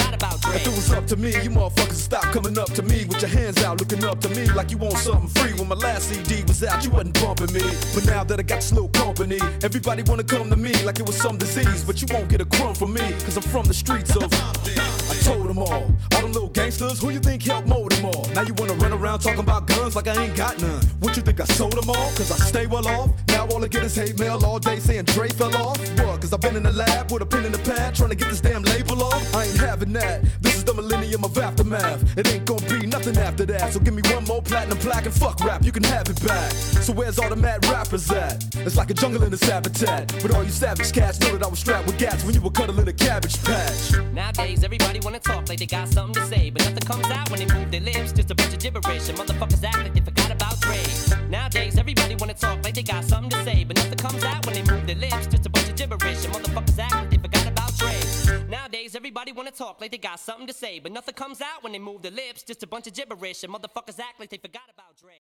Speaker 6: about Dre.
Speaker 5: If it was up to me, you motherfuckers stop coming up to me with your hands out, looking up to me like you want something free. When my last CD was out, you wasn't bumping me. But now that I got this little company, everybody wanna come to me like it was some disease. But you won't get a crumb from me, cause I'm from the streets of. I told them all, all them little gangsters, who you think helped mold them all? Now you wanna run around talking about guns like I ain't got none. What you think I sold them all? Cause I stay well off. Now all I get is hate mail all day saying Dre fell off. What? Cause I've been in the lab with a pen in the pad trying to get this damn label off. I ain't having that. This is the millennium of aftermath. It ain't gonna be nothing after that. So give me one more platinum plaque and fuck rap, you can have it back. So where's all the mad rappers at? It's like a jungle in this habitat. But all you savage cats know that I was strapped with gas when you were cuddling a cabbage patch.
Speaker 6: Nowadays, everybody wanna talk like they got something to say, but nothing comes out when they move their lips. Just a bunch of gibberish, and motherfuckers act like they forgot about Dre. Nowadays, everybody wanna talk like they got something to say, but nothing comes out when they move their lips. Just a bunch of gibberish, and motherfuckers act like they forgot about Dre. Nowadays, everybody wanna talk like they got something to say, but nothing comes out when they move their lips. Just a bunch of gibberish, and motherfuckers act like they forgot about Dre.